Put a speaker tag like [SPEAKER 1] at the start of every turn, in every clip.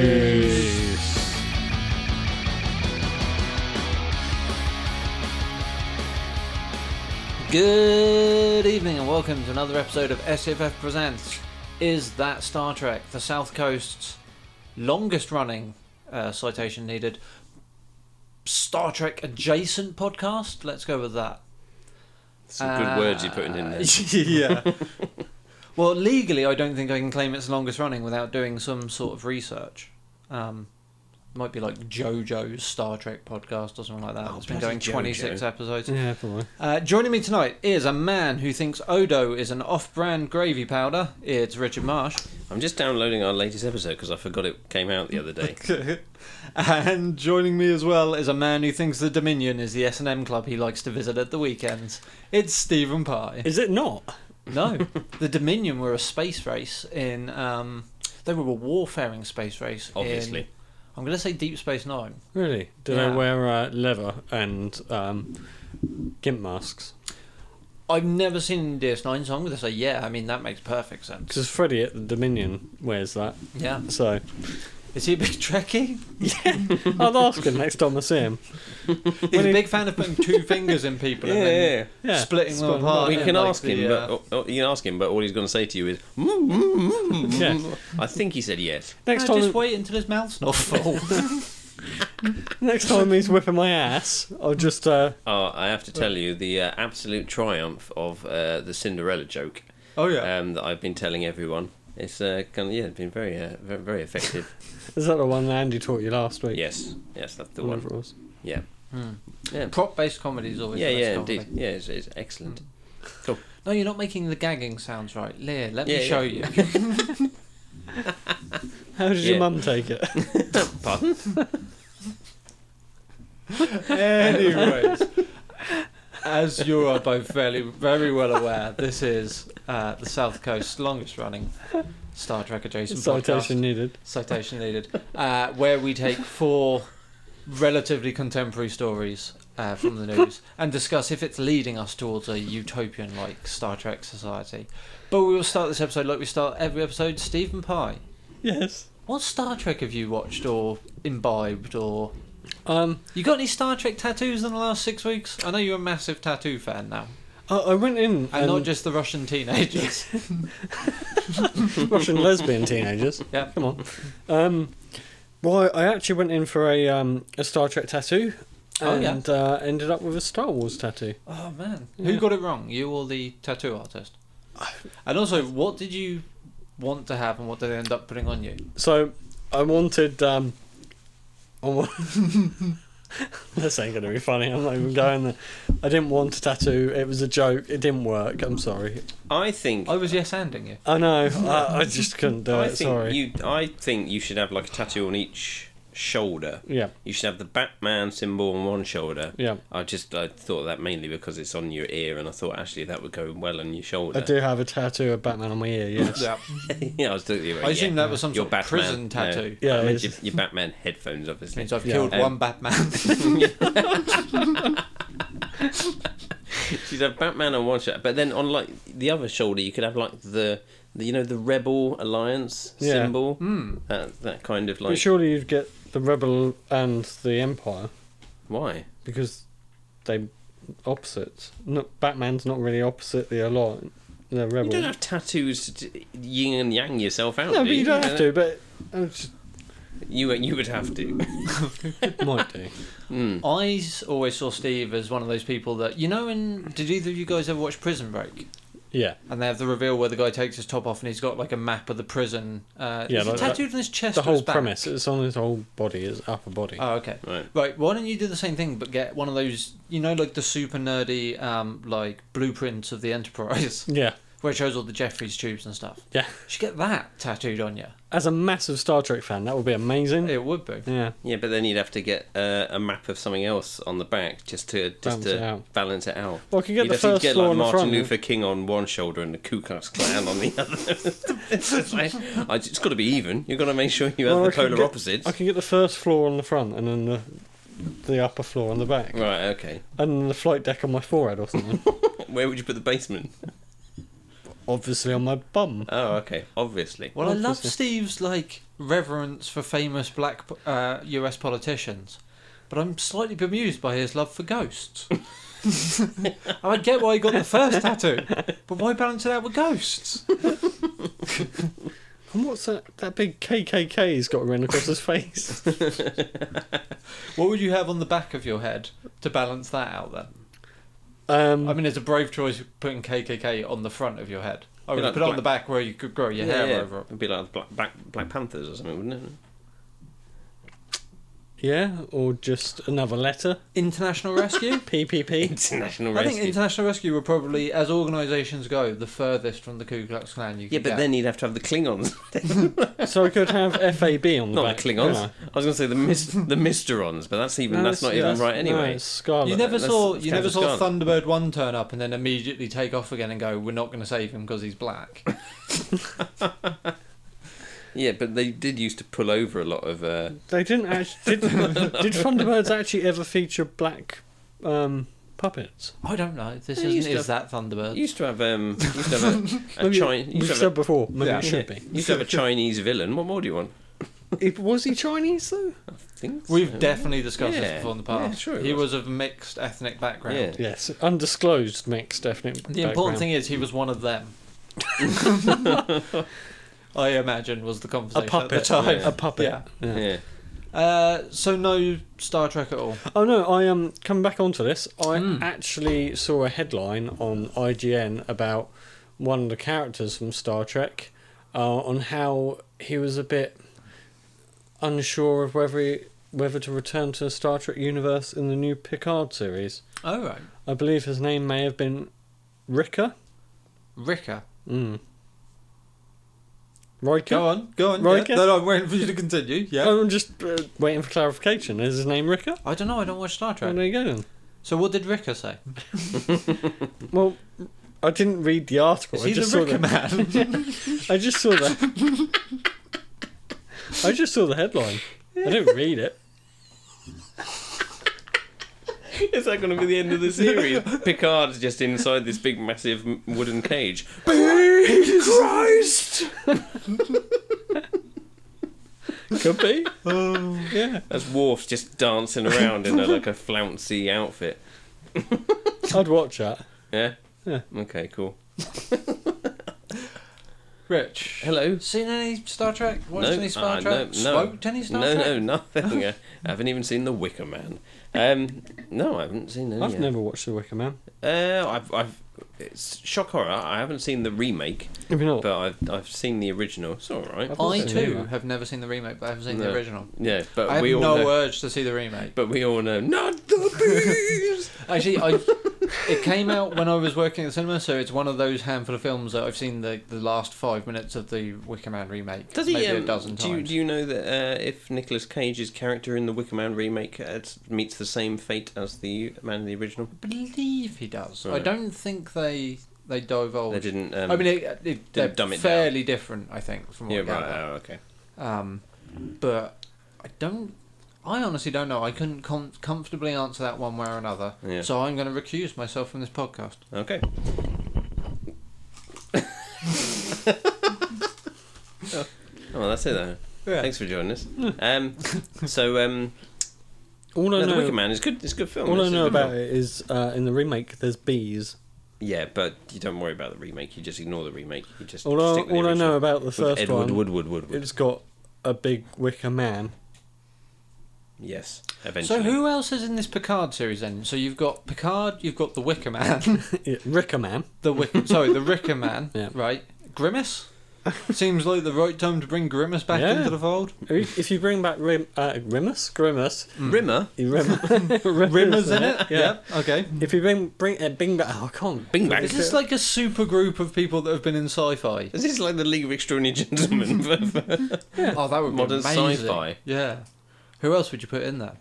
[SPEAKER 1] Space.
[SPEAKER 2] Good evening and welcome to another episode of SFF Presents. Is that Star Trek? The South Coast's longest running, uh, citation needed, Star Trek adjacent podcast. Let's go with that.
[SPEAKER 3] Some good words you're putting in there.
[SPEAKER 2] Uh,
[SPEAKER 1] Uh,
[SPEAKER 2] yeah. well, legally, I don't think I can claim it's the longest running without doing some sort of research. Um, might be like JoJo's Star Trek podcast or something like that. it's been
[SPEAKER 3] Oh, bloody
[SPEAKER 2] going 26
[SPEAKER 3] JoJo.
[SPEAKER 2] episodes.
[SPEAKER 1] Yeah, probably.
[SPEAKER 2] Uh, joining me tonight is a man who thinks Odo is an off brand gravy powder. It's Richard Marsh.
[SPEAKER 3] I'm just downloading our latest episode because I forgot it came out the other day.
[SPEAKER 2] and joining me as well is a man who thinks the Dominion is the S&M club he likes to visit at the weekends. It's Stephen Pye.
[SPEAKER 1] Is it not?
[SPEAKER 2] No, the Dominion were a space race in. Um, they were a warfaring space race. in-
[SPEAKER 3] Obviously.
[SPEAKER 2] I'm going to say Deep Space Nine.
[SPEAKER 1] Really? Do
[SPEAKER 2] Yeah.
[SPEAKER 1] they wear uh, leather and um, gimp masks?
[SPEAKER 2] I've never seen DS9, so I'm going to say yeah. I mean, that makes perfect sense.
[SPEAKER 1] Because Freddy at the Dominion wears that.
[SPEAKER 2] Yeah.
[SPEAKER 1] So
[SPEAKER 2] Is he a big Trekkie?
[SPEAKER 1] I'll ask him next time I see him.
[SPEAKER 2] He's a big fan of putting two fingers in people and then
[SPEAKER 1] Yeah.
[SPEAKER 2] splitting them
[SPEAKER 1] Split 'em
[SPEAKER 2] apart.
[SPEAKER 3] We
[SPEAKER 2] and
[SPEAKER 3] can
[SPEAKER 2] like
[SPEAKER 3] ask
[SPEAKER 2] the,
[SPEAKER 3] him,
[SPEAKER 2] uh,
[SPEAKER 3] but oh, you can ask him, but all he's going to say to you is, "Mm, mm, mm, mm,
[SPEAKER 1] Yeah.
[SPEAKER 3] mm." I think he said yes.
[SPEAKER 1] Next
[SPEAKER 2] "No,
[SPEAKER 1] time,
[SPEAKER 2] just wait until his mouth's not full.
[SPEAKER 1] next time he's whipping my ass, I'll just uh,
[SPEAKER 3] Oh, I have to tell you the uh, absolute triumph of uh, the Cinderella joke
[SPEAKER 2] oh
[SPEAKER 3] um, that I've been telling everyone. It's uh, kind of, yeah, been very, uh, ve- very effective.
[SPEAKER 1] Is that the one that Andy taught you last week?
[SPEAKER 3] yes, yes, that's the
[SPEAKER 1] Whatever it
[SPEAKER 3] one.
[SPEAKER 1] was.
[SPEAKER 3] Yeah, yeah,
[SPEAKER 2] Hmm. Prop-based comedy is always
[SPEAKER 3] yeah,
[SPEAKER 2] the best
[SPEAKER 3] yeah,
[SPEAKER 2] comedy.
[SPEAKER 3] indeed. Yeah, it's, it's excellent. Cool.
[SPEAKER 2] No, you're not making the gagging sounds right. Lear, let
[SPEAKER 3] Yeah,
[SPEAKER 2] me
[SPEAKER 3] yeah.
[SPEAKER 2] show you.
[SPEAKER 1] How did your
[SPEAKER 3] Yeah.
[SPEAKER 1] mum take it?
[SPEAKER 3] Pardon?
[SPEAKER 2] Anyways, as you are both fairly very well aware, this is uh, the South Coast's longest running Star Trek adjacent
[SPEAKER 1] Citation
[SPEAKER 2] podcast.
[SPEAKER 1] needed.
[SPEAKER 2] Citation needed. Uh, where we take four relatively contemporary stories uh, from the news and discuss if it's leading us towards a utopian like Star Trek society. But we will start this episode like we start every episode. Stephen Pye,
[SPEAKER 1] Yes.
[SPEAKER 2] what Star Trek have you watched or imbibed or
[SPEAKER 1] Um,
[SPEAKER 2] you got any Star Trek tattoos in the last six weeks? I know you're a massive tattoo fan now,
[SPEAKER 1] I, I went in
[SPEAKER 2] and not just the Russian teenagers.
[SPEAKER 1] Russian lesbian teenagers.
[SPEAKER 2] Yeah.
[SPEAKER 1] Come on. Um, well, I I actually went in for a um, a Star Trek tattoo,
[SPEAKER 2] Oh, yeah.
[SPEAKER 1] and uh, ended up with a Star Wars tattoo.
[SPEAKER 2] Oh man,
[SPEAKER 1] Yeah.
[SPEAKER 2] who got it wrong? You or the tattoo artist? And also, what did you want to have, and what did they end up putting on you?
[SPEAKER 1] So I wanted. Um, I wa- this ain't gonna be funny. I'm not even going there. I didn't want a tattoo. It was a joke. It didn't work. I'm sorry.
[SPEAKER 3] I think
[SPEAKER 2] I was yes anding you.
[SPEAKER 1] I know. I, I just couldn't do
[SPEAKER 3] I
[SPEAKER 1] it.
[SPEAKER 3] think
[SPEAKER 1] Sorry.
[SPEAKER 3] you. I think you should have like a tattoo on each shoulder.
[SPEAKER 1] Yeah.
[SPEAKER 3] You should have the Batman symbol on one shoulder.
[SPEAKER 1] Yeah.
[SPEAKER 3] I just I thought of that mainly because it's on your ear, and I thought actually that would go well on your shoulder.
[SPEAKER 1] I do have a tattoo of Batman on my ear. Yes.
[SPEAKER 2] Yeah,
[SPEAKER 3] yeah, I was thinking.
[SPEAKER 2] I assume
[SPEAKER 3] yeah.
[SPEAKER 2] that was some
[SPEAKER 3] Your
[SPEAKER 2] sort of
[SPEAKER 3] Batman,
[SPEAKER 2] prison
[SPEAKER 3] no.
[SPEAKER 2] tattoo.
[SPEAKER 1] Yeah,
[SPEAKER 3] I
[SPEAKER 1] it
[SPEAKER 3] meant
[SPEAKER 1] is.
[SPEAKER 3] your, your Batman headphones, obviously.
[SPEAKER 2] Means I've
[SPEAKER 1] Yeah.
[SPEAKER 2] killed
[SPEAKER 3] Um,
[SPEAKER 2] one Batman.
[SPEAKER 3] She'd have Batman on one shoulder, but then on like the other shoulder, you could have like the, the you know the Rebel Alliance
[SPEAKER 1] Yeah.
[SPEAKER 3] symbol.
[SPEAKER 2] Hmm.
[SPEAKER 3] That that kind of like
[SPEAKER 1] But surely you'd get the Rebel and the Empire.
[SPEAKER 3] why?
[SPEAKER 1] because they opposites. No, Batman's not really opposite the Alliance, the Rebel.
[SPEAKER 3] You don't have tattoos to d- yin and yang yourself out.
[SPEAKER 1] no,
[SPEAKER 3] do
[SPEAKER 1] but you don't have to. But I just
[SPEAKER 3] You you would have to.
[SPEAKER 1] might do. Hmm.
[SPEAKER 3] Mm.
[SPEAKER 2] I s- always saw Steve as one of those people that you know. And did either of you guys ever watch Prison Break?
[SPEAKER 1] Yeah,
[SPEAKER 2] And they have the reveal where the guy takes his top off and he's got like a map of the prison. Uh,
[SPEAKER 1] Yeah,
[SPEAKER 2] is it
[SPEAKER 1] like that-
[SPEAKER 2] tattooed on his chest.
[SPEAKER 1] the
[SPEAKER 2] or his
[SPEAKER 1] whole
[SPEAKER 2] back?
[SPEAKER 1] premise. It's on his whole body, his upper body.
[SPEAKER 2] Oh, okay.
[SPEAKER 3] Right.
[SPEAKER 2] Right, why don't you do the same thing but get one of those, you know, like the super nerdy, um, like blueprints of the Enterprise,
[SPEAKER 1] yeah,
[SPEAKER 2] where it shows all the Jeffries tubes and stuff.
[SPEAKER 1] yeah.
[SPEAKER 2] You should get that tattooed on you.
[SPEAKER 1] As a massive Star Trek fan, that would be amazing.
[SPEAKER 2] It would be.
[SPEAKER 1] Yeah,
[SPEAKER 3] Yeah, but then you'd have to get uh, a map of something else on the back just to just
[SPEAKER 1] Balance
[SPEAKER 3] to
[SPEAKER 1] it out.
[SPEAKER 3] balance it out.
[SPEAKER 1] Well, I could get
[SPEAKER 3] you'd
[SPEAKER 1] the
[SPEAKER 3] have to
[SPEAKER 1] first
[SPEAKER 3] get
[SPEAKER 1] floor
[SPEAKER 3] like
[SPEAKER 1] on the
[SPEAKER 3] Martin
[SPEAKER 1] front.
[SPEAKER 3] Luther King on one shoulder and the Ku Klux Klan on the other. It's just like, I- it's got to be even. You've got to make sure you have
[SPEAKER 1] Well, I
[SPEAKER 3] the
[SPEAKER 1] can
[SPEAKER 3] polar
[SPEAKER 1] get-
[SPEAKER 3] opposites.
[SPEAKER 1] I can get the first floor on the front, and then the the upper floor on the back,
[SPEAKER 3] Right. Okay.
[SPEAKER 1] and the flight deck on my forehead or something.
[SPEAKER 3] Where would you put the basement?
[SPEAKER 1] obviously on my bum.
[SPEAKER 3] Oh, okay. Obviously.
[SPEAKER 2] Well, I love
[SPEAKER 1] Obviously.
[SPEAKER 2] Steve's like reverence for famous black po- uh, U.S. politicians, but I'm slightly bemused by his love for ghosts. I get why he got the first tattoo, but why balance it out with ghosts?
[SPEAKER 1] And what's that? That big KKK he's got around across his face.
[SPEAKER 2] What would you have on the back of your head to balance that out? Then
[SPEAKER 1] Um,
[SPEAKER 2] I mean, it's a brave choice putting KKK on the front of your head. I
[SPEAKER 3] You
[SPEAKER 2] would
[SPEAKER 3] like
[SPEAKER 2] put it on
[SPEAKER 3] black-
[SPEAKER 2] the back where you could grow your hair over it.
[SPEAKER 3] It'd be like Black, Black, Black Panthers or something, wouldn't it?
[SPEAKER 1] yeah, or just another letter.
[SPEAKER 2] International Rescue.
[SPEAKER 1] PPP.
[SPEAKER 3] International
[SPEAKER 2] I
[SPEAKER 3] Rescue.
[SPEAKER 2] think International Rescue were probably, as organisations go, the furthest from the Ku Klux Klan you could
[SPEAKER 3] yeah, but
[SPEAKER 2] get.
[SPEAKER 3] then you'd have to have the Klingons.
[SPEAKER 1] so I could have FAB on the
[SPEAKER 3] Not
[SPEAKER 1] back.
[SPEAKER 3] the Klingons.
[SPEAKER 1] couldn't
[SPEAKER 3] I was going to say the mis- the Mysterons, but that's even
[SPEAKER 1] I? No,
[SPEAKER 3] that's not even
[SPEAKER 1] that's-
[SPEAKER 3] right
[SPEAKER 1] No,
[SPEAKER 3] anyway.
[SPEAKER 1] it's Scarlet.
[SPEAKER 2] you never
[SPEAKER 3] Let's-
[SPEAKER 2] saw
[SPEAKER 3] let's
[SPEAKER 2] you
[SPEAKER 3] go
[SPEAKER 2] never
[SPEAKER 3] to
[SPEAKER 2] saw
[SPEAKER 3] Scarlet.
[SPEAKER 2] Thunderbird one turn up and then immediately take off again and go, "We're not going to save him because he's black."
[SPEAKER 3] yeah, but they did used to pull over a lot of. Uh,
[SPEAKER 1] They didn't actually. Did, did Thunderbirds actually ever feature black um, puppets?
[SPEAKER 2] I don't know. This
[SPEAKER 3] They used
[SPEAKER 2] isn't
[SPEAKER 3] to
[SPEAKER 2] is that Thunderbird?
[SPEAKER 3] used to have um, used to have a, a,
[SPEAKER 1] Mm. Maybe-
[SPEAKER 3] Chi-
[SPEAKER 1] We've
[SPEAKER 3] used to
[SPEAKER 1] said
[SPEAKER 3] have
[SPEAKER 1] before. Maybe
[SPEAKER 2] Yeah.
[SPEAKER 1] it should be.
[SPEAKER 3] a, used to have a Chinese villain. What more do you want?
[SPEAKER 1] It, was he Chinese though?
[SPEAKER 3] I think
[SPEAKER 2] We've
[SPEAKER 3] so.
[SPEAKER 2] definitely discussed
[SPEAKER 3] Yeah.
[SPEAKER 2] this before in the past.
[SPEAKER 3] Yeah, sure it
[SPEAKER 2] he
[SPEAKER 3] was.
[SPEAKER 2] was. of mixed ethnic background.
[SPEAKER 3] Yeah.
[SPEAKER 1] Yes, undisclosed mixed ethnic.
[SPEAKER 2] The important thing is he was one of them. I imagine was the
[SPEAKER 1] a
[SPEAKER 2] conversation at
[SPEAKER 1] puppet.
[SPEAKER 2] the time.
[SPEAKER 3] Yeah.
[SPEAKER 1] A puppet.
[SPEAKER 2] Yeah.
[SPEAKER 1] Yeah.
[SPEAKER 3] Yeah.
[SPEAKER 2] Uh, so no Star Trek at all.
[SPEAKER 1] Oh no, I um coming back onto this, I
[SPEAKER 2] Mm.
[SPEAKER 1] actually saw a headline on IGN about one of the characters from Star Trek, uh, on how he was a bit unsure of whether he, whether to return to the Star Trek universe in the new Picard series.
[SPEAKER 2] Oh right,
[SPEAKER 1] I believe his name may have been Ricker.
[SPEAKER 2] Ricker.
[SPEAKER 1] Mm. Riker.
[SPEAKER 2] Go on, go on.
[SPEAKER 1] Riker?
[SPEAKER 2] Yeah. No, no, I'm waiting for you to continue. Oh, Yeah.
[SPEAKER 1] I'm just uh, waiting for clarification. Is his name Ricker?
[SPEAKER 2] I don't know. I don't watch Star
[SPEAKER 1] Well,
[SPEAKER 2] Trek.
[SPEAKER 1] there you go then.
[SPEAKER 2] So what did Ricker say?
[SPEAKER 1] Well, I didn't read the article.
[SPEAKER 2] Is
[SPEAKER 1] I
[SPEAKER 2] he
[SPEAKER 1] just
[SPEAKER 2] the
[SPEAKER 1] saw
[SPEAKER 2] Ricker
[SPEAKER 1] the,
[SPEAKER 2] man?
[SPEAKER 1] I just saw the. I just saw the headline. I didn't read it.
[SPEAKER 3] Is that going to be the end of the series? Picard's just inside this big, massive m- wooden cage.
[SPEAKER 1] Christ! Could be. Yeah,
[SPEAKER 3] That's Worf's just dancing around in a, like a flouncy outfit.
[SPEAKER 1] I'd watch that.
[SPEAKER 3] Yeah.
[SPEAKER 1] Yeah.
[SPEAKER 3] Okay. Cool.
[SPEAKER 2] Rich.
[SPEAKER 3] Hello.
[SPEAKER 2] Seen any Star Trek? Watched any Star
[SPEAKER 3] uh,
[SPEAKER 2] Trek? Smoked any Star
[SPEAKER 3] no,
[SPEAKER 2] Trek?
[SPEAKER 3] no, nothing. I haven't even seen The Wicker Man. Um, no, I haven't seen any. uh,
[SPEAKER 1] I've
[SPEAKER 3] yet.
[SPEAKER 1] never watched The Wicker Man.
[SPEAKER 3] Uh, I've, I've, it's shock horror. I haven't seen the remake,
[SPEAKER 1] If you're not,
[SPEAKER 3] but I've, I've seen the original. It's all right.
[SPEAKER 1] I've not
[SPEAKER 2] I
[SPEAKER 1] seen the
[SPEAKER 2] too
[SPEAKER 1] remake.
[SPEAKER 2] have never seen the remake, but I have seen the
[SPEAKER 3] No.
[SPEAKER 2] original.
[SPEAKER 3] Yeah, but
[SPEAKER 2] I have
[SPEAKER 3] we all
[SPEAKER 2] no
[SPEAKER 3] know.
[SPEAKER 2] urge to see the remake.
[SPEAKER 3] But we all know, not the bees.
[SPEAKER 2] Actually, I it came out when I was working at the cinema, so it's one of those handful of films that I've seen the, the last five minutes of the Wicker Man remake.
[SPEAKER 3] Does he?
[SPEAKER 2] maybe
[SPEAKER 3] um,
[SPEAKER 2] a dozen
[SPEAKER 3] do, you,
[SPEAKER 2] times?
[SPEAKER 3] do you know that uh, if Nicolas Cage's character in the Wicker Man remake uh, meets the same fate as the man in the original?
[SPEAKER 2] I believe he does. I
[SPEAKER 3] Right.
[SPEAKER 2] don't think they they divulge.
[SPEAKER 3] They didn't. Um,
[SPEAKER 2] I mean, it, it, they're
[SPEAKER 3] dumb it down.
[SPEAKER 2] fairly different, I think, from what
[SPEAKER 3] yeah,
[SPEAKER 2] I gather.
[SPEAKER 3] right. Oh, okay.
[SPEAKER 2] Um, but I don't. I honestly don't know. I couldn't com- comfortably answer that one way or another.
[SPEAKER 3] Yeah.
[SPEAKER 2] So I'm going to recuse myself from this podcast.
[SPEAKER 3] Okay. oh, that's it though.
[SPEAKER 2] Yeah.
[SPEAKER 3] Thanks for joining us. Um, so, um,
[SPEAKER 1] all I
[SPEAKER 3] no, The
[SPEAKER 1] know,
[SPEAKER 3] Wicker Man is good. It's a good film.
[SPEAKER 1] all I
[SPEAKER 3] It's a
[SPEAKER 1] know
[SPEAKER 3] good
[SPEAKER 1] about
[SPEAKER 3] film.
[SPEAKER 1] it is uh, in the remake there's bees.
[SPEAKER 3] Yeah, but you don't worry about the remake. You just ignore the remake. You just.
[SPEAKER 1] All I,
[SPEAKER 3] stick with the
[SPEAKER 1] all I know
[SPEAKER 3] original.
[SPEAKER 1] about the
[SPEAKER 3] With
[SPEAKER 1] first
[SPEAKER 3] Edward
[SPEAKER 1] one,
[SPEAKER 3] Woodward Woodward.
[SPEAKER 1] it's got a big wicker man.
[SPEAKER 3] Yes, eventually.
[SPEAKER 2] So who else is in this Picard series then? So you've got Picard, you've got the Wicker Man,
[SPEAKER 1] Yeah, Ricker man.
[SPEAKER 2] the Wicker, sorry, the Ricker Man,
[SPEAKER 1] Yeah.
[SPEAKER 2] right? Grimace. Seems like the right time to bring Grimace back
[SPEAKER 1] Yeah.
[SPEAKER 2] into the fold.
[SPEAKER 1] If you bring back Rim, uh, Grimace, Grimace,
[SPEAKER 3] Rimmer?
[SPEAKER 1] Rim-
[SPEAKER 2] Rimmer's in it.
[SPEAKER 1] Yeah.
[SPEAKER 2] Okay.
[SPEAKER 1] If you bring bring uh, Bing back, oh, I can't.
[SPEAKER 3] Bing Bang.
[SPEAKER 2] Is this like a super group of people that have been in sci-fi?
[SPEAKER 3] Is this like the League of Extraordinary Gentlemen for, for
[SPEAKER 2] Oh, that would
[SPEAKER 3] modern
[SPEAKER 2] be amazing.
[SPEAKER 3] sci-fi?
[SPEAKER 2] Yeah. Who else would you put in there?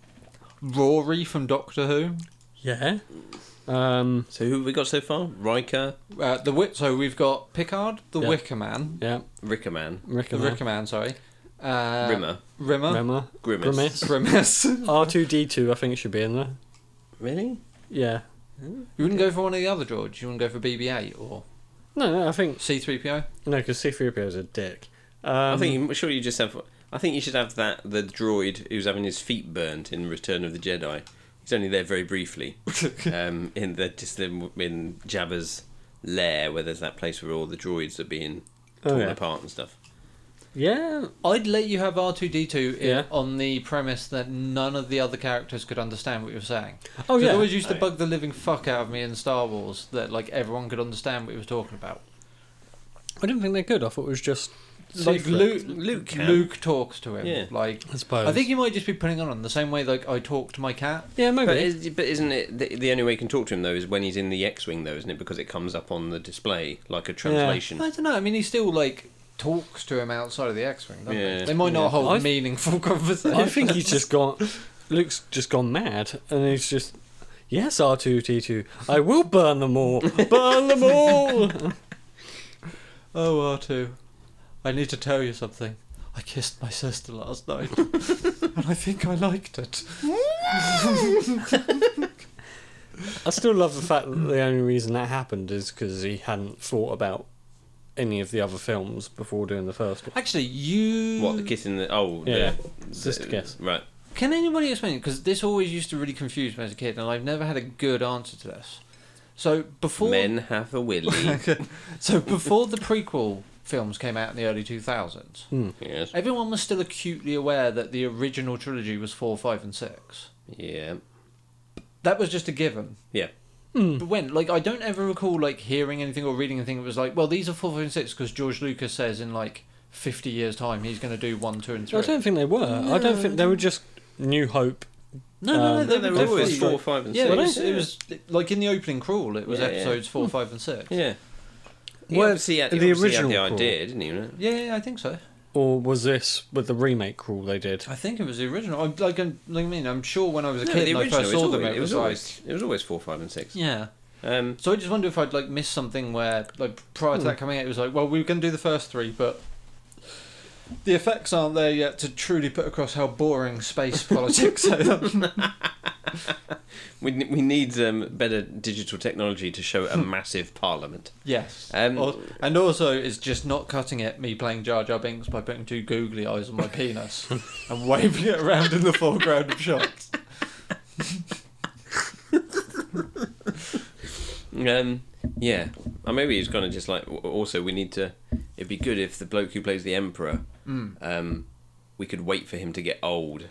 [SPEAKER 2] Rory from Doctor Who.
[SPEAKER 1] Yeah. Um.
[SPEAKER 3] So who have we got so far? Riker,
[SPEAKER 2] Uh, the Wit. So we've got Picard, the
[SPEAKER 1] Yeah.
[SPEAKER 2] Wicker Man,
[SPEAKER 1] Yeah.
[SPEAKER 3] Rickerman,
[SPEAKER 1] Ricker.
[SPEAKER 2] the Wicker Man. Sorry. Uh,
[SPEAKER 3] Rimmer,
[SPEAKER 2] Rimmer.
[SPEAKER 1] Remember? Grimace.
[SPEAKER 3] Grimace.
[SPEAKER 2] Grimace. you
[SPEAKER 1] R two D two. I think should be in there.
[SPEAKER 3] Really?
[SPEAKER 1] Yeah.
[SPEAKER 2] wouldn't go for one of the other George. You wouldn't go for BB-8 or
[SPEAKER 1] No, no, I think
[SPEAKER 2] C3PO?
[SPEAKER 1] no, because C-3PO is a dick. Um,
[SPEAKER 3] I think you, sure you just have. I think you should have that the droid who's having his feet burnt in Return of the Jedi. He's only there very briefly, um, in the just in, in Jabba's lair, where there's that place where all the droids are being
[SPEAKER 1] Oh,
[SPEAKER 3] torn
[SPEAKER 1] yeah.
[SPEAKER 3] apart and stuff.
[SPEAKER 1] yeah,
[SPEAKER 2] I'd let you have R2D2 in,
[SPEAKER 1] Yeah.
[SPEAKER 2] on the premise that none of the other characters could understand what you were saying.
[SPEAKER 1] Oh,
[SPEAKER 2] It
[SPEAKER 1] yeah.
[SPEAKER 2] always used to
[SPEAKER 3] Oh, yeah.
[SPEAKER 2] bug the living fuck out of me in Star Wars that like everyone could understand what he was talking about.
[SPEAKER 1] I didn't think they're good. I thought it was just
[SPEAKER 2] like
[SPEAKER 1] secret.
[SPEAKER 2] Luke,
[SPEAKER 3] Luke
[SPEAKER 2] Luke,
[SPEAKER 3] can.
[SPEAKER 2] talks to him.
[SPEAKER 3] Yeah.
[SPEAKER 2] Like
[SPEAKER 1] I suppose.
[SPEAKER 2] I think you might just be putting it on the same way like I talk to my cat.
[SPEAKER 1] yeah, maybe.
[SPEAKER 3] But, is, but isn't it the, the only way you can talk to him though is when he's in the X-wing though, isn't it? Because it comes up on the display like a translation.
[SPEAKER 2] I don't know. I mean, he still like talks to him outside of the X-wing. Doesn't
[SPEAKER 3] Yeah.
[SPEAKER 2] he? They might not
[SPEAKER 1] Yeah.
[SPEAKER 2] hold
[SPEAKER 1] I-
[SPEAKER 2] meaningful conversation.
[SPEAKER 1] I think he's just gone. Luke's just gone mad, and he's just, yes, R two T two, I will burn them all, burn them all.
[SPEAKER 2] Oh, R2, I need to tell you something. I kissed my sister last night, and I think I liked it.
[SPEAKER 1] I still love the fact that the only reason that happened is because he hadn't thought about any of the other films before doing the first one.
[SPEAKER 2] Actually, you.
[SPEAKER 3] What the kiss in the oh
[SPEAKER 1] Yeah,
[SPEAKER 3] the,
[SPEAKER 1] just a kiss.
[SPEAKER 3] right.
[SPEAKER 2] Can anybody explain it? Because this always used to really confuse me as a kid, and I've never had a good answer to this. So before
[SPEAKER 3] Men have a willy.
[SPEAKER 2] so before the prequel films came out in the early two thousands,
[SPEAKER 3] yes.
[SPEAKER 2] everyone was still acutely aware that the original trilogy was four, five, and six.
[SPEAKER 3] Yeah.
[SPEAKER 2] That was just a given.
[SPEAKER 3] Yeah. Hmm.
[SPEAKER 2] But when, like, I don't ever recall like hearing anything or reading anything that was like, well, these are four, five, and six because George Lucas says in like fifty years' time he's going to do one, two, and three.
[SPEAKER 1] I don't think they were. I don't think they were just New Hope.
[SPEAKER 2] no, no, no,
[SPEAKER 1] um,
[SPEAKER 2] they
[SPEAKER 3] No, they
[SPEAKER 2] were
[SPEAKER 3] were always
[SPEAKER 2] definitely-
[SPEAKER 3] four, five, and
[SPEAKER 2] Yeah, Hmm.
[SPEAKER 3] six.
[SPEAKER 2] it was, it was like in the opening crawl. It was
[SPEAKER 3] Yeah, yeah.
[SPEAKER 2] episodes four, five, and six.
[SPEAKER 3] Yeah. He
[SPEAKER 1] Well,
[SPEAKER 3] obviously had, he
[SPEAKER 1] the
[SPEAKER 3] obviously had
[SPEAKER 1] original
[SPEAKER 3] the
[SPEAKER 1] crawl.
[SPEAKER 3] idea, didn't he? right?
[SPEAKER 2] Yeah, yeah, I think so.
[SPEAKER 1] Or was this with the remake crawl they did?
[SPEAKER 2] I think it was the original. I'm, like, I'm, like, I mean, I'm sure when I was a
[SPEAKER 3] No,
[SPEAKER 2] kid and I
[SPEAKER 3] original,
[SPEAKER 2] first
[SPEAKER 3] it's
[SPEAKER 2] saw
[SPEAKER 3] always-
[SPEAKER 2] them, it, was, like,
[SPEAKER 3] always it was always four, five, and six.
[SPEAKER 2] yeah.
[SPEAKER 3] Um,
[SPEAKER 2] So I just wonder if I'd like missed something where, like, prior to that
[SPEAKER 1] Hmm.
[SPEAKER 2] coming out, it was like, well, we were going to do the first three, but the effects aren't there yet to truly put across how boring space politics is.
[SPEAKER 3] we ne- we need um, better digital technology to show a massive parliament.
[SPEAKER 2] yes.
[SPEAKER 3] Um,
[SPEAKER 2] Al- and also, it's just not cutting it. Me playing Jar Jar Binks by putting two googly eyes on my penis and waving it around in the foreground of shots.
[SPEAKER 3] Um, yeah, or maybe he's gonna just like. w- Also, we need to. It'd be good if the bloke who plays the emperor, um, we could wait for him to get old,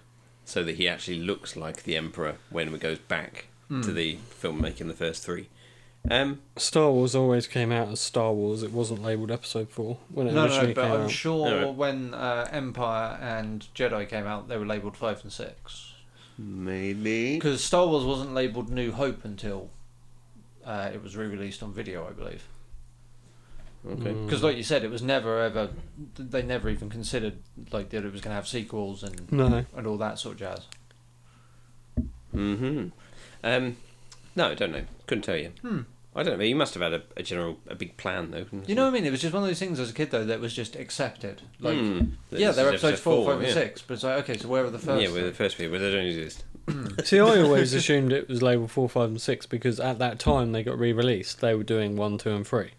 [SPEAKER 3] so that he actually looks like the emperor when we goes back to the filmmaking the first three. Um,
[SPEAKER 1] Star Wars always came out as Star Wars. It wasn't labeled Episode Four when it
[SPEAKER 2] No, no,
[SPEAKER 1] originally
[SPEAKER 2] no, but
[SPEAKER 1] came
[SPEAKER 2] I'm
[SPEAKER 1] out.
[SPEAKER 2] sure
[SPEAKER 3] Alright.
[SPEAKER 2] when uh, Empire and Jedi came out, they were labelled 5 and 6.
[SPEAKER 3] maybe.
[SPEAKER 2] Because Star Wars wasn't labelled New Hope until uh, it was re released on video, I believe.
[SPEAKER 3] Okay.
[SPEAKER 2] Because, like you said, it was never ever. They never even considered like that it was going to have sequels and
[SPEAKER 1] No.
[SPEAKER 2] and all that sort of jazz.
[SPEAKER 3] Mm-hmm. Um, no, I don't know. Couldn't tell you.
[SPEAKER 2] Hmm.
[SPEAKER 3] I don't know. You must have had a, a general, a big plan though. couldn't
[SPEAKER 2] You know what I mean? It was just one of those things as a kid though that was just accepted. Like,
[SPEAKER 3] Hmm.
[SPEAKER 2] yeah,
[SPEAKER 3] This
[SPEAKER 2] they're
[SPEAKER 3] is
[SPEAKER 2] episodes four, five, and
[SPEAKER 3] yeah.
[SPEAKER 2] six, but it's like okay, so where are the first?
[SPEAKER 3] Yeah, we're
[SPEAKER 2] three?
[SPEAKER 3] the first people, but they don't exist.
[SPEAKER 1] See, I always assumed it was labeled four, five, and six because at that time they got re-released. They were doing one, two, and three.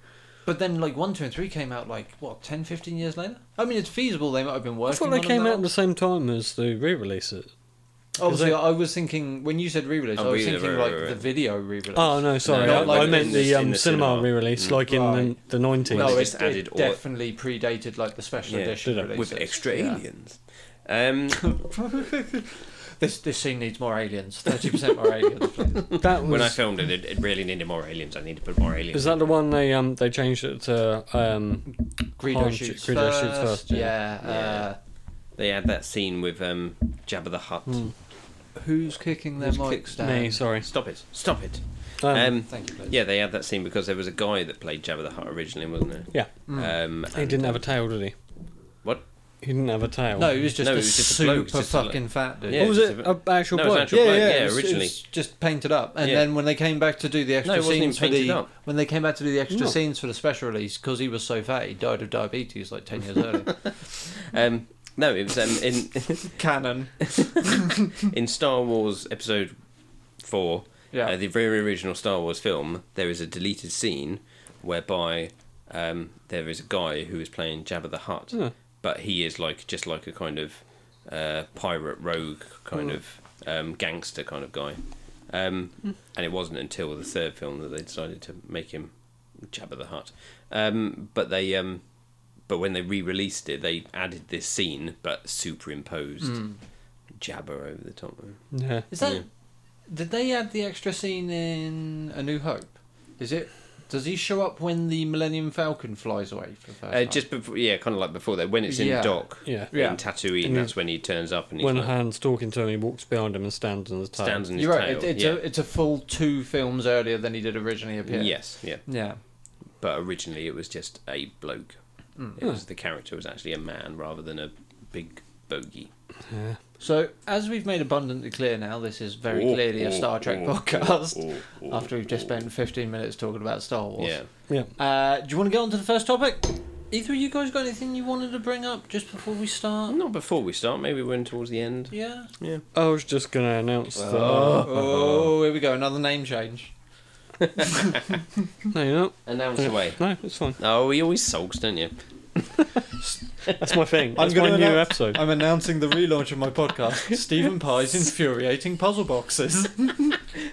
[SPEAKER 2] But then like one, two, and three came out like what 10, 15 years later. I mean, it's feasible they might have been
[SPEAKER 1] I
[SPEAKER 2] working.
[SPEAKER 1] thought
[SPEAKER 2] on
[SPEAKER 1] they
[SPEAKER 2] them
[SPEAKER 1] came
[SPEAKER 2] that
[SPEAKER 1] out at
[SPEAKER 2] long.
[SPEAKER 1] the same time as the re-releases.
[SPEAKER 2] Obviously,
[SPEAKER 1] they-
[SPEAKER 2] I was thinking when you said re-release,
[SPEAKER 3] Oh,
[SPEAKER 2] I was
[SPEAKER 3] re-release,
[SPEAKER 2] thinking
[SPEAKER 3] right,
[SPEAKER 2] like
[SPEAKER 3] right,
[SPEAKER 2] the
[SPEAKER 3] right.
[SPEAKER 2] video re-release.
[SPEAKER 1] Oh no, sorry,
[SPEAKER 2] No,
[SPEAKER 1] I,
[SPEAKER 2] like
[SPEAKER 1] I
[SPEAKER 2] in
[SPEAKER 1] meant
[SPEAKER 2] the-
[SPEAKER 1] the,
[SPEAKER 3] in
[SPEAKER 1] um,
[SPEAKER 3] the
[SPEAKER 1] cinema,
[SPEAKER 3] cinema.
[SPEAKER 1] re-release,
[SPEAKER 3] Mm.
[SPEAKER 1] like in
[SPEAKER 2] Right.
[SPEAKER 1] the the nineties.
[SPEAKER 3] Well,
[SPEAKER 2] no,
[SPEAKER 3] they
[SPEAKER 2] it,
[SPEAKER 3] just
[SPEAKER 2] it
[SPEAKER 3] added all-
[SPEAKER 2] definitely predated like the special
[SPEAKER 3] Yeah,
[SPEAKER 2] edition
[SPEAKER 1] did it?
[SPEAKER 2] releases.
[SPEAKER 3] With extra
[SPEAKER 2] Yeah.
[SPEAKER 3] aliens. Um,
[SPEAKER 2] This this scene needs more aliens. Thirty percent more aliens. Please.
[SPEAKER 1] that
[SPEAKER 3] when I
[SPEAKER 1] was.
[SPEAKER 3] filmed it, it, it really needed more aliens. I need to put more aliens.
[SPEAKER 1] Is that the one they um they changed it to um
[SPEAKER 2] Greedo
[SPEAKER 1] Han
[SPEAKER 2] shoots,
[SPEAKER 1] shoots- Greedo
[SPEAKER 2] first.
[SPEAKER 1] shoots first,
[SPEAKER 2] Yeah.
[SPEAKER 1] yeah.
[SPEAKER 2] Uh,
[SPEAKER 3] They had that scene with um, Jabba the Hutt.
[SPEAKER 2] Hmm. Who's kicking their
[SPEAKER 3] Who's
[SPEAKER 2] mic
[SPEAKER 3] kicked
[SPEAKER 2] stand?
[SPEAKER 1] me? Sorry.
[SPEAKER 3] Stop it! Stop it!
[SPEAKER 1] Um,
[SPEAKER 3] Um,
[SPEAKER 2] Thank you. Please.
[SPEAKER 3] yeah, they had that scene because there was a guy that played Jabba the Hutt originally, wasn't there?
[SPEAKER 1] yeah,
[SPEAKER 3] Um,
[SPEAKER 1] he
[SPEAKER 3] and-
[SPEAKER 1] didn't have a tail, did he?
[SPEAKER 3] What?
[SPEAKER 1] He didn't have a tail.
[SPEAKER 2] No, he was just
[SPEAKER 3] No,
[SPEAKER 2] a
[SPEAKER 3] it was just a
[SPEAKER 2] super
[SPEAKER 3] bloke, just a bloke.
[SPEAKER 2] fucking fat dude.
[SPEAKER 3] Yeah,
[SPEAKER 1] Oh, was
[SPEAKER 3] just
[SPEAKER 1] it
[SPEAKER 3] a-
[SPEAKER 1] a actual
[SPEAKER 3] no, it was
[SPEAKER 1] bloke?
[SPEAKER 3] an actual bloke, yeah,
[SPEAKER 2] it was- it
[SPEAKER 3] originally.
[SPEAKER 2] was just painted up, and
[SPEAKER 3] Yeah.
[SPEAKER 2] then when they came back to do the
[SPEAKER 3] it
[SPEAKER 2] extra
[SPEAKER 3] wasn't even
[SPEAKER 2] scenes for the
[SPEAKER 3] painted up.
[SPEAKER 2] when they came back to do the extra
[SPEAKER 1] No.
[SPEAKER 2] scenes for the special release because he was so fat he died of diabetes like ten years early.
[SPEAKER 3] Um, no, it was um, in
[SPEAKER 2] Canon.
[SPEAKER 3] in Star Wars Episode Four.
[SPEAKER 2] Yeah.
[SPEAKER 3] Uh, the very original Star Wars film, there is a deleted scene whereby um, there is a guy who is playing Jabba the Hutt,
[SPEAKER 1] Hmm.
[SPEAKER 3] but he is like just like a kind of uh, pirate rogue kind of um, gangster kind of guy. Um, And it wasn't until the third film that they decided to make him Jabba the Hutt. Um, but they, um, but when they re-released it, they added this scene but superimposed
[SPEAKER 2] Hmm. Mm.
[SPEAKER 3] Jabba over the top.
[SPEAKER 1] Yeah.
[SPEAKER 2] Is that?
[SPEAKER 3] Yeah.
[SPEAKER 2] Did they add the extra scene in A New Hope? Is it? Does he show up when the Millennium Falcon flies away for the first
[SPEAKER 3] Uh,
[SPEAKER 2] time?
[SPEAKER 3] just before, yeah, kind of like before that when it's in
[SPEAKER 2] Yeah.
[SPEAKER 3] dock
[SPEAKER 1] Yeah.
[SPEAKER 2] Yeah.
[SPEAKER 3] in Tatooine,
[SPEAKER 1] And
[SPEAKER 3] that's when he turns up and he's
[SPEAKER 1] When
[SPEAKER 3] like,
[SPEAKER 1] Han's talking to him, he walks behind him and stands on his tail.
[SPEAKER 3] stands on his
[SPEAKER 2] You're right.
[SPEAKER 3] tail.
[SPEAKER 2] it- it's
[SPEAKER 3] yeah.
[SPEAKER 2] a it's a full two films earlier than he did originally appear.
[SPEAKER 3] Yes, yeah.
[SPEAKER 2] Yeah.
[SPEAKER 3] But originally it was just a bloke.
[SPEAKER 2] Hmm.
[SPEAKER 3] It was the character was actually a man rather than a big bogey.
[SPEAKER 1] Yeah.
[SPEAKER 2] So as we've made abundantly clear now, this is very
[SPEAKER 3] Oh,
[SPEAKER 2] clearly a Star Trek podcast. after we've just spent 15 minutes talking about Star Wars.
[SPEAKER 3] Yeah.
[SPEAKER 1] Yeah.
[SPEAKER 2] Uh, do you want to get on to the first topic? Either of you guys got anything you wanted to bring up just before we start?
[SPEAKER 3] Not before we start, maybe we're in towards the end.
[SPEAKER 2] Yeah.
[SPEAKER 3] Yeah.
[SPEAKER 1] I was just going to announce
[SPEAKER 2] Oh, here we go. Another name change.
[SPEAKER 1] that. No, you're not.
[SPEAKER 3] Announce away.
[SPEAKER 1] No, it's fine.
[SPEAKER 3] Oh, he always sulks, don't you?
[SPEAKER 1] That's my thing.
[SPEAKER 2] I'm
[SPEAKER 1] That's my
[SPEAKER 2] gonna
[SPEAKER 1] new
[SPEAKER 2] announce-
[SPEAKER 1] episode.
[SPEAKER 2] I'm announcing the relaunch of my podcast, Stephen Pye's Infuriating Puzzle Boxes.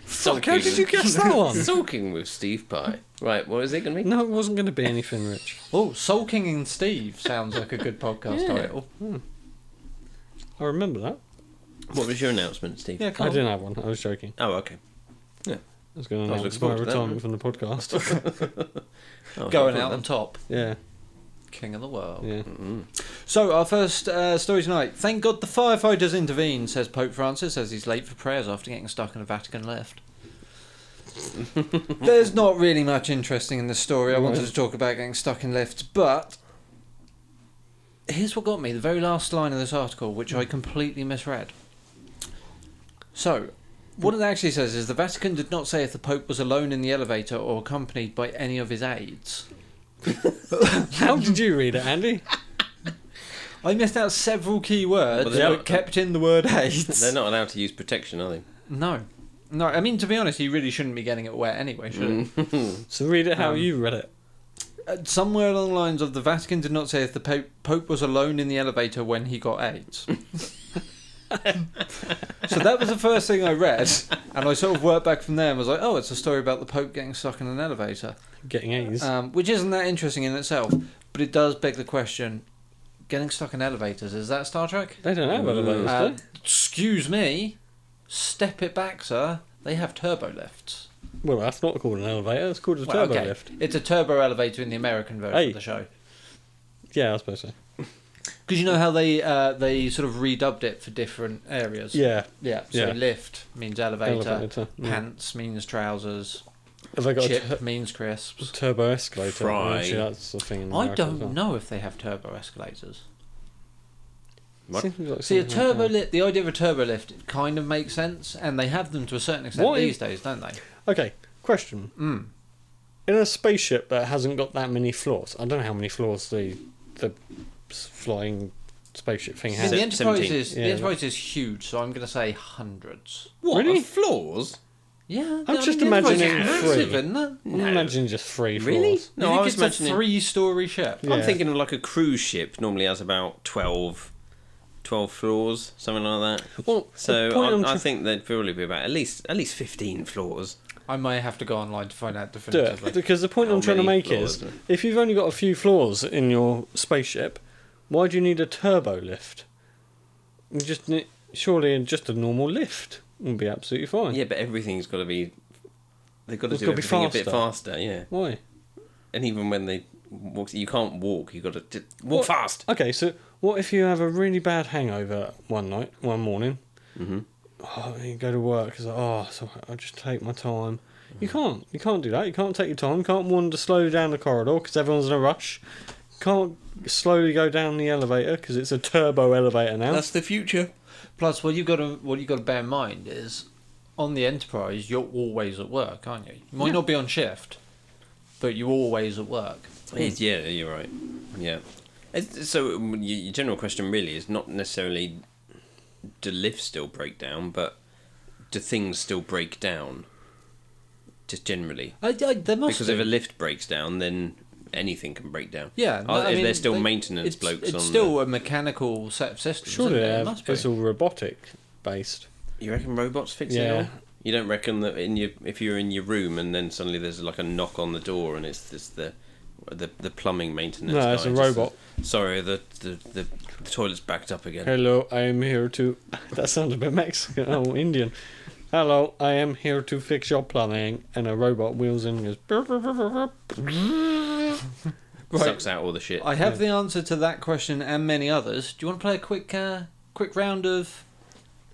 [SPEAKER 1] Fuck, how did you guess that one?
[SPEAKER 3] Sulking with Steve Pye. Right, what is it going to be?
[SPEAKER 1] No, it wasn't going to be anything, Rich.
[SPEAKER 2] Oh, Soul King and Steve sounds like a good podcast
[SPEAKER 3] Yeah.
[SPEAKER 2] title.
[SPEAKER 1] I remember that.
[SPEAKER 3] What was your announcement, Steve?
[SPEAKER 2] Yeah,
[SPEAKER 1] I
[SPEAKER 2] come
[SPEAKER 1] didn't have one. I was joking.
[SPEAKER 3] Oh, okay.
[SPEAKER 1] I was going to
[SPEAKER 3] I was
[SPEAKER 1] announce my
[SPEAKER 3] looking forward to that.
[SPEAKER 1] retirement from the podcast.
[SPEAKER 3] Oh,
[SPEAKER 2] Going
[SPEAKER 3] okay.
[SPEAKER 2] out on top.
[SPEAKER 1] yeah,
[SPEAKER 2] King of the world.
[SPEAKER 1] yeah.
[SPEAKER 2] So, our first uh, story tonight. Thank God the firefighters intervened, says Pope Francis as he's late for prayers after getting stuck in a Vatican lift. There's not really much interesting in this story. I wanted to talk about getting stuck in lifts, but here's what got me the very last line of this article, which I completely misread. So, what it actually says is the Vatican did not say if the Pope was alone in the elevator or accompanied by any of his aides.
[SPEAKER 1] How did you read it, Andy?
[SPEAKER 2] I missed out several key words,
[SPEAKER 3] Well, they're
[SPEAKER 2] but
[SPEAKER 3] not- uh,
[SPEAKER 2] kept in the word aids.
[SPEAKER 3] They're not allowed to use protection, are they?
[SPEAKER 2] No. No, I mean, to be honest, he really shouldn't be getting it wet anyway, should
[SPEAKER 3] Mm.
[SPEAKER 2] he?
[SPEAKER 1] So read it how
[SPEAKER 2] Um,
[SPEAKER 1] you read it.
[SPEAKER 2] Uh, somewhere along the lines of the Vatican did not say if the Pope, Pope was alone in the elevator when he got AIDS. so that was the first thing I read, and I sort of worked back from there and was like, oh, it's a story about the Pope getting stuck in an elevator,
[SPEAKER 1] Getting A's.
[SPEAKER 2] um, which isn't that interesting in itself, but it does beg the question getting stuck in elevators, is that Star Trek?
[SPEAKER 1] they don't have elevators, do
[SPEAKER 2] Uh,
[SPEAKER 1] they?
[SPEAKER 2] excuse me, step it back, sir. They have turbo lifts.
[SPEAKER 1] Well, that's not called an elevator. It's called a
[SPEAKER 2] Well,
[SPEAKER 1] turbo
[SPEAKER 2] okay.
[SPEAKER 1] lift.
[SPEAKER 2] It's a turbo elevator in the American version
[SPEAKER 1] Hey.
[SPEAKER 2] of the show.
[SPEAKER 1] Yeah, I suppose so.
[SPEAKER 2] Because you know how they uh, they sort of redubbed it for different areas.
[SPEAKER 1] Yeah,
[SPEAKER 2] yeah. So
[SPEAKER 1] yeah.
[SPEAKER 2] lift means elevator,
[SPEAKER 1] elevator. Yeah.
[SPEAKER 2] pants means trousers,
[SPEAKER 1] Have they got
[SPEAKER 2] chip
[SPEAKER 1] a tur-
[SPEAKER 2] means crisps.
[SPEAKER 1] turbo escalator?
[SPEAKER 3] Fry.
[SPEAKER 1] Actually, that's the thing. In
[SPEAKER 2] I
[SPEAKER 1] America as
[SPEAKER 2] don't
[SPEAKER 1] well.
[SPEAKER 2] know if they have turbo escalators.
[SPEAKER 3] What?
[SPEAKER 1] Seems like
[SPEAKER 2] See, a
[SPEAKER 1] something like
[SPEAKER 2] turbo
[SPEAKER 1] that.
[SPEAKER 2] lift, the idea of a turbo lift kind of makes sense, and they have them to a certain extent
[SPEAKER 1] What
[SPEAKER 2] these
[SPEAKER 1] if-
[SPEAKER 2] days, don't they?
[SPEAKER 1] Okay, question.
[SPEAKER 2] Mm.
[SPEAKER 1] In a spaceship that hasn't got that many floors, I don't know how many floors the the s- flying spaceship thing
[SPEAKER 2] I mean,
[SPEAKER 1] has.
[SPEAKER 2] the
[SPEAKER 3] Se-
[SPEAKER 2] Enterprise
[SPEAKER 3] 17.
[SPEAKER 2] is
[SPEAKER 1] Yeah,
[SPEAKER 2] the Enterprise is huge, so I'm going to say hundreds.
[SPEAKER 3] What?
[SPEAKER 1] Really?
[SPEAKER 3] of Floors?
[SPEAKER 2] Yeah,
[SPEAKER 1] I'm just
[SPEAKER 2] the Enterprise
[SPEAKER 1] imagining
[SPEAKER 2] is
[SPEAKER 1] three.
[SPEAKER 2] massive, isn't it?
[SPEAKER 1] I'm
[SPEAKER 3] No.
[SPEAKER 1] imagining just three floors.
[SPEAKER 3] Really?
[SPEAKER 2] No,
[SPEAKER 3] No,
[SPEAKER 2] you
[SPEAKER 3] I
[SPEAKER 2] think
[SPEAKER 3] was
[SPEAKER 2] it's a
[SPEAKER 3] imagining-
[SPEAKER 2] three-story ship.
[SPEAKER 1] Yeah.
[SPEAKER 3] I'm thinking of like a cruise ship normally has about 12, 12 floors, something like that.
[SPEAKER 1] Well, the point I'm
[SPEAKER 3] So I, I
[SPEAKER 1] tr-
[SPEAKER 3] think there'd probably be about at least at least fifteen floors.
[SPEAKER 2] I may have to go online to find out
[SPEAKER 1] do it
[SPEAKER 2] definitively.
[SPEAKER 1] because the point
[SPEAKER 3] How
[SPEAKER 1] I'm trying to
[SPEAKER 3] many
[SPEAKER 1] make is
[SPEAKER 3] floors, isn't
[SPEAKER 1] if you've only got a few floors in your spaceship, why do you need a turbo lift? You just ne- surely just a normal lift would be absolutely fine.
[SPEAKER 3] Yeah, but everything's got to be. They've got to
[SPEAKER 1] It's
[SPEAKER 3] do
[SPEAKER 1] gotta be
[SPEAKER 3] everything a bit faster, yeah.
[SPEAKER 1] Why?
[SPEAKER 3] And even when they walk, you can't walk. You got to d- walk
[SPEAKER 1] What?
[SPEAKER 3] fast.
[SPEAKER 1] Okay, so what if you have a really bad hangover one night, one morning?
[SPEAKER 2] Mm-hmm.
[SPEAKER 3] Mhm.
[SPEAKER 1] Oh, you go to work. It's like, oh, so I'll just take my time.
[SPEAKER 2] Mm.
[SPEAKER 1] You can't. You can't do that. You can't take your time. You can't wander slow down the corridor because everyone's in a rush. Can't slowly go down the elevator because it's a turbo elevator now.
[SPEAKER 3] the future.
[SPEAKER 2] Plus, what you've got to what you've got to bear in mind is, on the Enterprise, you're always at work, aren't you? You might not be on shift, but you're always at work.
[SPEAKER 3] yeah, you're right. Yeah. It's, so um, y- your general question really is not necessarily do lifts still break down, but do things still break down? Just generally,
[SPEAKER 2] I, I, there must
[SPEAKER 3] because
[SPEAKER 2] be.
[SPEAKER 3] if a lift breaks down, then anything can break down.
[SPEAKER 2] Yeah,
[SPEAKER 3] Are-
[SPEAKER 2] I
[SPEAKER 3] Uh, if
[SPEAKER 2] mean,
[SPEAKER 3] there's still
[SPEAKER 2] they-
[SPEAKER 3] maintenance
[SPEAKER 2] it's,
[SPEAKER 3] blokes
[SPEAKER 2] it's
[SPEAKER 3] on
[SPEAKER 2] still a mechanical set of systems.
[SPEAKER 1] Surely
[SPEAKER 2] isn't it?
[SPEAKER 1] they
[SPEAKER 2] It
[SPEAKER 1] have,
[SPEAKER 2] must be.
[SPEAKER 1] it's all robotic based.
[SPEAKER 3] the, you reckon robots fixing it
[SPEAKER 1] Yeah.
[SPEAKER 3] all? You don't reckon that in your if you're in your room and then suddenly there's like a knock on the door and it's it's the the, the plumbing maintenance.
[SPEAKER 1] No,
[SPEAKER 3] guy
[SPEAKER 1] it's a
[SPEAKER 3] just says,
[SPEAKER 1] robot.
[SPEAKER 3] Sorry, the the, the the toilet's backed up again.
[SPEAKER 1] Hello, I am here to. That sounds a bit Mexican. Oh, Indian. Hello, I am here to fix your plumbing. And a robot wheels in and goes. "Burp, burp, burp, burp, burp."
[SPEAKER 2] Right.
[SPEAKER 3] Sucks out all the shit.
[SPEAKER 2] I have the answer to that question and many others. Do you want to play a quick, uh, quick round of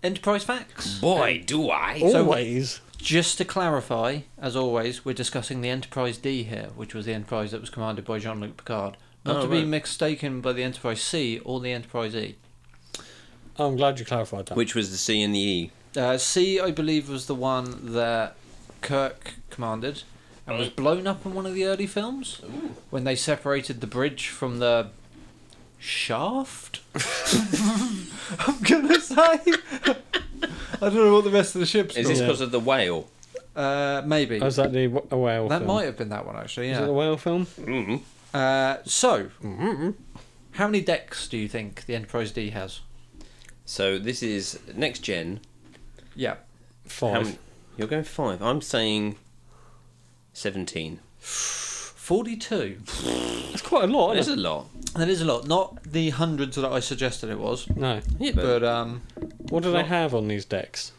[SPEAKER 2] enterprise facts?
[SPEAKER 3] Boy, do I!
[SPEAKER 2] So-
[SPEAKER 1] Always.
[SPEAKER 2] Just to clarify, as always, we're discussing the Enterprise D here, which was the Enterprise that was commanded by Jean Luc Picard. Not
[SPEAKER 3] Oh,
[SPEAKER 2] to be
[SPEAKER 3] right.
[SPEAKER 2] mistaken by the Enterprise C or the Enterprise E.
[SPEAKER 1] I'm glad you clarified that.
[SPEAKER 3] Which was the C and the E?
[SPEAKER 2] Uh, C, I believe, was the one that Kirk commanded and was blown up in one of the early films when they separated the bridge from the shaft. I'm gonna say. I don't know what the rest of the ship's
[SPEAKER 3] Is
[SPEAKER 2] called.
[SPEAKER 3] this
[SPEAKER 1] Yeah.
[SPEAKER 3] because of the whale?
[SPEAKER 2] Uh, maybe.
[SPEAKER 1] Oh, is that the wh- a whale
[SPEAKER 2] that
[SPEAKER 1] film?
[SPEAKER 2] might have been that one, actually.
[SPEAKER 1] Is
[SPEAKER 2] Yeah.
[SPEAKER 1] it the whale film?
[SPEAKER 3] Mm.
[SPEAKER 2] Uh, so,
[SPEAKER 3] Mm-hmm.
[SPEAKER 2] how many decks do you think the Enterprise D has?
[SPEAKER 3] So this is next gen.
[SPEAKER 2] Yeah.
[SPEAKER 3] How
[SPEAKER 1] Five.
[SPEAKER 3] many- you're going five. I'm saying seventeen.
[SPEAKER 2] 42.
[SPEAKER 1] It's quite a lot,
[SPEAKER 3] That's
[SPEAKER 1] isn't
[SPEAKER 3] a lot.
[SPEAKER 2] That is a lot. Not the hundreds that I suggested it was,
[SPEAKER 1] it? No.
[SPEAKER 3] Yeah, but,
[SPEAKER 2] but um,
[SPEAKER 1] What do they
[SPEAKER 2] Not-
[SPEAKER 1] have on these decks?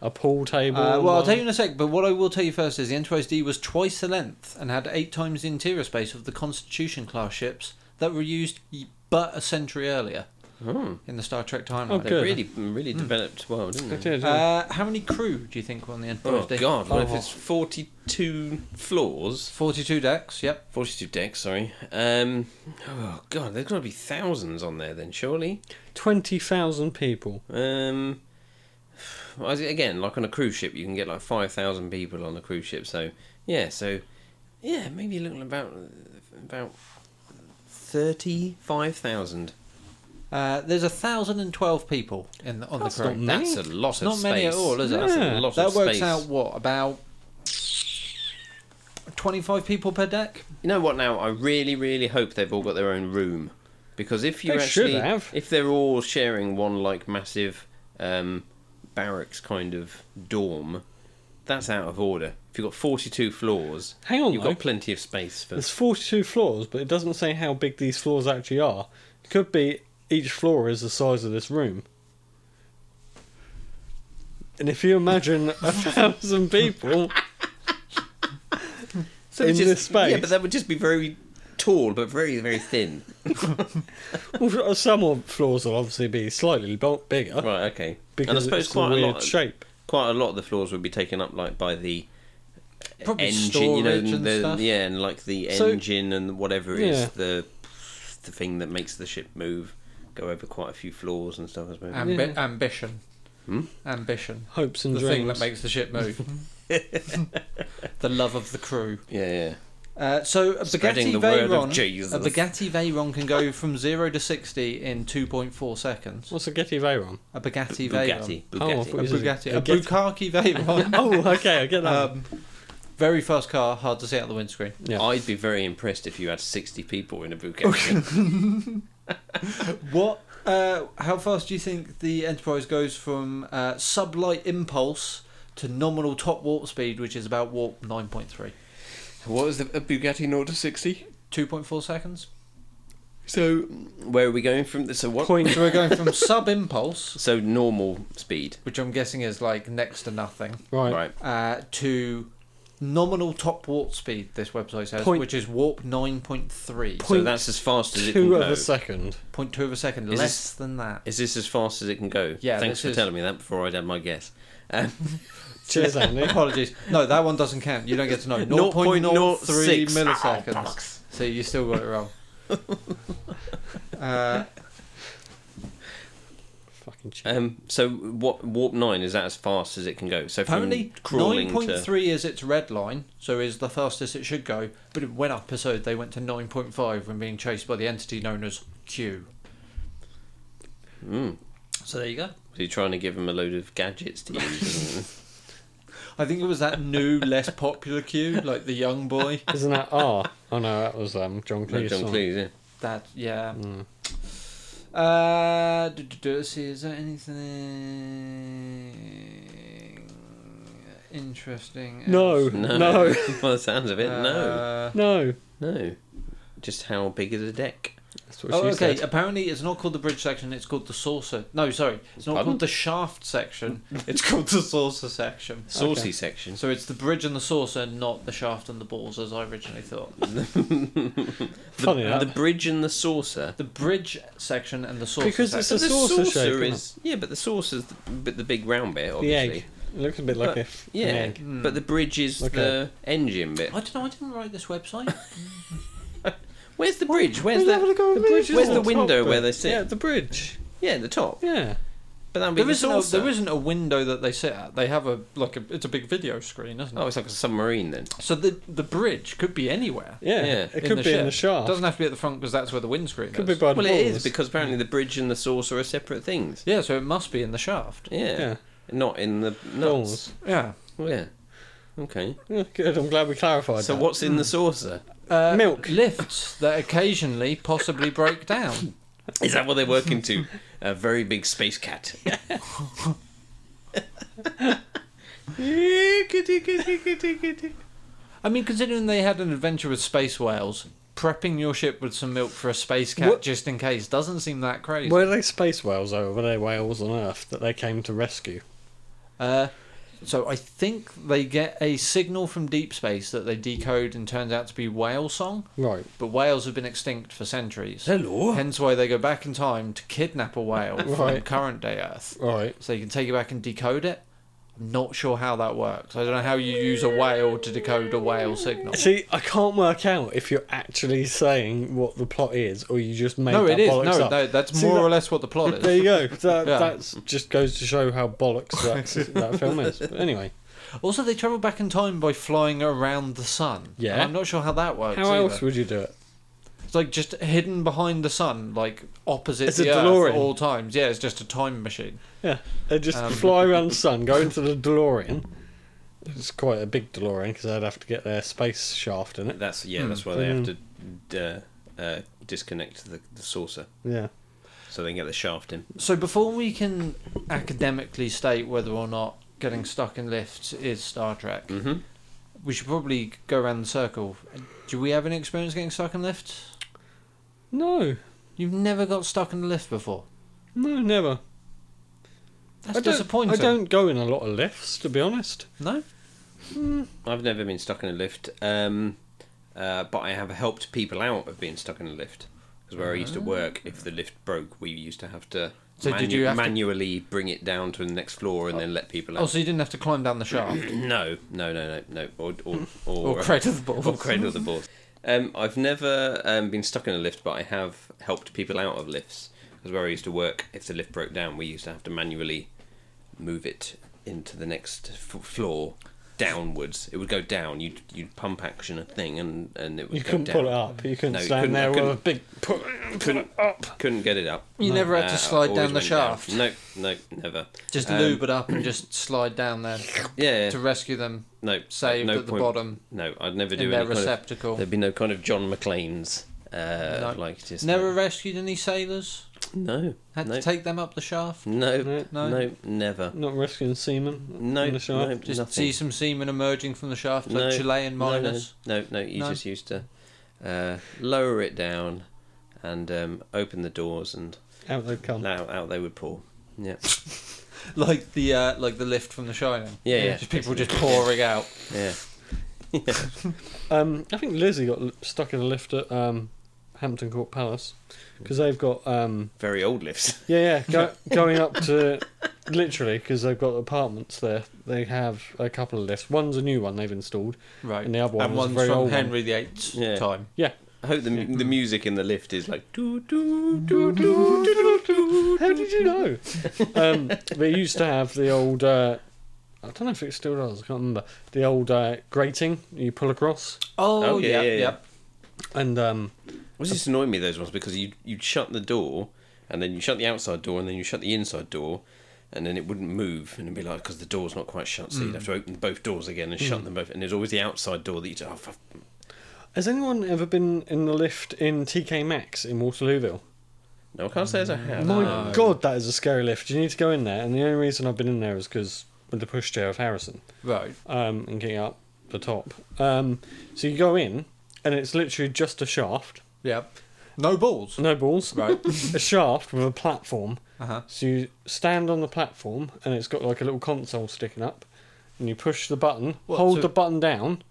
[SPEAKER 1] A pool table?
[SPEAKER 2] uh, well, I'll
[SPEAKER 1] one?
[SPEAKER 2] tell you in a sec. But what I will tell you first is the Enterprise D was twice the length and had eight times the interior space of the Constitution class ships that were used y- but a century earlier
[SPEAKER 3] Hmm.
[SPEAKER 2] in the Star Trek timeline.
[SPEAKER 1] Oh,
[SPEAKER 3] they
[SPEAKER 1] Good.
[SPEAKER 3] really, really developed well, didn't
[SPEAKER 1] It
[SPEAKER 3] they?
[SPEAKER 1] did, yeah.
[SPEAKER 2] Uh, how many crew do you think were on the Enterprise
[SPEAKER 3] Oh
[SPEAKER 2] D?
[SPEAKER 3] God! What if
[SPEAKER 1] Oh.
[SPEAKER 3] it's forty-two floors,
[SPEAKER 2] 42 decks, yep.
[SPEAKER 3] forty-two decks? Sorry. Um, oh God, there's got to be thousands on there then, surely.
[SPEAKER 1] 20,000 people.
[SPEAKER 3] Um, well, is it again, like on a cruise ship, you can get like five thousand people on a cruise ship. So yeah, so yeah, maybe look about about thirty-five thousand.
[SPEAKER 2] Uh, there's 1,012 people in the, on
[SPEAKER 1] That's
[SPEAKER 2] the crew.
[SPEAKER 1] not Many?
[SPEAKER 3] That's a lot
[SPEAKER 2] It's
[SPEAKER 3] of
[SPEAKER 2] not
[SPEAKER 3] space.
[SPEAKER 2] many at all, is it?
[SPEAKER 3] That's
[SPEAKER 1] Yeah.
[SPEAKER 3] a lot
[SPEAKER 2] that
[SPEAKER 3] of
[SPEAKER 2] works
[SPEAKER 3] space.
[SPEAKER 2] out what about 25 people per deck
[SPEAKER 3] You know what? Now I really, really hope they've all got their own room, because if you
[SPEAKER 1] They should
[SPEAKER 3] actually,
[SPEAKER 1] have.
[SPEAKER 3] if they're all sharing one like massive um, barracks kind of dorm, that's out of order. If you've got forty-two floors,
[SPEAKER 1] Hang on,
[SPEAKER 3] you've
[SPEAKER 1] though.
[SPEAKER 3] got plenty of space for.
[SPEAKER 1] There's 42 floors, but it doesn't say how big these floors actually are. It could be each floor is the size of this room. And if you imagine a thousand people,
[SPEAKER 3] So
[SPEAKER 1] in
[SPEAKER 3] it's just-
[SPEAKER 1] this space.
[SPEAKER 3] Yeah, but that would just be very tall, but very, very thin.
[SPEAKER 1] well, some of floors will obviously be slightly bo- bigger
[SPEAKER 3] right. Okay. and I
[SPEAKER 1] because
[SPEAKER 3] suppose
[SPEAKER 1] it's a
[SPEAKER 3] quite a,
[SPEAKER 1] weird
[SPEAKER 3] lot,
[SPEAKER 1] shape.
[SPEAKER 3] quite a lot of the floors would be taken up like by the
[SPEAKER 2] Probably
[SPEAKER 3] engine, you know,
[SPEAKER 2] storage and
[SPEAKER 3] the,
[SPEAKER 2] stuff.
[SPEAKER 3] yeah, and like the
[SPEAKER 1] So-
[SPEAKER 3] engine and whatever is
[SPEAKER 1] Yeah.
[SPEAKER 3] the the thing that makes the ship move, go over quite a few floors and stuff. I suppose.
[SPEAKER 2] Ambi- ambition
[SPEAKER 3] Hmm?
[SPEAKER 2] ambition
[SPEAKER 1] Hopes and
[SPEAKER 2] the
[SPEAKER 1] dreams.
[SPEAKER 2] thing that makes the ship move the love of the crew
[SPEAKER 3] yeah, yeah.
[SPEAKER 2] uh, so a
[SPEAKER 3] Spreading
[SPEAKER 2] Bugatti
[SPEAKER 3] the word of
[SPEAKER 2] Veyron
[SPEAKER 3] Jesus.
[SPEAKER 2] a Bugatti Veyron can go from 0 to 60 in 2.4 seconds
[SPEAKER 1] What's a Getty Veyron?
[SPEAKER 2] a Bugatti Veyron
[SPEAKER 3] Bugatti.
[SPEAKER 1] Oh, I thought
[SPEAKER 2] a
[SPEAKER 1] you
[SPEAKER 3] Bugatti.
[SPEAKER 1] said-
[SPEAKER 2] Bugatti
[SPEAKER 1] a
[SPEAKER 2] a
[SPEAKER 1] Get-
[SPEAKER 2] Bukaki Veyron
[SPEAKER 1] oh, okay, I get that.
[SPEAKER 2] um, very fast car hard to see out the windscreen
[SPEAKER 1] yeah. Oh,
[SPEAKER 3] I'd be very impressed if you had sixty people in a Bugatti.
[SPEAKER 2] What? Uh, how fast do you think the Enterprise goes from uh, sublight impulse to nominal top warp speed, which is about warp 9.3?
[SPEAKER 3] what was the a Bugatti Nord to sixty?
[SPEAKER 2] 2.4 seconds?
[SPEAKER 3] So where are we going from? So what?
[SPEAKER 1] Point
[SPEAKER 2] So we're going from sub impulse,
[SPEAKER 3] So normal speed.
[SPEAKER 2] which I'm guessing is like next to nothing,
[SPEAKER 1] right.
[SPEAKER 3] Right.
[SPEAKER 2] uh, to nominal top warp speed, this website says,
[SPEAKER 1] Point-
[SPEAKER 2] which is warp 9.3.
[SPEAKER 1] Point-
[SPEAKER 3] so that's as fast as it can
[SPEAKER 1] Two
[SPEAKER 3] go.
[SPEAKER 1] of a second.
[SPEAKER 2] 0.2 of a second,
[SPEAKER 3] Is
[SPEAKER 2] less
[SPEAKER 3] this-
[SPEAKER 2] than that.
[SPEAKER 3] Is this as fast as it can go?
[SPEAKER 2] Yeah,
[SPEAKER 3] Thanks
[SPEAKER 2] this
[SPEAKER 3] for
[SPEAKER 2] is-
[SPEAKER 3] telling me that before I'd had my guess. Um,
[SPEAKER 1] Cheers, Andy.
[SPEAKER 2] Apologies. No, that one doesn't count. You don't get to know. 0.03
[SPEAKER 3] 0.06. Ah,
[SPEAKER 2] milliseconds. So you still got it wrong. uh,
[SPEAKER 1] Fucking cheers.
[SPEAKER 3] um, so what warp nine is that as fast as it can go? So from
[SPEAKER 2] apparently,
[SPEAKER 3] crawling to
[SPEAKER 2] 9.3 is its red line, so is the fastest it should go. But it went up a so they went to 9.5 when being chased by the entity known as Q.
[SPEAKER 3] Mm.
[SPEAKER 2] So there you go.
[SPEAKER 3] Hmm, So you're trying to give him a load of gadgets to use.
[SPEAKER 2] I think it was that new, less popular Q, like the young boy.
[SPEAKER 1] Isn't that R? Oh no, that was um, John
[SPEAKER 3] No,
[SPEAKER 1] Cleese.
[SPEAKER 3] John
[SPEAKER 1] song.
[SPEAKER 3] Cleese, yeah.
[SPEAKER 2] That yeah.
[SPEAKER 3] Mm.
[SPEAKER 2] Uh, do, do, do, let's see. Is there anything interesting?
[SPEAKER 1] No.
[SPEAKER 2] else?
[SPEAKER 3] No. By the sounds of it,
[SPEAKER 2] Uh,
[SPEAKER 3] no.
[SPEAKER 1] No.
[SPEAKER 3] No. Just how big is a deck?
[SPEAKER 1] That's what
[SPEAKER 2] Oh,
[SPEAKER 1] she
[SPEAKER 2] okay.
[SPEAKER 1] said.
[SPEAKER 2] Apparently, it's not called the bridge section. It's called the saucer. No, sorry, it's not
[SPEAKER 3] Pardon?
[SPEAKER 2] called the shaft section. It's called the saucer section.
[SPEAKER 3] Saucy
[SPEAKER 1] Okay.
[SPEAKER 3] section.
[SPEAKER 2] So it's the bridge and the saucer, not the shaft and the balls, as I originally thought.
[SPEAKER 1] Funny
[SPEAKER 3] the,
[SPEAKER 1] that.
[SPEAKER 3] the bridge and the saucer.
[SPEAKER 2] The bridge section and the saucer.
[SPEAKER 1] Because it's
[SPEAKER 2] section.
[SPEAKER 1] a saucer shape, isn't
[SPEAKER 3] is yeah, but the saucer's the, but the big round bit,
[SPEAKER 1] The
[SPEAKER 3] obviously.
[SPEAKER 1] egg. It looks a bit like
[SPEAKER 3] But-
[SPEAKER 1] a f-
[SPEAKER 3] Yeah,
[SPEAKER 1] an egg.
[SPEAKER 2] Mm.
[SPEAKER 3] but the bridge is
[SPEAKER 1] Like
[SPEAKER 3] the engine bit.
[SPEAKER 2] I don't know. I didn't write this website.
[SPEAKER 3] Where's the bridge? Where's
[SPEAKER 1] We'll have a
[SPEAKER 3] the
[SPEAKER 1] look over
[SPEAKER 3] the
[SPEAKER 1] there.
[SPEAKER 3] bridge?
[SPEAKER 1] It's
[SPEAKER 3] Where's
[SPEAKER 1] on
[SPEAKER 3] the
[SPEAKER 1] top
[SPEAKER 3] window
[SPEAKER 1] bit.
[SPEAKER 3] where they sit?
[SPEAKER 1] Yeah, the bridge.
[SPEAKER 3] Yeah, the top.
[SPEAKER 1] Yeah.
[SPEAKER 3] But that would be
[SPEAKER 2] there
[SPEAKER 3] the
[SPEAKER 2] isn't. A,
[SPEAKER 3] saucer.
[SPEAKER 2] there isn't a window that they sit at. They have a like a. It's a big video screen, isn't it?
[SPEAKER 3] Oh, it's like a submarine then.
[SPEAKER 2] so the the bridge could be anywhere.
[SPEAKER 1] Yeah.
[SPEAKER 3] Yeah.
[SPEAKER 1] It could be in the shaft.
[SPEAKER 2] Doesn't have to be at the front because that's where the windscreen
[SPEAKER 1] could be
[SPEAKER 2] is.
[SPEAKER 1] by the
[SPEAKER 3] Well, it is
[SPEAKER 1] balls.
[SPEAKER 3] because apparently the bridge and the saucer are separate things.
[SPEAKER 2] yeah, so it must be in the shaft.
[SPEAKER 3] Yeah,
[SPEAKER 1] Yeah.
[SPEAKER 3] not in the nuts.
[SPEAKER 1] Balls.
[SPEAKER 2] Yeah.
[SPEAKER 3] Well, yeah. Okay.
[SPEAKER 1] Yeah, good. I'm glad we clarified.
[SPEAKER 3] So
[SPEAKER 1] that. Hmm.
[SPEAKER 3] what's in the saucer?
[SPEAKER 2] Uh,
[SPEAKER 1] Milk.
[SPEAKER 2] lifts that occasionally possibly break down.
[SPEAKER 3] Is that what they're working to? A very big space cat.
[SPEAKER 2] I mean, considering they had an adventure with space whales, prepping your ship with some milk for a space cat
[SPEAKER 1] What-
[SPEAKER 2] just in case doesn't seem that crazy.
[SPEAKER 1] Were they space whales though? or Were they whales on Earth that they came to rescue?
[SPEAKER 2] Uh, so I think they get a signal from deep space that they decode and turns out to be whale song.
[SPEAKER 1] Right.
[SPEAKER 2] But whales have been extinct for centuries.
[SPEAKER 3] Hello.
[SPEAKER 2] Hence why they go back in time to kidnap a whale from
[SPEAKER 1] Right.
[SPEAKER 2] current day Earth.
[SPEAKER 1] Right.
[SPEAKER 2] So you can take it back and decode it. I'm not sure how that works. I don't know how you use a whale to decode a whale signal.
[SPEAKER 1] See, I can't work out if you're actually saying what the plot is, or you just made
[SPEAKER 2] No,
[SPEAKER 1] that
[SPEAKER 2] it is. No,
[SPEAKER 1] bollocks up.
[SPEAKER 2] no, that's
[SPEAKER 1] See
[SPEAKER 2] more or
[SPEAKER 1] that-
[SPEAKER 2] less what the plot
[SPEAKER 1] There you
[SPEAKER 2] is.
[SPEAKER 1] go. That
[SPEAKER 2] Yeah.
[SPEAKER 1] that's just goes to show how bollocks that that film is. But anyway,
[SPEAKER 2] Also, they travel back in time by flying around the sun.
[SPEAKER 1] Yeah.
[SPEAKER 2] And I'm not sure how that works.
[SPEAKER 1] how
[SPEAKER 2] either.
[SPEAKER 1] else would you do it?
[SPEAKER 2] It's like just hidden behind the sun, like opposite
[SPEAKER 1] It's a
[SPEAKER 2] the earth
[SPEAKER 1] DeLorean.
[SPEAKER 2] at all times. Yeah, it's just a time machine.
[SPEAKER 1] Yeah, they just
[SPEAKER 2] Um,
[SPEAKER 1] fly around the sun, go into the DeLorean. It's quite a big DeLorean because they'd have to get their space shaft in it.
[SPEAKER 3] That's yeah. That's why they
[SPEAKER 1] Hmm.
[SPEAKER 3] have to uh, uh, disconnect the, the saucer
[SPEAKER 1] Yeah.
[SPEAKER 3] so they can get the shaft in.
[SPEAKER 2] So before we can academically state whether or not getting stuck in lifts is Star Trek,
[SPEAKER 3] Mhm.
[SPEAKER 2] we should probably go around the circle. Do we have any experience getting stuck in lifts?
[SPEAKER 1] No,
[SPEAKER 2] You've never got stuck in a lift before.
[SPEAKER 1] no, never.
[SPEAKER 2] That's
[SPEAKER 1] I don't,
[SPEAKER 2] disappointing.
[SPEAKER 1] I don't go in a lot of lifts, to be honest.
[SPEAKER 2] No.
[SPEAKER 3] I've never been stuck in a lift, um, uh, but I have helped people out of being stuck in a lift. Because where I used to work, if the lift broke, we used to have to
[SPEAKER 2] Ah. So did you have to-
[SPEAKER 3] manually bring it down to the next floor and then let people out.
[SPEAKER 2] Oh, so you didn't have to climb down the shaft
[SPEAKER 3] no, no, no, no, no, or or
[SPEAKER 2] or
[SPEAKER 3] or, uh,
[SPEAKER 2] cradle the ball.
[SPEAKER 3] or cradle the balls. Um, I've never um, been stuck in a lift, but I have helped people out of lifts. Because where I used to work, if the lift broke down, we used to have to manually move it into the next f- floor downwards. It would go down. You'd you'd pump action a thing, and and it would
[SPEAKER 1] You
[SPEAKER 3] go
[SPEAKER 1] couldn't
[SPEAKER 3] down.
[SPEAKER 1] pull it up. You couldn't
[SPEAKER 3] No, you
[SPEAKER 1] stand
[SPEAKER 3] couldn't- I
[SPEAKER 1] there with a
[SPEAKER 3] couldn't-
[SPEAKER 1] big pull, pull it
[SPEAKER 3] couldn't-
[SPEAKER 1] up.
[SPEAKER 3] Couldn't get it up.
[SPEAKER 2] You never had to
[SPEAKER 3] Uh,
[SPEAKER 2] slide
[SPEAKER 3] always
[SPEAKER 2] down the
[SPEAKER 3] went down.
[SPEAKER 2] shaft.
[SPEAKER 3] No, no, never.
[SPEAKER 2] Just
[SPEAKER 3] Um,
[SPEAKER 2] lube it up and just slide down there
[SPEAKER 3] Yeah,
[SPEAKER 2] to rescue them
[SPEAKER 3] no,
[SPEAKER 2] saved
[SPEAKER 3] no
[SPEAKER 2] at the
[SPEAKER 3] point.
[SPEAKER 2] bottom
[SPEAKER 3] No, I'd never
[SPEAKER 2] in
[SPEAKER 3] do any
[SPEAKER 2] their
[SPEAKER 3] kind of
[SPEAKER 2] receptacle.
[SPEAKER 3] There'd be no kind of John McClane's, uh,
[SPEAKER 2] No.
[SPEAKER 3] like just
[SPEAKER 2] Never rescued any sailors.
[SPEAKER 3] No,
[SPEAKER 2] Had
[SPEAKER 3] no,
[SPEAKER 2] to take them up the shaft.
[SPEAKER 3] no,
[SPEAKER 1] No.
[SPEAKER 3] no, never.
[SPEAKER 1] Not risking semen.
[SPEAKER 3] No,
[SPEAKER 1] in the shaft.
[SPEAKER 3] no,
[SPEAKER 2] Just
[SPEAKER 3] nothing.
[SPEAKER 2] see some seamen emerging from the shaft, like
[SPEAKER 3] No,
[SPEAKER 2] Chilean
[SPEAKER 3] No, no,
[SPEAKER 2] miners.
[SPEAKER 3] no, no, You
[SPEAKER 2] No.
[SPEAKER 3] just used to uh, lower it down and um, open the doors, and
[SPEAKER 1] Out they come.
[SPEAKER 3] out, out they would pour. Yeah,
[SPEAKER 2] Like the uh, like the lift from The Shining.
[SPEAKER 3] Yeah, yeah.
[SPEAKER 2] Just people just pouring out.
[SPEAKER 3] yeah.
[SPEAKER 1] Um, I think Lizzie got l- stuck in a lift at um, Hampton Court Palace because they've got um,
[SPEAKER 3] Very old lifts.
[SPEAKER 1] yeah yeah go, going up to literally because they've got apartments there. They have a couple of lifts. One's a new one they've installed,
[SPEAKER 2] Right.
[SPEAKER 1] and the other one
[SPEAKER 2] and
[SPEAKER 1] was a
[SPEAKER 2] one's
[SPEAKER 1] very
[SPEAKER 2] from
[SPEAKER 1] old one.
[SPEAKER 2] Henry VIII's
[SPEAKER 3] Yeah.
[SPEAKER 2] time.
[SPEAKER 3] I hope the the music in the lift is like doo doo doo doo doo.
[SPEAKER 1] How did you know? um, they used to have the old. Uh, I don't know if it still does. I can't remember the old uh, grating you pull across,
[SPEAKER 2] Oh,
[SPEAKER 3] Oh, yeah,
[SPEAKER 2] yeah,
[SPEAKER 3] yeah, yeah.
[SPEAKER 2] yeah.
[SPEAKER 1] and um,
[SPEAKER 3] Was just annoying me those ones because you you'd shut the door and then you shut the outside door and then you shut the inside door and then it wouldn't move, and it'd be like because the door's not quite shut, so
[SPEAKER 1] Mm.
[SPEAKER 3] you'd have to open both doors again and shut them both. And there's always the outside door that you oh, fuck.
[SPEAKER 1] Has anyone ever been in the lift in TK Maxx in Waterlooville?
[SPEAKER 3] no, I can't say as
[SPEAKER 2] Mm.
[SPEAKER 3] I have.
[SPEAKER 1] My
[SPEAKER 2] No.
[SPEAKER 1] God, that is a scary lift. You need to go in there, and the only reason I've been in there is because with the pushchair of Harrison
[SPEAKER 2] Right.
[SPEAKER 1] um, and getting up the top. Um, so you go in, and it's literally just a shaft,
[SPEAKER 2] Yeah. No balls.
[SPEAKER 1] no balls,
[SPEAKER 2] Right.
[SPEAKER 1] a shaft with a platform.
[SPEAKER 2] Uh huh.
[SPEAKER 1] So you stand on the platform, and it's got like a little console sticking up, and you push the button,
[SPEAKER 2] What,
[SPEAKER 1] hold
[SPEAKER 2] so-
[SPEAKER 1] the button down,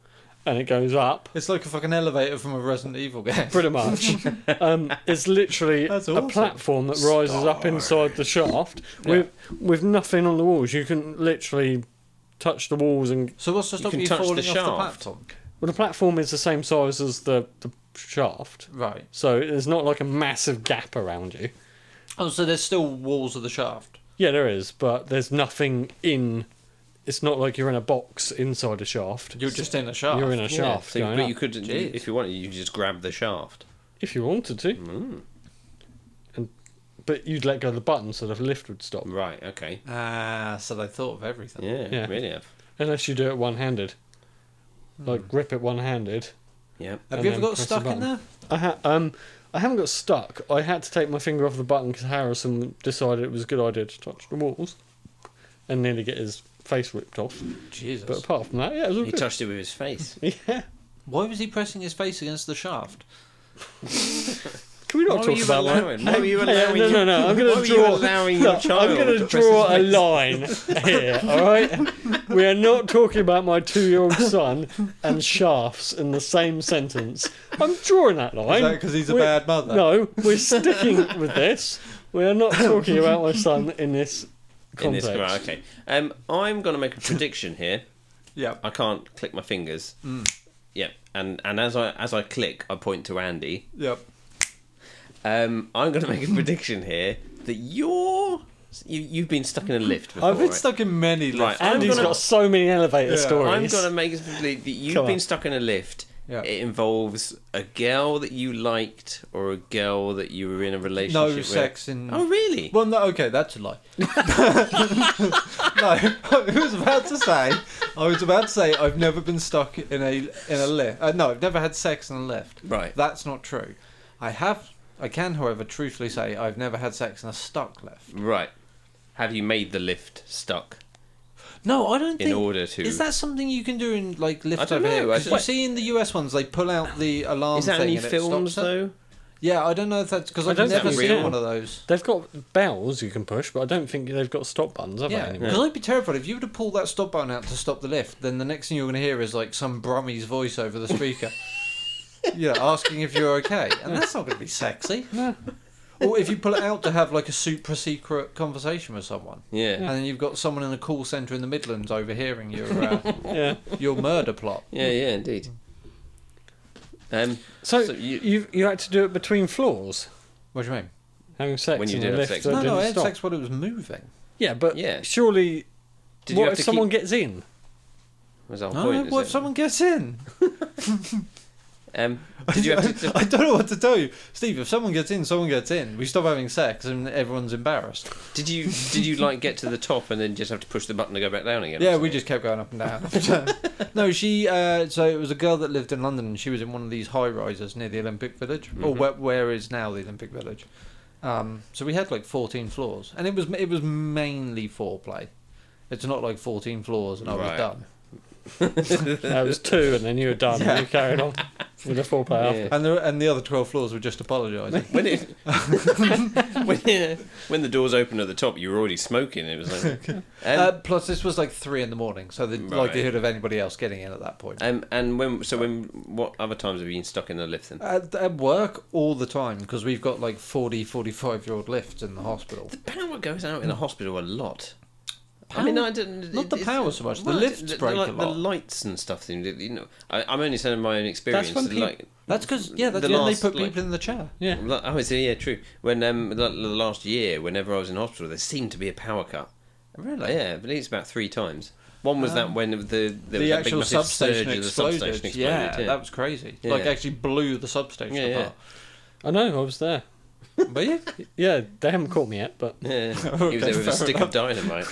[SPEAKER 1] and it goes up.
[SPEAKER 2] It's like a fucking elevator from a Resident Evil game.
[SPEAKER 1] Pretty much. um, it's literally
[SPEAKER 2] That's
[SPEAKER 1] a
[SPEAKER 2] awesome.
[SPEAKER 1] platform that rises up inside the shaft with with nothing on the walls. You can literally touch the walls, and
[SPEAKER 2] So what's to stop
[SPEAKER 3] can
[SPEAKER 2] you,
[SPEAKER 3] touch the
[SPEAKER 2] falling off the
[SPEAKER 3] shaft.
[SPEAKER 2] platform?
[SPEAKER 1] well, the platform is the same size as the, the shaft,
[SPEAKER 2] Right.
[SPEAKER 1] so there's not like a massive gap around you.
[SPEAKER 2] Oh, so there's still walls of the shaft.
[SPEAKER 1] Yeah, there is, but there's nothing in. It's not like you're in a box inside a shaft.
[SPEAKER 2] You're just in a shaft.
[SPEAKER 1] You're in a
[SPEAKER 3] Yeah,
[SPEAKER 1] shaft
[SPEAKER 3] so you-
[SPEAKER 1] going
[SPEAKER 3] but
[SPEAKER 1] up.
[SPEAKER 3] you could,
[SPEAKER 2] Jeez.
[SPEAKER 3] if you wanted, you could just grab the shaft.
[SPEAKER 1] if you wanted to,
[SPEAKER 2] Mm.
[SPEAKER 1] and but you'd let go of the button so the lift would stop,
[SPEAKER 3] Right. Okay.
[SPEAKER 2] Ah, so they thought of everything.
[SPEAKER 3] Yeah.
[SPEAKER 1] Yeah.
[SPEAKER 3] Really have.
[SPEAKER 1] unless you do it one-handed, like grip it one-handed.
[SPEAKER 3] Yeah.
[SPEAKER 2] Have
[SPEAKER 1] And
[SPEAKER 2] you ever
[SPEAKER 1] then
[SPEAKER 2] got
[SPEAKER 1] press the
[SPEAKER 2] stuck
[SPEAKER 1] button.
[SPEAKER 2] in there?
[SPEAKER 1] I ha- um, I haven't got stuck. I had to take my finger off the button because Harrison decided it was a good idea to touch the walls, and nearly get his face ripped off.
[SPEAKER 2] Jesus.
[SPEAKER 1] But apart from that, yeah, it was all
[SPEAKER 3] He
[SPEAKER 1] good.
[SPEAKER 3] touched it with his face.
[SPEAKER 1] yeah.
[SPEAKER 2] Why was he pressing his face against the shaft?
[SPEAKER 1] Can we not
[SPEAKER 3] Why were
[SPEAKER 1] talk
[SPEAKER 3] you
[SPEAKER 1] about
[SPEAKER 3] allowing-
[SPEAKER 1] that?
[SPEAKER 3] why were you
[SPEAKER 1] Hey,
[SPEAKER 3] allowing
[SPEAKER 1] no, no,
[SPEAKER 3] your-
[SPEAKER 1] no. I'm going
[SPEAKER 3] why
[SPEAKER 1] to
[SPEAKER 3] were you
[SPEAKER 1] draw.
[SPEAKER 3] allowing your
[SPEAKER 1] no,
[SPEAKER 3] child
[SPEAKER 1] I'm going
[SPEAKER 3] to
[SPEAKER 1] to
[SPEAKER 3] press
[SPEAKER 1] draw a
[SPEAKER 3] his face?
[SPEAKER 1] line here. All right. We are not talking about my two-year-old son and shafts in the same sentence. I'm drawing that line.
[SPEAKER 2] that 'cause he's a
[SPEAKER 1] We're-
[SPEAKER 2] bad mother?
[SPEAKER 1] No, we're sticking with this. We are not talking about my son in this
[SPEAKER 3] In this
[SPEAKER 1] context.
[SPEAKER 3] right, okay. Um, I'm going to make a prediction here.
[SPEAKER 2] Yeah.
[SPEAKER 3] I can't click my fingers.
[SPEAKER 2] Mm.
[SPEAKER 3] Yeah, and and as I as I click, I point to Andy.
[SPEAKER 2] Yep.
[SPEAKER 3] Um, I'm going to make a prediction here that you're you, you've been stuck in a lift before.
[SPEAKER 2] I've been
[SPEAKER 3] right?
[SPEAKER 2] stuck in many lifts.
[SPEAKER 3] I'm
[SPEAKER 1] Andy's
[SPEAKER 3] gonna-
[SPEAKER 1] got so many elevator
[SPEAKER 2] Yeah.
[SPEAKER 1] stories.
[SPEAKER 3] I'm going to make a prediction that you've
[SPEAKER 1] Come on.
[SPEAKER 3] been stuck in a lift.
[SPEAKER 2] Yeah.
[SPEAKER 3] It involves a girl that you liked or a girl that you were in a relationship
[SPEAKER 2] No
[SPEAKER 3] with.
[SPEAKER 2] sex in.
[SPEAKER 3] Oh really?
[SPEAKER 2] Well, no, okay, that's a lie. no, I was about to say, I was about to say, I've never been stuck in a in a lift. Uh, no, I've never had sex in a lift.
[SPEAKER 3] Right.
[SPEAKER 2] That's not true. I have. I can, however, truthfully say I've never had sex in a stuck lift.
[SPEAKER 3] Right. Have you made the lift stuck?
[SPEAKER 2] No, I don't
[SPEAKER 3] In
[SPEAKER 2] think.
[SPEAKER 3] order to-
[SPEAKER 2] Is that something you can do in like lift
[SPEAKER 3] I don't
[SPEAKER 2] over here?
[SPEAKER 3] know, I
[SPEAKER 2] 'Cause you
[SPEAKER 3] don't-
[SPEAKER 2] see in the US ones, they pull out the alarm
[SPEAKER 3] Is that
[SPEAKER 2] thing
[SPEAKER 3] any
[SPEAKER 2] and it
[SPEAKER 3] films
[SPEAKER 2] stops it.
[SPEAKER 3] though?
[SPEAKER 2] Yeah, I don't know if that's because
[SPEAKER 1] I
[SPEAKER 2] I've
[SPEAKER 1] don't
[SPEAKER 2] never
[SPEAKER 3] think
[SPEAKER 2] seen
[SPEAKER 3] we-
[SPEAKER 2] one of those.
[SPEAKER 1] They've got bells you can push, but I don't think they've got stop buttons, have
[SPEAKER 2] Yeah,
[SPEAKER 1] they?
[SPEAKER 2] because I'd be terrified if you were to pull that stop button out to stop the lift. Then the next thing you're going to hear is like some Brummy's voice over the speaker, you know, asking if you're okay, and that's not going to be sexy.
[SPEAKER 1] No.
[SPEAKER 2] Or if you pull it out to have like a super secret conversation with someone,
[SPEAKER 3] Yeah.
[SPEAKER 2] and then you've got someone in a call centre in the Midlands overhearing your uh,
[SPEAKER 1] yeah.
[SPEAKER 2] your murder plot.
[SPEAKER 3] Yeah, yeah, indeed. Um,
[SPEAKER 1] So,
[SPEAKER 3] So you-
[SPEAKER 1] you, you had to do it between floors,
[SPEAKER 2] What do you mean?
[SPEAKER 1] having sex
[SPEAKER 3] When you
[SPEAKER 1] in
[SPEAKER 3] did
[SPEAKER 1] the
[SPEAKER 3] have
[SPEAKER 1] lift.
[SPEAKER 3] sex.
[SPEAKER 1] that
[SPEAKER 2] no, no,
[SPEAKER 1] didn't
[SPEAKER 2] I had
[SPEAKER 1] stop.
[SPEAKER 2] sex while it was moving.
[SPEAKER 1] Yeah, but
[SPEAKER 3] Yeah.
[SPEAKER 1] surely,
[SPEAKER 3] did you
[SPEAKER 1] what
[SPEAKER 3] have
[SPEAKER 1] if
[SPEAKER 3] to
[SPEAKER 1] someone
[SPEAKER 3] keep...
[SPEAKER 1] gets in?
[SPEAKER 3] Was the whole
[SPEAKER 2] No,
[SPEAKER 3] point?
[SPEAKER 2] no,
[SPEAKER 3] is
[SPEAKER 2] what
[SPEAKER 3] it?
[SPEAKER 2] if someone gets in?
[SPEAKER 3] Um, did you have to?
[SPEAKER 2] I don't know what to tell you, Steve. If someone gets in, someone gets in. We stop having sex, and everyone's embarrassed.
[SPEAKER 3] Did you? Did you like get to the top and then just have to push the button to go back down again? or
[SPEAKER 2] Yeah, we
[SPEAKER 3] something?
[SPEAKER 2] just kept going up and down. no, she. Uh, so it was a girl that lived in London, and she was in one of these high rises near the Olympic Village,
[SPEAKER 3] Mm-hmm.
[SPEAKER 2] or where, where is now the Olympic Village. Um, so we had like fourteen floors, and it was it was mainly foreplay. It's not like fourteen floors, and I
[SPEAKER 3] Right.
[SPEAKER 2] was done.
[SPEAKER 1] That was two, and then you were done.
[SPEAKER 2] Yeah.
[SPEAKER 1] And you carried on with a four player.
[SPEAKER 3] Yeah.
[SPEAKER 2] And the and the other twelve floors were just apologising.
[SPEAKER 3] When it, when, yeah, when the doors opened at the top, you were already smoking. It was like, and,
[SPEAKER 2] uh, plus, this was like three in the morning, so the
[SPEAKER 3] Right.
[SPEAKER 2] likelihood of anybody else getting in at that point.
[SPEAKER 3] um, and when so when what other times have you been stuck in the lift then?
[SPEAKER 2] At, at work all the time because we've got like 40, 45 year old lifts in the hospital.
[SPEAKER 3] The power goes out in the hospital a lot. I mean,
[SPEAKER 2] Power?
[SPEAKER 3] I didn't.
[SPEAKER 2] Not the
[SPEAKER 3] it's-
[SPEAKER 2] power so much, the
[SPEAKER 3] well,
[SPEAKER 2] lifts
[SPEAKER 3] the,
[SPEAKER 2] break a
[SPEAKER 3] like, The
[SPEAKER 2] lot.
[SPEAKER 3] lights and stuff. You know, I, I'm only saying my own experience.
[SPEAKER 1] when
[SPEAKER 3] the
[SPEAKER 1] peop-
[SPEAKER 3] like,
[SPEAKER 2] That's because yeah, that's
[SPEAKER 3] The
[SPEAKER 2] when
[SPEAKER 3] last,
[SPEAKER 2] they put
[SPEAKER 3] like-
[SPEAKER 2] people in the chair.
[SPEAKER 1] Yeah.
[SPEAKER 3] Well, Oh, it's, yeah, true. When um, the, the last year, whenever I was in hospital, there seemed to be a power cut.
[SPEAKER 2] Really? Um,
[SPEAKER 3] Yeah, at least about three times. One was that when the the,
[SPEAKER 2] The actual substation exploded.
[SPEAKER 3] exploded.
[SPEAKER 2] Yeah, that was crazy. Like
[SPEAKER 3] Yeah.
[SPEAKER 2] actually blew the substation
[SPEAKER 3] Yeah, yeah.
[SPEAKER 2] apart.
[SPEAKER 1] I know, I was there.
[SPEAKER 2] But yeah,
[SPEAKER 1] Yeah, they haven't caught me yet, but
[SPEAKER 3] Yeah. he was there with a
[SPEAKER 2] fair
[SPEAKER 3] stick of dynamite.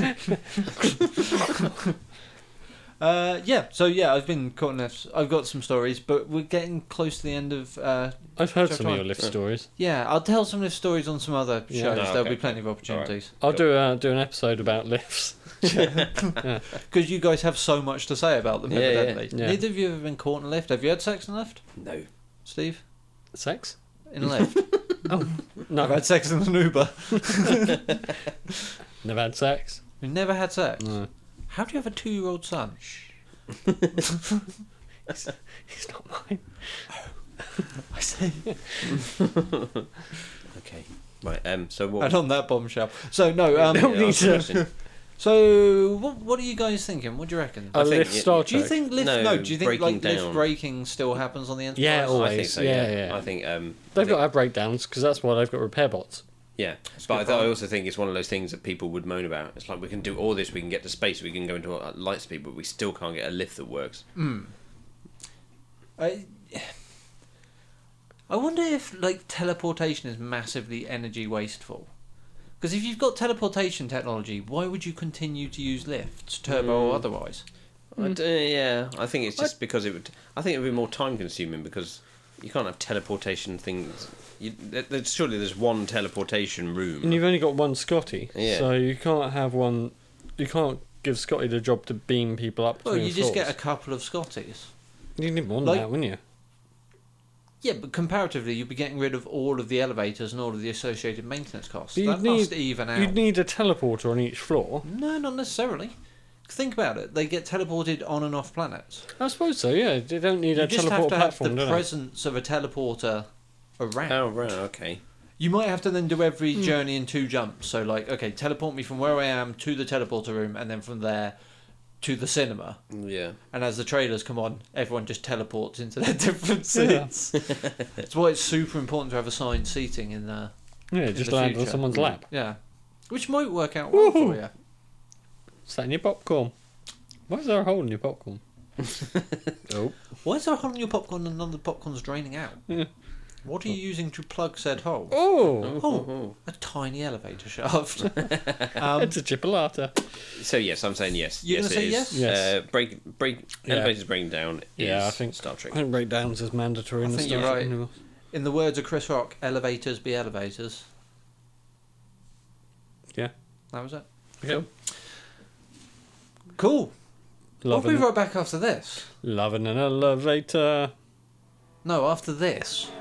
[SPEAKER 2] uh, yeah. So yeah, I've been caught in this. I've got some stories, but we're getting close to the end of. Uh,
[SPEAKER 1] I've heard
[SPEAKER 2] Check
[SPEAKER 1] some of
[SPEAKER 2] on.
[SPEAKER 1] your lift
[SPEAKER 3] Yeah.
[SPEAKER 1] stories.
[SPEAKER 2] yeah, I'll tell some of the stories on some other shows.
[SPEAKER 1] Yeah.
[SPEAKER 3] No,
[SPEAKER 2] There'll
[SPEAKER 3] okay.
[SPEAKER 2] be plenty of opportunities
[SPEAKER 1] I'll do uh, do an episode about lifts.
[SPEAKER 2] because you guys have so much to say about them.
[SPEAKER 3] Yeah, yeah.
[SPEAKER 2] evidently,
[SPEAKER 1] Yeah.
[SPEAKER 2] neither of you have ever been caught in a lift. Have you had sex in a lift,
[SPEAKER 3] no.
[SPEAKER 2] Steve?
[SPEAKER 1] Sex? Oh,
[SPEAKER 2] In a lift?
[SPEAKER 1] No,
[SPEAKER 2] I've had sex in an Uber.
[SPEAKER 1] never had sex.
[SPEAKER 2] You never had sex.
[SPEAKER 1] No,
[SPEAKER 2] How do you have a two-year-old son?
[SPEAKER 1] he's not mine.
[SPEAKER 2] I see.
[SPEAKER 3] Okay. Right. Um. So what?
[SPEAKER 2] And on that bombshell. So no.
[SPEAKER 3] Yeah,
[SPEAKER 2] Um,
[SPEAKER 1] don't need
[SPEAKER 3] ask a
[SPEAKER 1] to-
[SPEAKER 3] question.
[SPEAKER 2] so what, what are you guys thinking? What do you reckon?
[SPEAKER 1] A
[SPEAKER 3] I think
[SPEAKER 1] lift
[SPEAKER 3] it-
[SPEAKER 1] Star
[SPEAKER 2] Do you
[SPEAKER 1] Trek.
[SPEAKER 2] think lift? Uh, No.
[SPEAKER 3] No,
[SPEAKER 2] do you think
[SPEAKER 3] breaking
[SPEAKER 2] like lift
[SPEAKER 3] down.
[SPEAKER 2] braking still happens on the Enterprise?
[SPEAKER 1] Yeah,
[SPEAKER 3] I
[SPEAKER 1] always,
[SPEAKER 3] think so.
[SPEAKER 1] yeah,
[SPEAKER 3] Yeah.
[SPEAKER 1] yeah.
[SPEAKER 3] I think. Um. I
[SPEAKER 1] They've
[SPEAKER 3] think-
[SPEAKER 1] got our breakdowns because that's why they've got repair bots.
[SPEAKER 3] Yeah,
[SPEAKER 2] a good
[SPEAKER 3] but I,
[SPEAKER 2] point.
[SPEAKER 3] I also think it's one of those things that people would moan about. It's like we can do all this, we can get to space, we can go into uh, light speed, but we still can't get a lift that works.
[SPEAKER 2] I, I wonder if like teleportation is massively energy wasteful. Because if you've got teleportation technology, why would you continue to use lifts, turbo or otherwise?
[SPEAKER 3] I
[SPEAKER 1] Mm.
[SPEAKER 3] d- yeah, I think it's just because it would. I think it would be more time consuming because you can't have teleportation things. You, there, there's- surely there's one teleportation
[SPEAKER 1] And
[SPEAKER 3] room.
[SPEAKER 1] you've only got one Scotty,
[SPEAKER 3] Yeah.
[SPEAKER 1] so you can't have one. You can't give Scotty the job to beam people up.
[SPEAKER 2] Well,
[SPEAKER 1] between
[SPEAKER 2] you just
[SPEAKER 1] floors.
[SPEAKER 2] get a couple of Scotties.
[SPEAKER 1] You need more than
[SPEAKER 2] like-
[SPEAKER 1] that, wouldn't you?
[SPEAKER 2] Yeah, but comparatively, you'd be getting rid of all of the elevators and all of the associated maintenance costs.
[SPEAKER 1] But
[SPEAKER 2] That
[SPEAKER 1] you'd
[SPEAKER 2] must
[SPEAKER 1] need-
[SPEAKER 2] even out.
[SPEAKER 1] You'd need a teleporter on each floor.
[SPEAKER 2] No, not necessarily. Think about it. They get teleported on and off planets.
[SPEAKER 1] I suppose so. Yeah, they don't need
[SPEAKER 2] you
[SPEAKER 1] a
[SPEAKER 2] just
[SPEAKER 1] teleport
[SPEAKER 2] have to
[SPEAKER 1] platform,
[SPEAKER 2] have the
[SPEAKER 1] do they?
[SPEAKER 2] presence of a teleporter around.
[SPEAKER 3] Oh right, okay.
[SPEAKER 2] You might have to then do every
[SPEAKER 1] Hmm.
[SPEAKER 2] journey in two jumps. So, like, okay, teleport me from where I am to the teleporter room, and then from there to the cinema.
[SPEAKER 3] Yeah,
[SPEAKER 2] And as the trailers come on, everyone just teleports into their different seats. That's why it's super important to have assigned seating in there.
[SPEAKER 1] Yeah,
[SPEAKER 2] in
[SPEAKER 1] just
[SPEAKER 2] the
[SPEAKER 1] land on
[SPEAKER 2] future.
[SPEAKER 1] someone's
[SPEAKER 3] Mm.
[SPEAKER 1] lap.
[SPEAKER 2] Yeah, which might work out well for
[SPEAKER 1] Woohoo.
[SPEAKER 2] you.
[SPEAKER 1] Is that in your popcorn? Why is there a hole in your popcorn? oh.
[SPEAKER 2] Why is there a hole in your popcorn and none of the popcorn's draining out? What are you using to plug said hole?
[SPEAKER 1] Oh,
[SPEAKER 2] Oh, a tiny elevator shaft. um,
[SPEAKER 1] it's a chipolata.
[SPEAKER 3] So yes, I'm saying yes.
[SPEAKER 2] You're
[SPEAKER 3] yes,
[SPEAKER 2] gonna say
[SPEAKER 3] it is.
[SPEAKER 2] yes?
[SPEAKER 1] Yes.
[SPEAKER 3] Uh, break, break.
[SPEAKER 1] Yeah.
[SPEAKER 3] Elevators breaking down. Is
[SPEAKER 1] Yeah, I think-
[SPEAKER 3] Star
[SPEAKER 1] I
[SPEAKER 3] Trek.
[SPEAKER 1] think breakdowns is mandatory in
[SPEAKER 2] I
[SPEAKER 1] the
[SPEAKER 2] think
[SPEAKER 1] Star
[SPEAKER 2] you're
[SPEAKER 1] Trek
[SPEAKER 2] right.
[SPEAKER 1] anymore.
[SPEAKER 2] in the words of Chris Rock, elevators be elevators.
[SPEAKER 1] Yeah.
[SPEAKER 2] That was it.
[SPEAKER 1] Okay.
[SPEAKER 2] Cool. we'll
[SPEAKER 1] Loving,
[SPEAKER 2] be right back after this.
[SPEAKER 1] loving an elevator.
[SPEAKER 2] No, after this.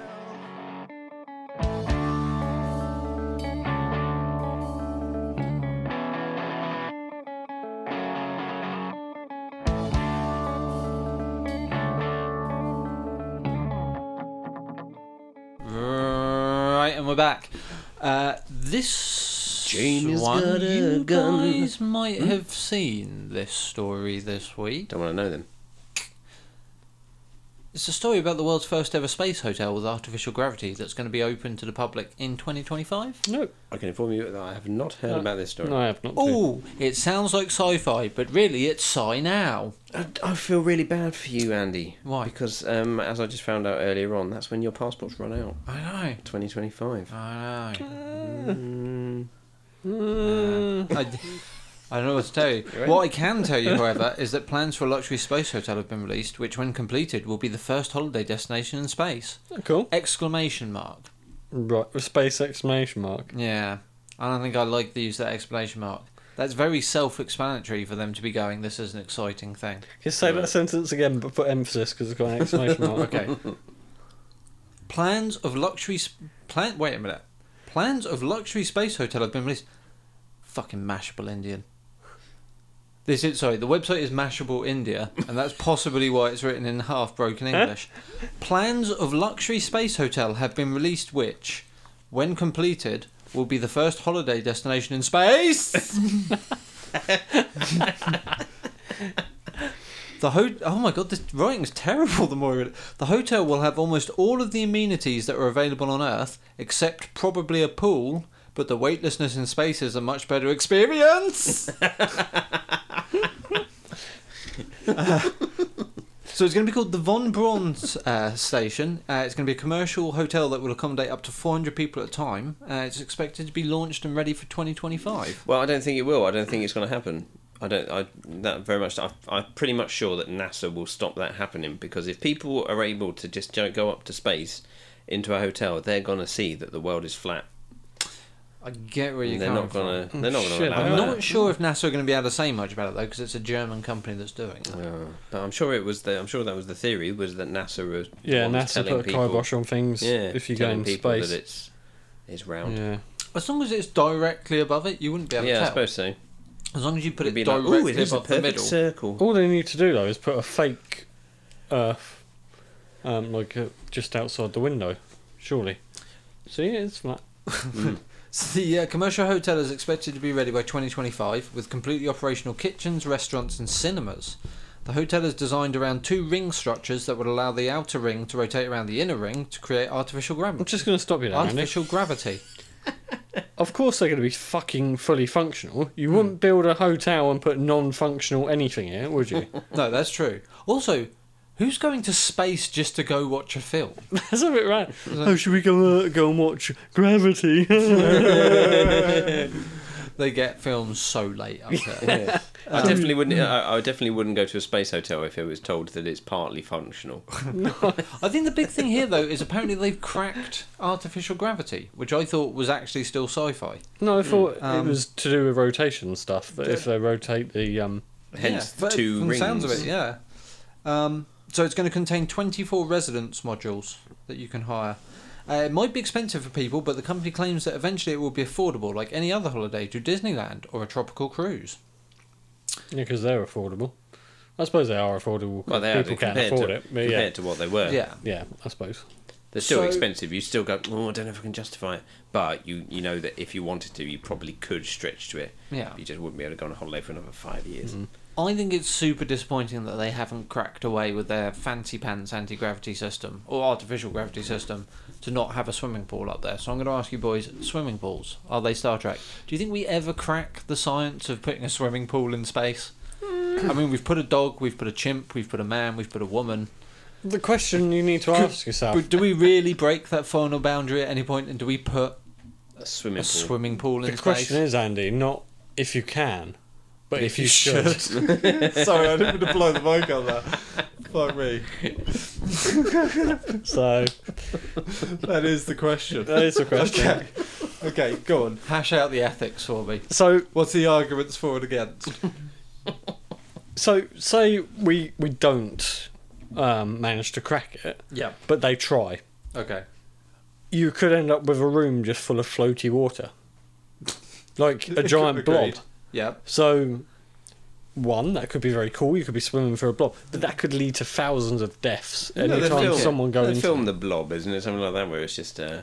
[SPEAKER 2] Right, and we're back. Uh, this
[SPEAKER 3] Jane has
[SPEAKER 2] one
[SPEAKER 3] got a
[SPEAKER 2] you
[SPEAKER 3] gun. Hmm?
[SPEAKER 2] guys might have seen this story this week.
[SPEAKER 3] Don't want to know them.
[SPEAKER 2] It's a story about the world's first ever space hotel with artificial gravity that's going to be open to the public in 2025.
[SPEAKER 1] No,
[SPEAKER 3] I can inform you that I have not heard
[SPEAKER 1] No.
[SPEAKER 3] about this story.
[SPEAKER 1] no, I have not. too.
[SPEAKER 2] Oh, it sounds like sci-fi, but really it's sci now.
[SPEAKER 3] I, I feel really bad for you, Andy.
[SPEAKER 2] Why?
[SPEAKER 3] Because um, as I just found out earlier on, that's when your passports run out.
[SPEAKER 2] I
[SPEAKER 3] 2025.
[SPEAKER 2] know. I know.
[SPEAKER 3] Mm.
[SPEAKER 1] Mm.
[SPEAKER 2] Uh, I, I don't know what to tell you. What I can tell you, however, is that plans for a luxury space hotel have been released, which, when completed, will be the first holiday destination in space!
[SPEAKER 1] Cool.
[SPEAKER 2] Exclamation mark.
[SPEAKER 1] Right, with space exclamation mark.
[SPEAKER 2] Yeah, I don't think I like to use that exclamation mark. That's very self-explanatory for them to be going. This is an exciting thing.
[SPEAKER 1] Just say that sentence again, but put emphasis because it's got an exclamation mark.
[SPEAKER 2] Okay. Plans of luxury sp- plan. Wait a minute. Plans of luxury space hotel have been released. Fucking Mashable Indian. This is sorry. The website is Mashable India, and that's possibly why it's written in half broken English. Plans of luxury space hotel have been released, which, when completed, will be the first holiday destination in space. The ho- oh my god, this writing's terrible. The more I read it. the hotel will have almost all of the amenities that are available on Earth, except probably a pool. But the weightlessness in space is a much better experience. Uh, So it's going to be called the Von Braun uh, Station. Uh, it's going to be a commercial hotel that will accommodate up to 400 people at a time. Uh, it's expected to be launched and ready for 2025.
[SPEAKER 3] Well, I don't think it will. I don't think it's going to happen. I don't. I that very much. I, I'm pretty much sure that NASA will stop that happening because if people are able to just jo- go up to space into a hotel, they're going to see that the world is flat.
[SPEAKER 2] I get where you're
[SPEAKER 3] And they're
[SPEAKER 2] coming
[SPEAKER 3] not
[SPEAKER 2] from.
[SPEAKER 3] going to. They're not going to
[SPEAKER 1] Shit,
[SPEAKER 3] allow
[SPEAKER 2] I'm
[SPEAKER 3] that.
[SPEAKER 2] not sure if NASA are going to be able to say much about it though, because it's a German company that's doing it.
[SPEAKER 3] Yeah, but I'm sure it was the. I'm sure that was the theory was that NASA was
[SPEAKER 1] Yeah,
[SPEAKER 3] was
[SPEAKER 1] NASA
[SPEAKER 3] telling
[SPEAKER 1] put a
[SPEAKER 3] people-
[SPEAKER 1] kibosh on things
[SPEAKER 3] Yeah,
[SPEAKER 1] if you go
[SPEAKER 3] telling
[SPEAKER 1] in
[SPEAKER 3] people
[SPEAKER 1] space.
[SPEAKER 3] that it's it's round. Yeah,
[SPEAKER 1] Yeah.
[SPEAKER 2] As long as it's directly above it, you wouldn't be able to
[SPEAKER 3] I
[SPEAKER 2] tell.
[SPEAKER 3] suppose so.
[SPEAKER 2] As long as you put
[SPEAKER 3] It'd
[SPEAKER 2] it
[SPEAKER 3] be like,
[SPEAKER 2] directly
[SPEAKER 3] ooh, it is a
[SPEAKER 2] above the
[SPEAKER 3] perfect
[SPEAKER 2] middle.
[SPEAKER 3] circle.
[SPEAKER 1] All they need to do though is put a fake Earth, um, like uh, just outside the window. Surely. See, it's flat.
[SPEAKER 2] So the uh, commercial hotel is expected to be ready by 2025 with completely operational kitchens, restaurants, and cinemas. The hotel is designed around two ring structures that would allow the outer ring to rotate around the inner ring to create artificial
[SPEAKER 1] I'm
[SPEAKER 2] gravity.
[SPEAKER 1] just going to stop you there, Andy.
[SPEAKER 2] Artificial gravity.
[SPEAKER 1] Of course, they're going to be fucking fully functional.
[SPEAKER 3] Hmm.
[SPEAKER 1] You wouldn't build a hotel and put non-functional anything in it, would you?
[SPEAKER 2] No, that's true. Also, who's going to space just to go watch a film?
[SPEAKER 1] That's a bit right. Oh, should we go uh, go and watch Gravity? yeah,
[SPEAKER 2] They get films so late up there.
[SPEAKER 3] Yeah.
[SPEAKER 2] Um,
[SPEAKER 3] I definitely wouldn't.
[SPEAKER 2] hmm.
[SPEAKER 3] I, I definitely wouldn't go to a space hotel if it was told that it's partly functional.
[SPEAKER 2] I think the big thing here, though, is apparently they've cracked artificial gravity, which I thought was actually still sci-fi.
[SPEAKER 1] No,
[SPEAKER 3] Hmm.
[SPEAKER 1] I thought
[SPEAKER 2] Um,
[SPEAKER 1] it was to do with rotation stuff. That if they rotate the um,
[SPEAKER 3] Hence
[SPEAKER 2] but
[SPEAKER 3] the two
[SPEAKER 2] from the
[SPEAKER 3] rings.
[SPEAKER 2] sounds of it, yeah. Um, so it's going to contain 24 residence modules that you can hire. Uh, it might be expensive for people, but the company claims that eventually it will be affordable, like any other holiday to Disneyland or a tropical cruise.
[SPEAKER 1] yeah, because they're affordable. I suppose they are affordable. 'cause
[SPEAKER 3] Well, they are
[SPEAKER 1] people can
[SPEAKER 3] compared
[SPEAKER 1] afford
[SPEAKER 3] to,
[SPEAKER 1] it. But yeah,
[SPEAKER 3] compared to what they were.
[SPEAKER 2] Yeah.
[SPEAKER 1] yeah, I suppose.
[SPEAKER 3] They're still
[SPEAKER 2] So-
[SPEAKER 3] expensive. You still go, oh, I don't know if I can justify it. But you, you know that if you wanted to, you probably could stretch to it.
[SPEAKER 2] Yeah. Mm-hmm.
[SPEAKER 3] You just wouldn't be able to go on a holiday for another five years.
[SPEAKER 2] I think it's super disappointing that they haven't cracked away with their fancy pants anti gravity system or artificial gravity system to not have a swimming pool up there. So I'm going to ask you boys swimming pools, are they Star Trek? Do you think we ever crack the science of putting a swimming pool in space? I mean, we've put a dog, we've put a chimp, we've put a man, we've put a woman.
[SPEAKER 1] The question you need to ask yourself:
[SPEAKER 2] But do we really break that final boundary at any point and do we put
[SPEAKER 3] A swimming
[SPEAKER 2] a
[SPEAKER 3] pool.
[SPEAKER 2] swimming pool in
[SPEAKER 1] The
[SPEAKER 2] space?
[SPEAKER 1] question is, Andy, not if you can, but if, you should.
[SPEAKER 2] Sorry, I didn't mean to blow the mic on that. Fuck me.
[SPEAKER 1] so
[SPEAKER 2] That is the question.
[SPEAKER 1] that is the question.
[SPEAKER 2] Okay. Okay, go on. Hash out the ethics for me.
[SPEAKER 1] So,
[SPEAKER 2] What's the arguments for and against?
[SPEAKER 1] so say we we don't um, manage to crack it,
[SPEAKER 2] Yeah.
[SPEAKER 1] but they try.
[SPEAKER 2] Okay.
[SPEAKER 1] You could end up with a room just full of floaty water, like a giant blob.
[SPEAKER 2] Agreed. Yeah.
[SPEAKER 1] So, one that could be very cool. You could be swimming for a blob, but that could lead to thousands of deaths
[SPEAKER 3] No,
[SPEAKER 1] anytime
[SPEAKER 3] they
[SPEAKER 1] time
[SPEAKER 3] film-
[SPEAKER 1] someone goes
[SPEAKER 3] they
[SPEAKER 1] into.
[SPEAKER 3] film the blob, isn't it? Something like that, where it's just. Uh,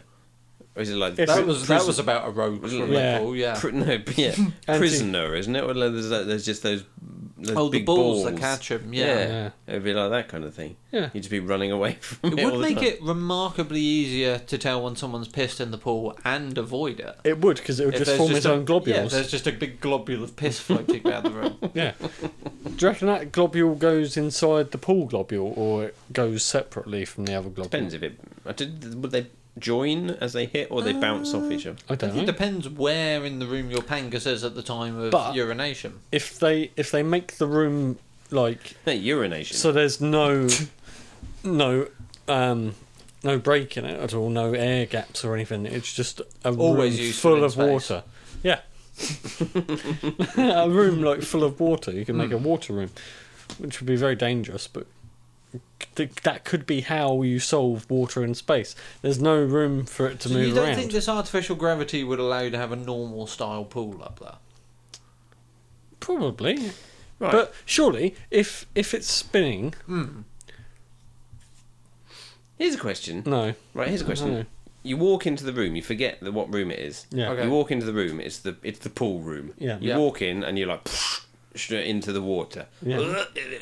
[SPEAKER 3] or is it like
[SPEAKER 1] It's-
[SPEAKER 2] That
[SPEAKER 1] it Mm.
[SPEAKER 2] was that was about a rogue
[SPEAKER 3] Wasn't it?
[SPEAKER 2] swimming
[SPEAKER 1] Yeah.
[SPEAKER 2] pool, yeah.
[SPEAKER 3] Pri- no, but yeah,
[SPEAKER 1] Anti-
[SPEAKER 3] prisoner, isn't it? Or there's, that, there's just those. those
[SPEAKER 2] Oh, the
[SPEAKER 3] big
[SPEAKER 2] balls that catch 'em, yeah.
[SPEAKER 1] Yeah.
[SPEAKER 3] it'd be like that kind of thing.
[SPEAKER 1] Yeah.
[SPEAKER 3] You'd just be running away from it.
[SPEAKER 2] It
[SPEAKER 3] all
[SPEAKER 2] would
[SPEAKER 3] the
[SPEAKER 2] make
[SPEAKER 3] time.
[SPEAKER 2] it remarkably easier to tell when someone's pissed in the pool and avoid it.
[SPEAKER 1] It would because it would
[SPEAKER 2] If
[SPEAKER 1] just
[SPEAKER 2] there's
[SPEAKER 1] form its
[SPEAKER 2] a-
[SPEAKER 1] own
[SPEAKER 2] Yeah,
[SPEAKER 1] globules.
[SPEAKER 2] there's just a big globule of piss floating around the room.
[SPEAKER 1] Yeah. Do you reckon that globule goes inside the pool globule or it goes separately from the other globule?
[SPEAKER 3] Depends if it. I did- Would they join as they hit, or they bounce off each other?
[SPEAKER 1] I
[SPEAKER 2] I
[SPEAKER 1] don't
[SPEAKER 2] think it
[SPEAKER 1] know.
[SPEAKER 2] depends where in the room your pangas is at the time of
[SPEAKER 1] But-
[SPEAKER 2] urination.
[SPEAKER 1] If they if they make the room like
[SPEAKER 3] No, urination.
[SPEAKER 1] so there's no no um no break in it at all, no air gaps or anything. It's just a
[SPEAKER 2] Always
[SPEAKER 1] room
[SPEAKER 2] useful
[SPEAKER 1] full
[SPEAKER 2] in
[SPEAKER 1] of
[SPEAKER 2] space.
[SPEAKER 1] water. Yeah. a room like full of water. You can make a water room, which would be very dangerous, but th- that could be how you solve water in space. There's no room for it to
[SPEAKER 2] so
[SPEAKER 1] move
[SPEAKER 2] you don't
[SPEAKER 1] around.
[SPEAKER 2] think this artificial gravity would allow you to have a normal style pool up there?
[SPEAKER 1] Probably.
[SPEAKER 3] right.
[SPEAKER 1] But surely, if if it's spinning,
[SPEAKER 3] here's a question.
[SPEAKER 1] no.
[SPEAKER 3] Right, here's a question.
[SPEAKER 1] No.
[SPEAKER 3] You walk into the room, you forget the, what room it is.
[SPEAKER 1] Mm-hmm. Yeah.
[SPEAKER 2] Okay.
[SPEAKER 3] You walk into the room, it's the it's the pool room.
[SPEAKER 1] Yeah.
[SPEAKER 3] You
[SPEAKER 2] Yeah.
[SPEAKER 3] walk in and you're like "Psh," straight into the water.
[SPEAKER 1] Yeah.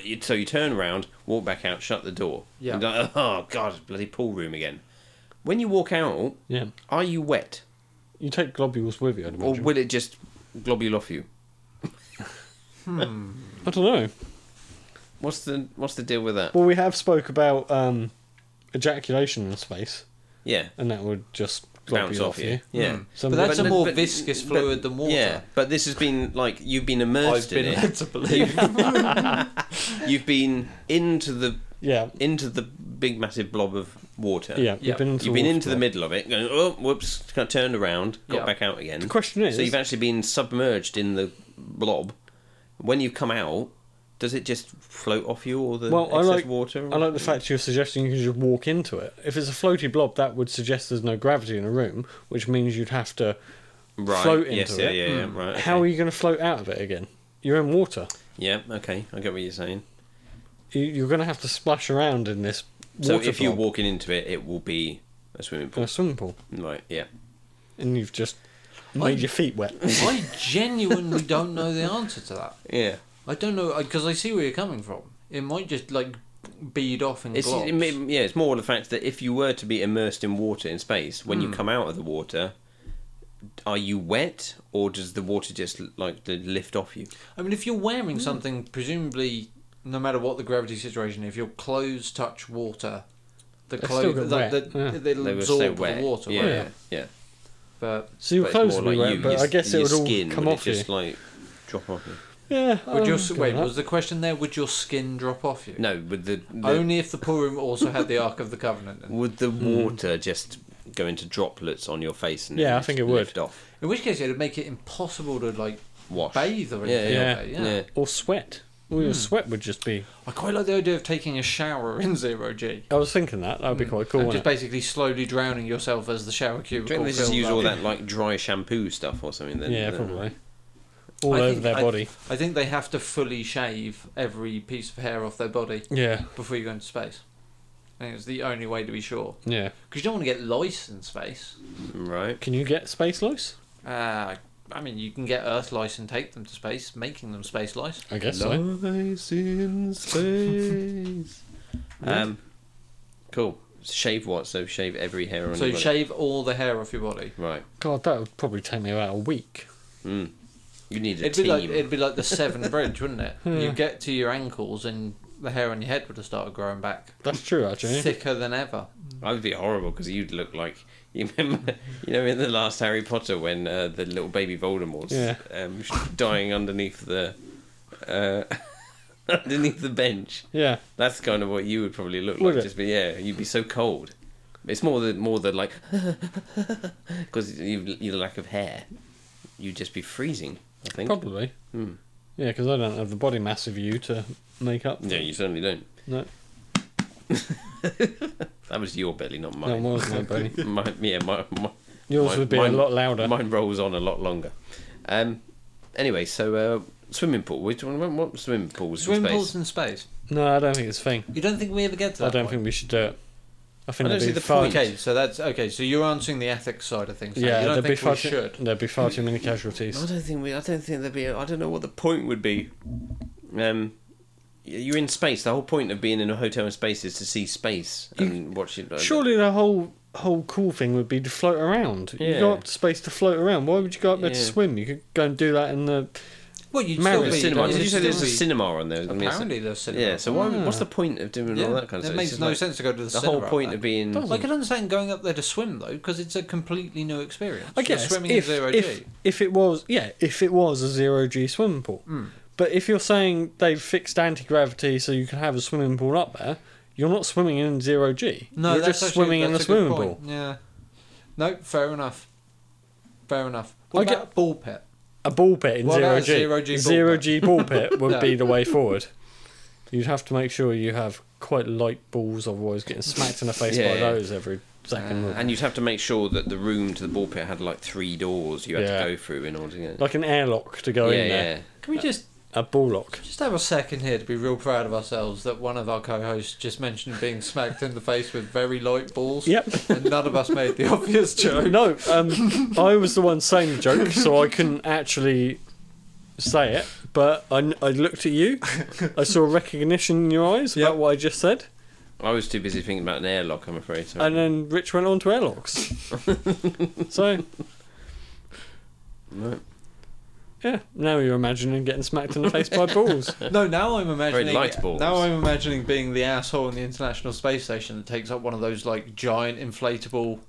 [SPEAKER 3] You- So you turn around, walk back out, shut the door.
[SPEAKER 2] Yeah.
[SPEAKER 3] And you're like, oh god, bloody pool room again. When you walk out,
[SPEAKER 1] Yeah.
[SPEAKER 3] are you wet,
[SPEAKER 1] You take globules with you, I'd
[SPEAKER 3] or
[SPEAKER 1] imagine.
[SPEAKER 3] will it just globule off you?
[SPEAKER 1] I don't know.
[SPEAKER 3] What's the what's the deal with that?
[SPEAKER 1] Well, we have spoke about um, ejaculation in space,
[SPEAKER 3] Yeah,
[SPEAKER 1] and that would just drop
[SPEAKER 3] bounce
[SPEAKER 1] you off, you.
[SPEAKER 3] Yeah,
[SPEAKER 2] Mm.
[SPEAKER 1] So
[SPEAKER 2] but that's
[SPEAKER 3] But-
[SPEAKER 2] a more
[SPEAKER 3] but-
[SPEAKER 2] viscous
[SPEAKER 3] but-
[SPEAKER 2] fluid than water.
[SPEAKER 3] yeah. But this has been like you've been
[SPEAKER 2] I've
[SPEAKER 3] immersed
[SPEAKER 2] been
[SPEAKER 3] in
[SPEAKER 2] led
[SPEAKER 3] it.
[SPEAKER 2] to believe.
[SPEAKER 3] You've been into the
[SPEAKER 1] Yeah,
[SPEAKER 3] into the big massive blob of water.
[SPEAKER 1] yeah.
[SPEAKER 2] Yeah.
[SPEAKER 1] You've been into,
[SPEAKER 3] You've been
[SPEAKER 1] water
[SPEAKER 3] into the
[SPEAKER 1] before.
[SPEAKER 3] middle of it, going, oh, whoops, got turned around, got
[SPEAKER 2] Yeah.
[SPEAKER 3] back out again.
[SPEAKER 1] The question is,
[SPEAKER 3] So you've actually been submerged in the blob. When you come out, does it just float off you or the
[SPEAKER 1] Well, I
[SPEAKER 3] excess
[SPEAKER 1] like-
[SPEAKER 3] water?
[SPEAKER 1] I like the fact you're suggesting you can just walk into it. If it's a floaty blob, that would suggest there's no gravity in a room, which means you'd have to.
[SPEAKER 3] right.
[SPEAKER 1] float
[SPEAKER 3] yes,
[SPEAKER 1] into
[SPEAKER 3] yeah,
[SPEAKER 1] it.
[SPEAKER 3] Yeah, yeah, right. Okay.
[SPEAKER 1] How are you going to float out of it again? You're in water.
[SPEAKER 3] Yeah, okay, I get what you're saying.
[SPEAKER 1] You- You're going to have to splash around in this. Water
[SPEAKER 3] So if you're
[SPEAKER 1] blob
[SPEAKER 3] walking into it, it will be a swimming
[SPEAKER 1] in
[SPEAKER 3] pool.
[SPEAKER 1] a swimming pool,
[SPEAKER 3] Right, yeah.
[SPEAKER 1] and you've just made your feet wet.
[SPEAKER 2] I genuinely don't know the answer to that.
[SPEAKER 3] Yeah.
[SPEAKER 2] I don't know because I see where you're coming from. It might just like bead off and
[SPEAKER 3] It's,
[SPEAKER 2] globs.
[SPEAKER 3] it may- yeah, it's more the fact that if you were to be immersed in water in space, when you come out of the water, are you wet or does the water just like the lift off you?
[SPEAKER 2] I mean, if you're
[SPEAKER 3] Hmm.
[SPEAKER 2] wearing something, presumably, no matter what the gravity situation, if your clothes touch water, the
[SPEAKER 1] They'll
[SPEAKER 2] clothes
[SPEAKER 1] still get
[SPEAKER 2] like,
[SPEAKER 1] wet,
[SPEAKER 2] the,
[SPEAKER 1] yeah.
[SPEAKER 2] they'll
[SPEAKER 3] They were
[SPEAKER 2] absorb
[SPEAKER 3] so
[SPEAKER 2] the
[SPEAKER 3] wet.
[SPEAKER 2] water.
[SPEAKER 3] yeah,
[SPEAKER 2] won't
[SPEAKER 1] yeah.
[SPEAKER 2] it?
[SPEAKER 3] yeah.
[SPEAKER 2] But
[SPEAKER 1] So your
[SPEAKER 3] But it's
[SPEAKER 1] clothes
[SPEAKER 3] more
[SPEAKER 1] would be
[SPEAKER 3] like
[SPEAKER 1] wet,
[SPEAKER 3] you-
[SPEAKER 1] but
[SPEAKER 3] your-
[SPEAKER 1] I guess it
[SPEAKER 3] your
[SPEAKER 1] would all
[SPEAKER 3] skin
[SPEAKER 1] come
[SPEAKER 3] would it
[SPEAKER 1] off you.
[SPEAKER 3] Just like drop off you.
[SPEAKER 1] yeah.
[SPEAKER 2] would your
[SPEAKER 1] I'm
[SPEAKER 2] s-
[SPEAKER 1] good
[SPEAKER 2] wait?
[SPEAKER 1] with that.
[SPEAKER 2] Was the question there? Would your skin drop off you?
[SPEAKER 3] No, would the, the
[SPEAKER 2] Only if the pool room also had the Ark of the Covenant. in it.
[SPEAKER 3] would the water just go into droplets on your face and
[SPEAKER 1] Yeah,
[SPEAKER 3] then
[SPEAKER 1] I think
[SPEAKER 3] just
[SPEAKER 1] it would.
[SPEAKER 3] lift off
[SPEAKER 2] In which case, it'd make it impossible to like
[SPEAKER 3] wash.
[SPEAKER 2] bathe or
[SPEAKER 3] Yeah,
[SPEAKER 2] anything.
[SPEAKER 1] yeah,
[SPEAKER 2] like that, Hmm.
[SPEAKER 3] yeah.
[SPEAKER 2] yeah.
[SPEAKER 1] or sweat? Well, your sweat would just be.
[SPEAKER 2] I quite like the idea of taking a shower in zero G.
[SPEAKER 1] I was thinking that that would be quite cool.
[SPEAKER 2] Hmm. and
[SPEAKER 1] wouldn't
[SPEAKER 2] just
[SPEAKER 1] it?
[SPEAKER 2] basically slowly drowning yourself as the shower
[SPEAKER 3] Do you
[SPEAKER 2] cubicle.
[SPEAKER 3] reckon they just
[SPEAKER 2] fills
[SPEAKER 3] use
[SPEAKER 2] up.
[SPEAKER 3] all that like dry shampoo stuff or something? Then
[SPEAKER 1] yeah,
[SPEAKER 3] Then-
[SPEAKER 1] probably. All
[SPEAKER 2] I
[SPEAKER 1] over
[SPEAKER 2] think-
[SPEAKER 1] their
[SPEAKER 2] I-
[SPEAKER 1] body.
[SPEAKER 2] I think they have to fully shave every piece of hair off their body
[SPEAKER 1] Yeah,
[SPEAKER 2] before you go into space. I think it's the only way to be sure.
[SPEAKER 1] yeah.
[SPEAKER 2] Because you don't want to get lice in space.
[SPEAKER 3] Right.
[SPEAKER 1] Can you get space lice?
[SPEAKER 2] Uh, I mean, you can get Earth lice and take them to space, making them space lice.
[SPEAKER 1] I guess so.
[SPEAKER 3] Lies in space. um, cool. Shave what? So shave every hair on
[SPEAKER 2] So
[SPEAKER 3] your
[SPEAKER 2] you
[SPEAKER 3] body.
[SPEAKER 2] shave all the hair off your body.
[SPEAKER 3] Right.
[SPEAKER 1] God, that would probably take me about a week.
[SPEAKER 3] Mm. You need a
[SPEAKER 2] It'd
[SPEAKER 3] team.
[SPEAKER 2] be like it'd be like the Severn Bridge, wouldn't it?
[SPEAKER 1] Yeah.
[SPEAKER 3] Hmm.
[SPEAKER 2] You get to your ankles and the hair on your head would have started growing back,
[SPEAKER 1] That's true, actually.
[SPEAKER 2] thicker than ever.
[SPEAKER 3] I would be horrible because you'd look like you remember, you know, in the last Harry Potter when uh, the little baby Voldemort's
[SPEAKER 1] Yeah.
[SPEAKER 3] um, sh- dying underneath the uh, underneath the bench.
[SPEAKER 1] Yeah,
[SPEAKER 3] That's kind of what you would probably look
[SPEAKER 1] Would
[SPEAKER 3] like.
[SPEAKER 1] it?
[SPEAKER 3] Just be yeah, you'd be so cold. It's more the more the like because you your lack of hair, you'd just be freezing. I think.
[SPEAKER 1] probably.
[SPEAKER 3] Hmm.
[SPEAKER 1] Yeah, because I don't have the body mass of you to make up. for
[SPEAKER 3] No,
[SPEAKER 1] it.
[SPEAKER 3] you certainly don't.
[SPEAKER 1] No,
[SPEAKER 3] That was your belly, not
[SPEAKER 1] no,
[SPEAKER 3] mine.
[SPEAKER 1] more than my body.
[SPEAKER 3] my, yeah, my, my,
[SPEAKER 1] Yours
[SPEAKER 3] Mine-
[SPEAKER 1] would be
[SPEAKER 3] mine-
[SPEAKER 1] a lot louder.
[SPEAKER 3] Mine rolls on a lot longer. Um, anyway, so uh, swimming pool. We're talking about what swimming pools
[SPEAKER 2] Swimming
[SPEAKER 3] in space.
[SPEAKER 2] pools in space.
[SPEAKER 1] No, I don't think it's a thing.
[SPEAKER 2] You don't think we ever get to that?
[SPEAKER 1] I don't
[SPEAKER 2] point?
[SPEAKER 1] think we should do it. I think
[SPEAKER 3] I don't
[SPEAKER 1] there'd
[SPEAKER 3] see
[SPEAKER 1] be
[SPEAKER 3] the
[SPEAKER 1] far.
[SPEAKER 3] point.
[SPEAKER 2] Okay, so that's okay. So you're answering the ethics side of things.
[SPEAKER 1] Yeah,
[SPEAKER 2] Yeah, you don't
[SPEAKER 1] there'd be
[SPEAKER 2] think
[SPEAKER 1] far.
[SPEAKER 2] we
[SPEAKER 1] Too,
[SPEAKER 2] should.
[SPEAKER 1] There'd be far too many
[SPEAKER 3] I
[SPEAKER 1] casualties.
[SPEAKER 3] don't think we. I don't think there'd be. A, I don't know what the point would be. Um, y- you're in space. The whole point of being in a hotel in space is to see space and watch it.
[SPEAKER 1] Surely the whole whole cool thing would be to float around. You
[SPEAKER 3] Yeah.
[SPEAKER 1] go up to space to float around. Why would you go up there to
[SPEAKER 3] Yeah.
[SPEAKER 1] swim? You could go and do that in the.
[SPEAKER 2] Well, you'd
[SPEAKER 1] Married
[SPEAKER 2] still be.
[SPEAKER 3] There's cinema.
[SPEAKER 1] don't
[SPEAKER 3] Did you say
[SPEAKER 1] still
[SPEAKER 3] there's a
[SPEAKER 2] be-
[SPEAKER 3] cinema on there? I mean, it's-
[SPEAKER 2] Apparently, there's cinema.
[SPEAKER 3] yeah. So why, would- what's
[SPEAKER 1] Ah.
[SPEAKER 3] the point of doing
[SPEAKER 2] Yeah,
[SPEAKER 3] all that kind of stuff?
[SPEAKER 2] It
[SPEAKER 3] It's
[SPEAKER 2] makes
[SPEAKER 3] just
[SPEAKER 2] no
[SPEAKER 3] like-
[SPEAKER 2] sense to go to the,
[SPEAKER 3] The
[SPEAKER 2] cinema.
[SPEAKER 3] whole
[SPEAKER 2] up
[SPEAKER 3] point
[SPEAKER 2] there.
[SPEAKER 3] of being
[SPEAKER 2] I can understand going up there to swim though, because it's a completely new experience.
[SPEAKER 1] I guess
[SPEAKER 2] swimming
[SPEAKER 1] if,
[SPEAKER 2] in zero
[SPEAKER 1] if,
[SPEAKER 2] g.
[SPEAKER 1] if it was yeah if it was a zero g swimming pool,
[SPEAKER 2] Hmm.
[SPEAKER 1] but if you're saying they've fixed anti gravity so you can have a swimming pool up there, you're not swimming in zero g.
[SPEAKER 2] No,
[SPEAKER 1] you're
[SPEAKER 2] that's
[SPEAKER 1] just
[SPEAKER 2] actually-
[SPEAKER 1] swimming in a
[SPEAKER 2] that's good
[SPEAKER 1] swimming
[SPEAKER 2] point.
[SPEAKER 1] pool.
[SPEAKER 2] Yeah. No, fair enough. Fair enough. What
[SPEAKER 1] I
[SPEAKER 2] about
[SPEAKER 1] get-
[SPEAKER 2] a ball pit?
[SPEAKER 1] A ball pit in
[SPEAKER 2] What
[SPEAKER 1] zero
[SPEAKER 2] about
[SPEAKER 1] g.
[SPEAKER 2] a 0G ball
[SPEAKER 1] Zero
[SPEAKER 2] pit?
[SPEAKER 1] g ball pit would
[SPEAKER 2] No.
[SPEAKER 1] be the way forward. You'd have to make sure you have quite light balls, otherwise getting smacked in the face
[SPEAKER 3] Yeah,
[SPEAKER 1] by
[SPEAKER 3] yeah.
[SPEAKER 1] those every second.
[SPEAKER 2] Ah.
[SPEAKER 1] wouldn't
[SPEAKER 3] And you'd have to make sure that the room to the ball pit had like three doors you had
[SPEAKER 1] Yeah.
[SPEAKER 3] to go through in order to get.
[SPEAKER 1] like an airlock to go
[SPEAKER 3] yeah,
[SPEAKER 1] in there.
[SPEAKER 3] yeah.
[SPEAKER 2] Can we just
[SPEAKER 1] A ball lock.
[SPEAKER 2] just have a second here to be real proud of ourselves that one of our co-hosts just mentioned being smacked in the face with very light balls?
[SPEAKER 1] Yep.
[SPEAKER 2] and none of us made the obvious joke.
[SPEAKER 1] No, um, I was the one saying the joke, so I couldn't actually say it. But I, I looked at you. I saw recognition in your eyes
[SPEAKER 2] Yep.
[SPEAKER 1] about what I just said,
[SPEAKER 3] I was too busy thinking about an airlock. I'm afraid. Sorry.
[SPEAKER 1] and then Rich went on to airlocks. so
[SPEAKER 3] Right.
[SPEAKER 1] Yeah, now you're imagining getting smacked in the face by balls.
[SPEAKER 2] No, now I'm imagining.
[SPEAKER 3] light balls.
[SPEAKER 2] Now I'm imagining being the asshole in the International Space Station that takes up one of those like giant inflatable.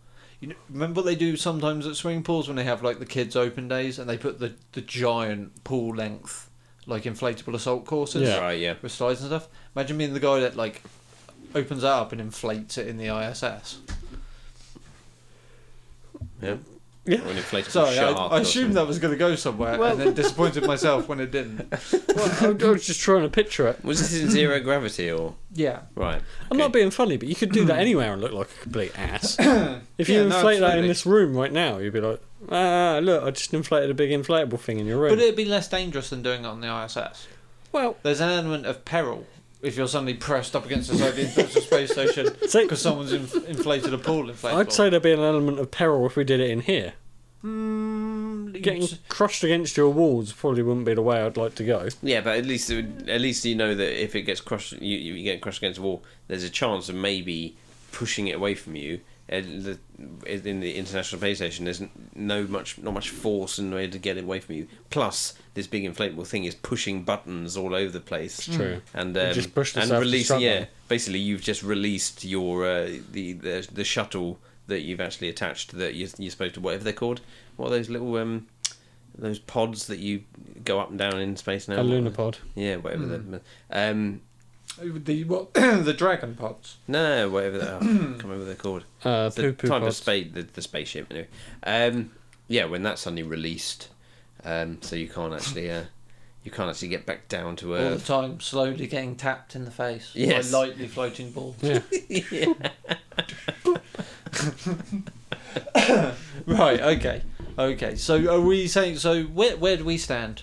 [SPEAKER 2] You know, remember what they do sometimes at swimming pools when they have like the kids open days and they put the the giant pool length like inflatable assault courses
[SPEAKER 1] Yeah.
[SPEAKER 3] Right, yeah.
[SPEAKER 2] with slides and stuff. Imagine being the guy that like opens that up and inflates it in the ISS.
[SPEAKER 3] Yeah.
[SPEAKER 1] Yeah.
[SPEAKER 3] Or an inflatable
[SPEAKER 2] Sorry, I,
[SPEAKER 3] shark.
[SPEAKER 2] I
[SPEAKER 3] or
[SPEAKER 2] assumed
[SPEAKER 3] something.
[SPEAKER 2] that was going to go somewhere and then disappointed myself when it didn't.
[SPEAKER 1] well, I I was just trying to picture it.
[SPEAKER 3] Was this in zero gravity or.
[SPEAKER 2] Yeah.
[SPEAKER 3] Right.
[SPEAKER 1] I'm
[SPEAKER 3] okay.
[SPEAKER 1] not being funny, but you could do that anywhere and look like a complete ass. if you
[SPEAKER 2] Hmm. Yeah, no,
[SPEAKER 1] inflate that in
[SPEAKER 2] absolutely.
[SPEAKER 1] this room right now, you'd be like, ah, look, I just inflated a big inflatable thing in your room.
[SPEAKER 2] But it'd be less dangerous than doing it on the ISS.
[SPEAKER 1] well,
[SPEAKER 2] There's an element of peril if you're suddenly pressed up against the side of the International Space Station
[SPEAKER 1] so
[SPEAKER 2] because someone's inf- inflated a pool inflatable.
[SPEAKER 1] I'd say there'd be an element of peril if we did it in here.
[SPEAKER 2] Mm, you
[SPEAKER 1] Getting
[SPEAKER 2] s-
[SPEAKER 1] crushed against your walls probably wouldn't be the way I'd like to go.
[SPEAKER 3] Yeah, but at least it would, at least you know that if it gets crushed, you, you get crushed against a wall. There's a chance of maybe pushing it away from you. And the, in the international space station, there's no much, not much force in way to get it away from you. Plus, this big inflatable thing is pushing buttons all over the place.
[SPEAKER 1] true.
[SPEAKER 3] And
[SPEAKER 1] You
[SPEAKER 3] um,
[SPEAKER 1] just push the
[SPEAKER 3] and
[SPEAKER 1] surface
[SPEAKER 3] releasing,
[SPEAKER 1] shuttle.
[SPEAKER 3] yeah. Basically, you've just released your uh, the, the the shuttle that you've actually attached that you're, you're supposed to whatever they're called. What are those little um those pods that you go up and down in space now?
[SPEAKER 1] A lunar pod.
[SPEAKER 3] Yeah, whatever the um
[SPEAKER 2] the what, the dragon pods.
[SPEAKER 3] no, no, whatever the, oh, I can't remember what they're called.
[SPEAKER 1] Uh,
[SPEAKER 3] The
[SPEAKER 1] poo poo
[SPEAKER 3] type
[SPEAKER 1] pod.
[SPEAKER 3] of space the, the spaceship anyway. Um yeah, when that's suddenly released, um so you can't actually uh you can't actually get back down to
[SPEAKER 2] All the
[SPEAKER 3] earth.
[SPEAKER 2] time, slowly getting tapped in the face
[SPEAKER 3] Yes.
[SPEAKER 2] by lightly floating balls.
[SPEAKER 1] yeah.
[SPEAKER 2] Right. Okay. Okay. So are we saying? So where where do we stand?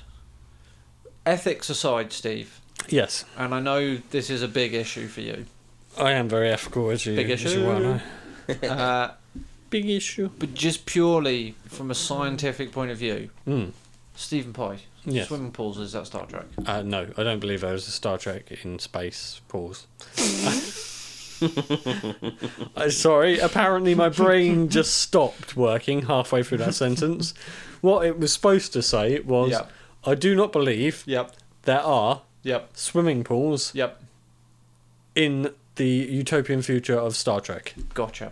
[SPEAKER 2] Ethics aside, Steve,
[SPEAKER 1] Yes,
[SPEAKER 2] and I know this is a big issue for you.
[SPEAKER 1] I am very ethical, as you,
[SPEAKER 2] Big
[SPEAKER 1] as you
[SPEAKER 2] issue.
[SPEAKER 1] well know.
[SPEAKER 2] Uh,
[SPEAKER 1] Big issue.
[SPEAKER 2] but just purely from a scientific point of view,
[SPEAKER 1] Mm.
[SPEAKER 2] Stephen Pye,
[SPEAKER 1] Yes.
[SPEAKER 2] swimming pools is that Star Trek?
[SPEAKER 1] Uh, no, I don't believe there was a Star Trek in space. Pause. Mm-hmm. Uh, sorry, apparently my brain just stopped working halfway through that sentence. What it was supposed to say was
[SPEAKER 2] Yep.
[SPEAKER 1] I do not believe
[SPEAKER 2] Yep.
[SPEAKER 1] there are
[SPEAKER 2] Yep.
[SPEAKER 1] swimming pools
[SPEAKER 2] Yep.
[SPEAKER 1] in the utopian future of Star Trek.
[SPEAKER 2] Gotcha.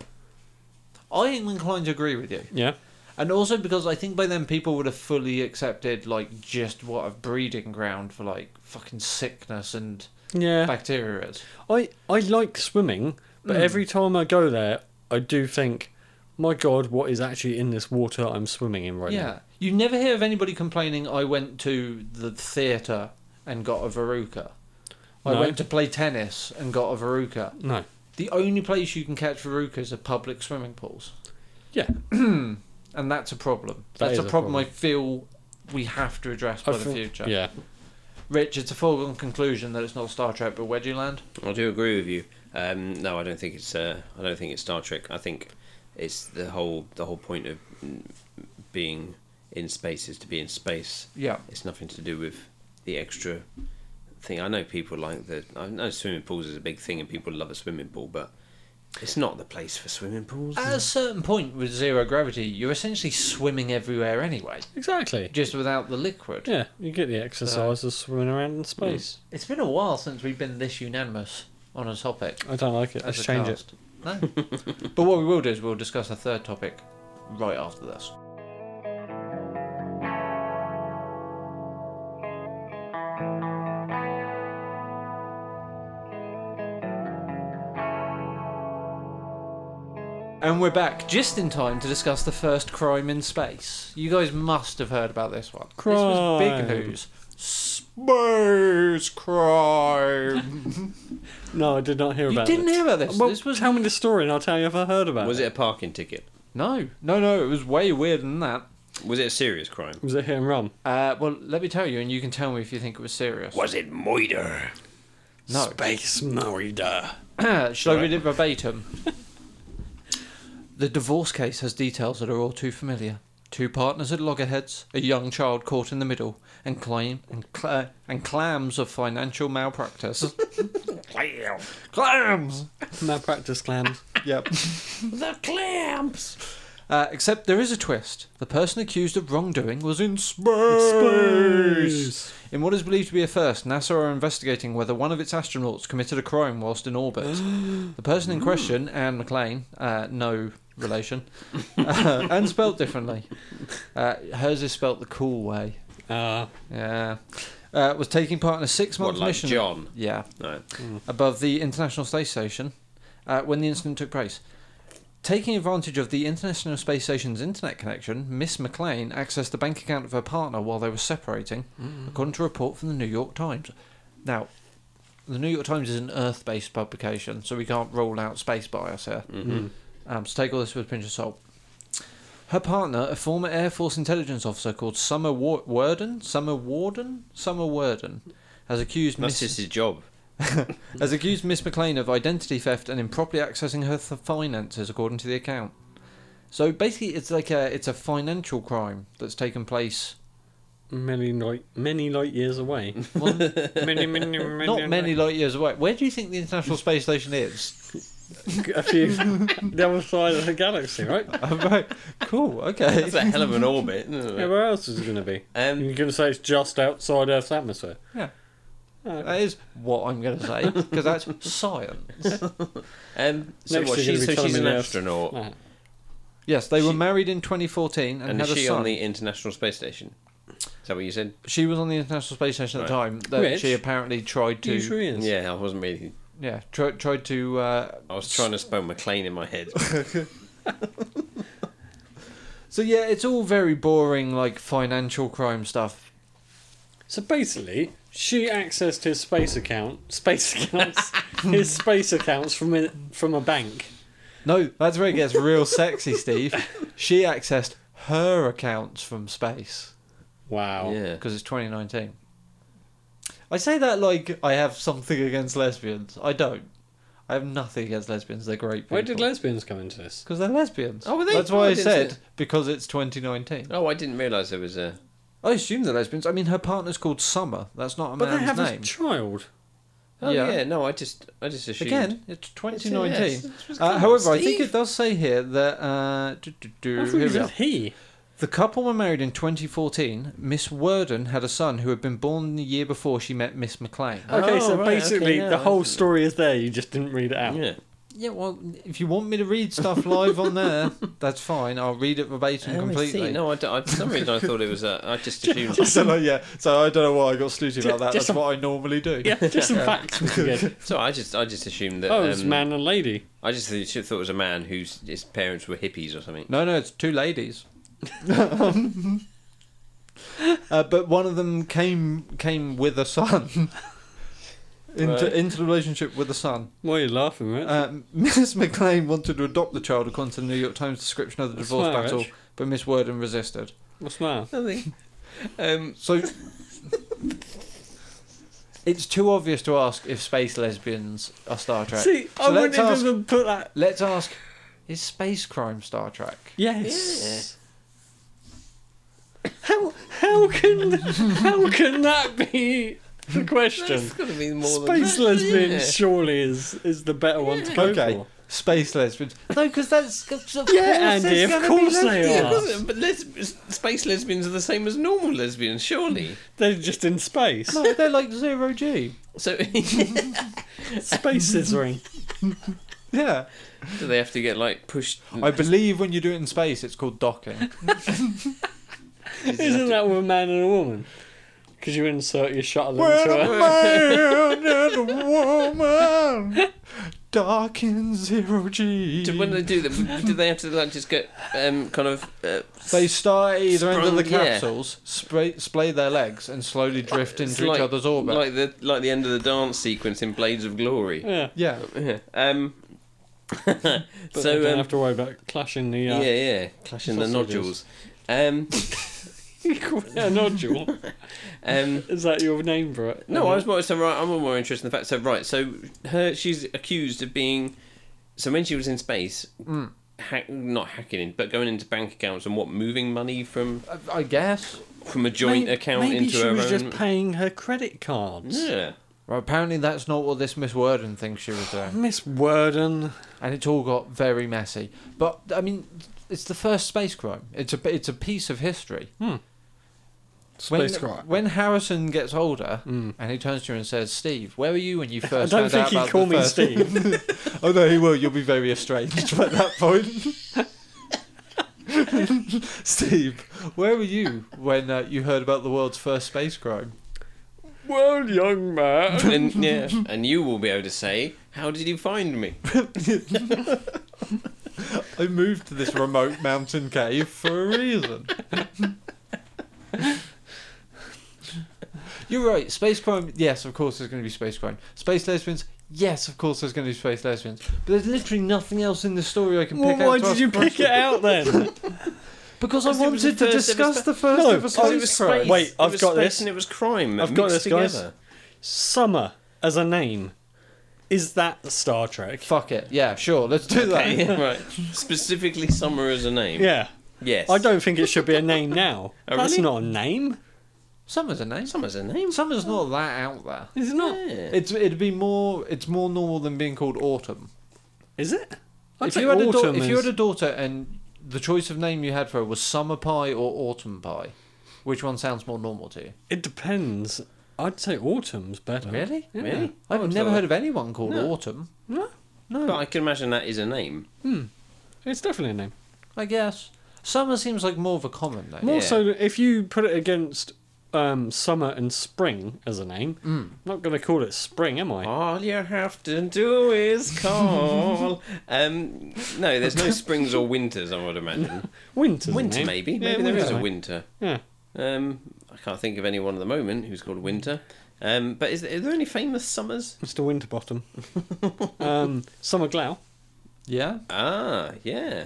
[SPEAKER 2] I am inclined to agree with you,
[SPEAKER 1] Yeah?
[SPEAKER 2] and also because I think by then people would have fully accepted like just what a breeding ground for like fucking sickness and
[SPEAKER 1] Yeah.
[SPEAKER 2] bacteria is.
[SPEAKER 1] I, I like swimming, but
[SPEAKER 2] Hmm.
[SPEAKER 1] every time I go there, I do think, my God, what is actually in this water I'm swimming in right
[SPEAKER 2] Yeah. You never hear of anybody complaining, I went to the theatre and got a veruca. I
[SPEAKER 1] No.
[SPEAKER 2] went to play tennis and got a veruca.
[SPEAKER 1] now? No.
[SPEAKER 2] The only place you can catch verucas are public swimming pools.
[SPEAKER 1] Yeah.
[SPEAKER 2] And that's a problem.
[SPEAKER 1] That
[SPEAKER 2] that's
[SPEAKER 1] is
[SPEAKER 2] a
[SPEAKER 1] a
[SPEAKER 2] problem, I
[SPEAKER 1] problem.
[SPEAKER 2] feel we have to address
[SPEAKER 1] I
[SPEAKER 2] by the
[SPEAKER 1] feel-
[SPEAKER 2] future.
[SPEAKER 1] Yeah.
[SPEAKER 2] Rich, it's a foregone conclusion that it's not Star Trek, but where do you land?
[SPEAKER 3] I do agree with you. Um, no, I don't think it's. Uh, I don't think it's Star Trek. I think it's the whole the whole point of mm, being in space is to be in space.
[SPEAKER 2] Yeah.
[SPEAKER 3] It's nothing to do with the extra thing. I know people like the. I know swimming pools is a big thing, and people love a swimming pool, but it's not the place for swimming pools.
[SPEAKER 2] At a certain point with zero gravity, you're essentially swimming everywhere anyway,
[SPEAKER 1] Exactly.
[SPEAKER 2] just without the liquid.
[SPEAKER 1] Yeah, you get the exercise of swimming around in space.
[SPEAKER 2] It's been a while since we've been this unanimous on a topic.
[SPEAKER 1] I don't like it.
[SPEAKER 2] Hmm. as
[SPEAKER 1] Let's
[SPEAKER 2] a
[SPEAKER 1] change it.
[SPEAKER 2] cast. No. but what we will do is we'll discuss a third topic right after this. And we're back just in time to discuss the first crime in space. You guys must have heard about this one. This was big
[SPEAKER 1] Crime.
[SPEAKER 2] news. Space crime.
[SPEAKER 1] No, I did not hear
[SPEAKER 2] you
[SPEAKER 1] about
[SPEAKER 2] didn't
[SPEAKER 1] it.
[SPEAKER 2] hear about this.
[SPEAKER 1] Well,
[SPEAKER 2] this was
[SPEAKER 1] tell me the story and I'll tell you if I heard about
[SPEAKER 3] was
[SPEAKER 1] it.
[SPEAKER 3] it a parking ticket?
[SPEAKER 2] No, no, no. It was way weirder than that.
[SPEAKER 3] Was it a serious crime?
[SPEAKER 1] Was it hit and run?
[SPEAKER 2] Uh, well, let me tell you, and you can tell me if you think it was serious.
[SPEAKER 3] Was it moider?
[SPEAKER 2] No.
[SPEAKER 1] Space murder.
[SPEAKER 2] Shall I read it verbatim? the divorce case has details that are all too familiar. Two partners at loggerheads, a young child caught in the middle, and claim and, cla and clams of financial malpractice.
[SPEAKER 3] Clam.
[SPEAKER 2] clams.
[SPEAKER 1] Malpractice clams.
[SPEAKER 2] Yep.
[SPEAKER 3] The clamps.
[SPEAKER 2] Uh, except there is a twist. The person accused of wrongdoing was in space.
[SPEAKER 1] Space.
[SPEAKER 2] In what is believed to be a first, NASA are investigating whether one of its astronauts committed a crime whilst in orbit. the person in question, Anne McLean, uh, no relation, uh, and spelt differently. Uh, hers is spelt the cool way.
[SPEAKER 1] Uh,
[SPEAKER 2] Yeah. Uh, was taking part in a six
[SPEAKER 3] What,
[SPEAKER 2] month
[SPEAKER 3] like
[SPEAKER 2] mission.
[SPEAKER 3] John?
[SPEAKER 2] Yeah,
[SPEAKER 3] No.
[SPEAKER 2] above the International Space Station uh, when the incident took place. Taking advantage of the International Space Station's internet connection, Miss McLean accessed the bank account of her partner while they were separating,
[SPEAKER 3] Mm.
[SPEAKER 2] according to a report from the New York Times. Now, the New York Times is an Earth based publication, so we can't rule out space bias here.
[SPEAKER 3] Mm-hmm.
[SPEAKER 2] Um, so take all this with a pinch of salt. Her partner, a former Air Force intelligence officer called Summer Wa- Warden, Summer Warden, Summer Warden, has accused Miss
[SPEAKER 3] That's just his job.
[SPEAKER 2] has accused Miss McLean of identity theft and improperly accessing her th- finances, according to the account. So basically, it's like a it's a financial crime that's taken place.
[SPEAKER 1] many light, many light years away.
[SPEAKER 2] Well,
[SPEAKER 1] many, many, many,
[SPEAKER 2] not many light years away. Where do you think the International Space Station is?
[SPEAKER 1] A few. the other side of the galaxy, right?
[SPEAKER 2] Oh, right. Cool. Okay.
[SPEAKER 3] That's a hell of an orbit.
[SPEAKER 1] Yeah,
[SPEAKER 3] isn't it?
[SPEAKER 1] where else is it going to be?
[SPEAKER 3] Um,
[SPEAKER 1] You're going to say it's just outside Earth's atmosphere?
[SPEAKER 2] Yeah.
[SPEAKER 1] Oh,
[SPEAKER 2] That is what I'm going to say because that's science.
[SPEAKER 3] um, so
[SPEAKER 1] Next
[SPEAKER 3] what,
[SPEAKER 1] you're
[SPEAKER 3] she's,
[SPEAKER 1] gonna be
[SPEAKER 3] so she's
[SPEAKER 1] telling
[SPEAKER 3] an
[SPEAKER 1] me the-
[SPEAKER 3] astronaut,
[SPEAKER 1] no.
[SPEAKER 2] Yes, they were
[SPEAKER 3] She-
[SPEAKER 2] married in 2014 and,
[SPEAKER 3] and
[SPEAKER 2] had
[SPEAKER 3] is
[SPEAKER 2] a
[SPEAKER 3] she
[SPEAKER 2] son.
[SPEAKER 3] on the International Space Station? Is that what you said?
[SPEAKER 2] She was on the International Space Station at the time. That
[SPEAKER 1] Which-
[SPEAKER 2] she apparently tried to.
[SPEAKER 1] Usually is.
[SPEAKER 3] Yeah, I wasn't really.
[SPEAKER 2] Yeah, tr- tried to. Uh,
[SPEAKER 3] I was trying to spell McLean in my head.
[SPEAKER 2] So yeah, it's all very boring, like financial crime stuff.
[SPEAKER 1] So basically, she accessed his space account, space accounts, his space accounts from a, from a bank.
[SPEAKER 2] No, that's where it gets real sexy, Steve. She accessed her accounts from space
[SPEAKER 1] Wow.
[SPEAKER 3] yeah.
[SPEAKER 2] because it's 2019. I say that like I have something against lesbians. I don't. I have nothing against lesbians. They're great people.
[SPEAKER 1] Where did lesbians come into this?
[SPEAKER 2] Because they're lesbians.
[SPEAKER 3] Oh, were they?
[SPEAKER 2] That's why
[SPEAKER 3] Oh,
[SPEAKER 2] I
[SPEAKER 3] I didn't
[SPEAKER 2] said
[SPEAKER 3] see
[SPEAKER 2] because it's 2019.
[SPEAKER 3] Oh, I didn't realise there was a.
[SPEAKER 2] I assume they're lesbians. I mean, her partner's called Summer. That's not a
[SPEAKER 1] But they
[SPEAKER 2] man's
[SPEAKER 1] have
[SPEAKER 2] name.
[SPEAKER 1] a child.
[SPEAKER 3] Oh
[SPEAKER 2] Yeah.
[SPEAKER 3] yeah. no, I just, I just assumed.
[SPEAKER 2] Again, it's
[SPEAKER 3] It's-
[SPEAKER 2] 2019.
[SPEAKER 3] yes, that's what's
[SPEAKER 2] Uh,
[SPEAKER 3] coming,
[SPEAKER 2] however, I
[SPEAKER 3] Steve.
[SPEAKER 2] think it does say here that uh, do, do, do,
[SPEAKER 1] I thought
[SPEAKER 2] here
[SPEAKER 1] you
[SPEAKER 2] we
[SPEAKER 1] said
[SPEAKER 2] are.
[SPEAKER 1] he.
[SPEAKER 2] the couple were married in 2014. Miss Worden had a son who had been born the year before she met Miss McLean.
[SPEAKER 3] Oh,
[SPEAKER 1] Okay, so
[SPEAKER 3] right, okay,
[SPEAKER 1] basically
[SPEAKER 3] yeah,
[SPEAKER 1] the
[SPEAKER 3] I
[SPEAKER 1] whole
[SPEAKER 3] see.
[SPEAKER 1] story is there. You just didn't read it out.
[SPEAKER 3] Yeah.
[SPEAKER 2] Yeah, well, if you want me to read stuff live on there, that's fine. I'll read it verbatim completely.
[SPEAKER 3] No, I, don't- I- for some reason I thought it was. A, I just assumed.
[SPEAKER 2] so, like, yeah, so I don't know why I got snooty about that.
[SPEAKER 1] Just
[SPEAKER 2] That's
[SPEAKER 1] a-
[SPEAKER 2] what I normally do.
[SPEAKER 1] Yeah, just some facts. would be good.
[SPEAKER 3] so I just, I just assumed that.
[SPEAKER 1] Oh, it's
[SPEAKER 3] um,
[SPEAKER 1] man and lady.
[SPEAKER 3] I just th- thought it was a man whose his parents were hippies or something.
[SPEAKER 2] No, no, it's two ladies. uh, but one of them came came with a son. Into,
[SPEAKER 3] Right.
[SPEAKER 2] into the relationship with the son.
[SPEAKER 1] Why are you laughing, Rich?
[SPEAKER 2] Uh, Miss McLean wanted to adopt the child according to the New York Times description of the
[SPEAKER 1] That's
[SPEAKER 2] divorce
[SPEAKER 1] fine,
[SPEAKER 2] battle,
[SPEAKER 1] Rich.
[SPEAKER 2] but Miss Worden resisted.
[SPEAKER 1] What's that?
[SPEAKER 3] Nothing. Um,
[SPEAKER 2] So it's too obvious to ask if space lesbians are Star Trek.
[SPEAKER 1] See,
[SPEAKER 2] So
[SPEAKER 1] I wouldn't
[SPEAKER 2] let's
[SPEAKER 1] even
[SPEAKER 2] ask-
[SPEAKER 1] put that.
[SPEAKER 2] Let's ask: Is space crime Star Trek?
[SPEAKER 1] Yes. How how can how can that be the question?
[SPEAKER 3] That's got to be more than
[SPEAKER 1] Space
[SPEAKER 3] that,
[SPEAKER 1] lesbian
[SPEAKER 3] yeah.
[SPEAKER 1] surely is is the better one to go for.
[SPEAKER 2] space lesbians. No, because that's of
[SPEAKER 1] Yeah,
[SPEAKER 2] course
[SPEAKER 1] Andy,
[SPEAKER 2] there's
[SPEAKER 1] of
[SPEAKER 2] gonna be
[SPEAKER 1] course they
[SPEAKER 3] Yeah,
[SPEAKER 1] are.
[SPEAKER 3] wasn't it? but lesb space lesbians are the same as normal lesbians, surely.
[SPEAKER 1] They're just in space.
[SPEAKER 2] No, they're like zero G.
[SPEAKER 3] So
[SPEAKER 1] Space scissoring.
[SPEAKER 2] Yeah.
[SPEAKER 3] do they have to get like pushed?
[SPEAKER 2] I believe when you do it in space, it's called docking.
[SPEAKER 1] Isn't that with a man and a woman? Because you insert your shuttle into
[SPEAKER 2] Well,
[SPEAKER 1] her.
[SPEAKER 2] a man and a woman docking zero G.
[SPEAKER 3] Do- when they do that, do they have to like just get um, kind of? Uh,
[SPEAKER 2] They start at either end of the
[SPEAKER 3] Sprung, yeah. Uh,
[SPEAKER 2] capsules, spray, splay their legs, and slowly drift
[SPEAKER 3] it's
[SPEAKER 2] into each
[SPEAKER 3] like-
[SPEAKER 2] other's orbit.
[SPEAKER 3] like the like the end of the dance sequence in Blades of Glory.
[SPEAKER 1] Yeah.
[SPEAKER 2] yeah.
[SPEAKER 3] Yeah. Um,
[SPEAKER 1] But so, don't
[SPEAKER 3] so um,
[SPEAKER 1] have to worry about clashing the
[SPEAKER 3] yeah,
[SPEAKER 1] uh, yeah.
[SPEAKER 3] yeah, clashing the
[SPEAKER 1] Sausages.
[SPEAKER 3] nodules. Um,
[SPEAKER 1] nodule.
[SPEAKER 3] um, mhm.
[SPEAKER 1] Is that your name for it?
[SPEAKER 3] no, I was more so right. I'm more interested in the fact. So right, so her she's accused of being. So when she was in space,
[SPEAKER 1] Hmm.
[SPEAKER 3] hack, not hacking in, but going into bank accounts and what moving money from
[SPEAKER 2] I- I guess.
[SPEAKER 3] from a joint
[SPEAKER 1] May-
[SPEAKER 3] account
[SPEAKER 1] maybe
[SPEAKER 3] into
[SPEAKER 1] she
[SPEAKER 3] her
[SPEAKER 1] was
[SPEAKER 3] own.
[SPEAKER 1] just paying her credit cards.
[SPEAKER 3] yeah.
[SPEAKER 2] Well, apparently that's not what this Miss Worden thinks she was doing.
[SPEAKER 1] Miss Worden.
[SPEAKER 2] and it's all got very messy. But I mean, it's the first space crime. It's a it's a piece of history.
[SPEAKER 1] Space
[SPEAKER 2] when,
[SPEAKER 1] crime.
[SPEAKER 2] When Harrison gets older
[SPEAKER 1] Mm.
[SPEAKER 2] and he turns to her and says, "Steve, where were you when you
[SPEAKER 1] I
[SPEAKER 2] first?"
[SPEAKER 1] don't
[SPEAKER 2] found
[SPEAKER 1] think
[SPEAKER 2] out
[SPEAKER 1] he'd
[SPEAKER 2] about
[SPEAKER 1] call me
[SPEAKER 2] the first-"
[SPEAKER 1] Steve.
[SPEAKER 2] Oh no, he will. You'll be very estranged by that point. Steve, where were you when uh, you heard about the world's first space crime?
[SPEAKER 1] well, young man.
[SPEAKER 3] and, yeah, and you will be able to say, "How did you find me?"
[SPEAKER 2] I moved to this remote mountain cave for a reason. You're right. Space crime, yes, of course, there's going to be space crime. Space lesbians, yes, of course, there's going to be space lesbians. But there's literally nothing else in the story I can
[SPEAKER 1] Well,
[SPEAKER 2] pick out.
[SPEAKER 1] why
[SPEAKER 2] to
[SPEAKER 1] did
[SPEAKER 2] ask
[SPEAKER 1] you
[SPEAKER 2] questions.
[SPEAKER 1] pick it out then?
[SPEAKER 2] Because I
[SPEAKER 3] Because it was the
[SPEAKER 2] wanted to
[SPEAKER 3] first ever
[SPEAKER 2] discuss
[SPEAKER 3] spa-
[SPEAKER 2] the first
[SPEAKER 1] No,
[SPEAKER 2] ever
[SPEAKER 1] because it
[SPEAKER 2] space
[SPEAKER 1] was
[SPEAKER 2] crime.
[SPEAKER 1] space. Wait,
[SPEAKER 3] It
[SPEAKER 1] I've
[SPEAKER 3] was
[SPEAKER 1] got
[SPEAKER 3] space
[SPEAKER 1] this.
[SPEAKER 3] and it was crime.
[SPEAKER 1] I've got
[SPEAKER 3] mixed
[SPEAKER 1] this, guys.
[SPEAKER 3] together.
[SPEAKER 1] Summer as a name. Is that Star Trek?
[SPEAKER 2] Fuck it. Yeah, sure. Let's do
[SPEAKER 3] Okay,
[SPEAKER 2] that.
[SPEAKER 3] right. Specifically, summer as a name.
[SPEAKER 1] Yeah.
[SPEAKER 3] Yes.
[SPEAKER 1] I don't think it should be a name now.
[SPEAKER 3] Oh,
[SPEAKER 1] That's
[SPEAKER 3] really?
[SPEAKER 1] not a name.
[SPEAKER 2] Summer's a name.
[SPEAKER 3] Summer's a name.
[SPEAKER 2] Summer's not that out there.
[SPEAKER 1] Is it not?
[SPEAKER 3] Yeah.
[SPEAKER 2] It's it'd be more. It's more normal than being called autumn.
[SPEAKER 1] Is it? I'd
[SPEAKER 2] if
[SPEAKER 1] say
[SPEAKER 2] you had a
[SPEAKER 1] autumn
[SPEAKER 2] da- if you
[SPEAKER 1] is-
[SPEAKER 2] had a daughter and the choice of name you had for her was summer pie or autumn pie, which one sounds more normal to you?
[SPEAKER 1] It depends. I'd say autumn's better.
[SPEAKER 2] Really?
[SPEAKER 1] Yeah.
[SPEAKER 3] Really? I
[SPEAKER 2] I've
[SPEAKER 3] would
[SPEAKER 2] never
[SPEAKER 3] thought-
[SPEAKER 2] heard of anyone called
[SPEAKER 3] No.
[SPEAKER 2] autumn.
[SPEAKER 1] No,
[SPEAKER 2] No,
[SPEAKER 3] But I can imagine that is a name.
[SPEAKER 1] it's definitely a name.
[SPEAKER 2] I guess summer seems like more of a common name.
[SPEAKER 1] More
[SPEAKER 3] Yeah.
[SPEAKER 1] so, if you put it against um, summer and spring as a name,
[SPEAKER 3] Hmm.
[SPEAKER 1] I'm not going to call it spring, am I?
[SPEAKER 3] All you have to do is call. um, no, there's no springs or winters. I would imagine.
[SPEAKER 1] Winter's a
[SPEAKER 3] Winter,
[SPEAKER 1] name.
[SPEAKER 3] maybe.
[SPEAKER 1] Yeah,
[SPEAKER 3] Maybe there
[SPEAKER 1] winter's
[SPEAKER 3] is a
[SPEAKER 1] name.
[SPEAKER 3] winter.
[SPEAKER 1] Yeah.
[SPEAKER 3] Um, I can't think of anyone at the moment who's called Winter. Um, but is there, are there any famous summers?
[SPEAKER 1] Mr. Winterbottom. um, summer Glau.
[SPEAKER 2] Yeah,
[SPEAKER 3] Ah, yeah.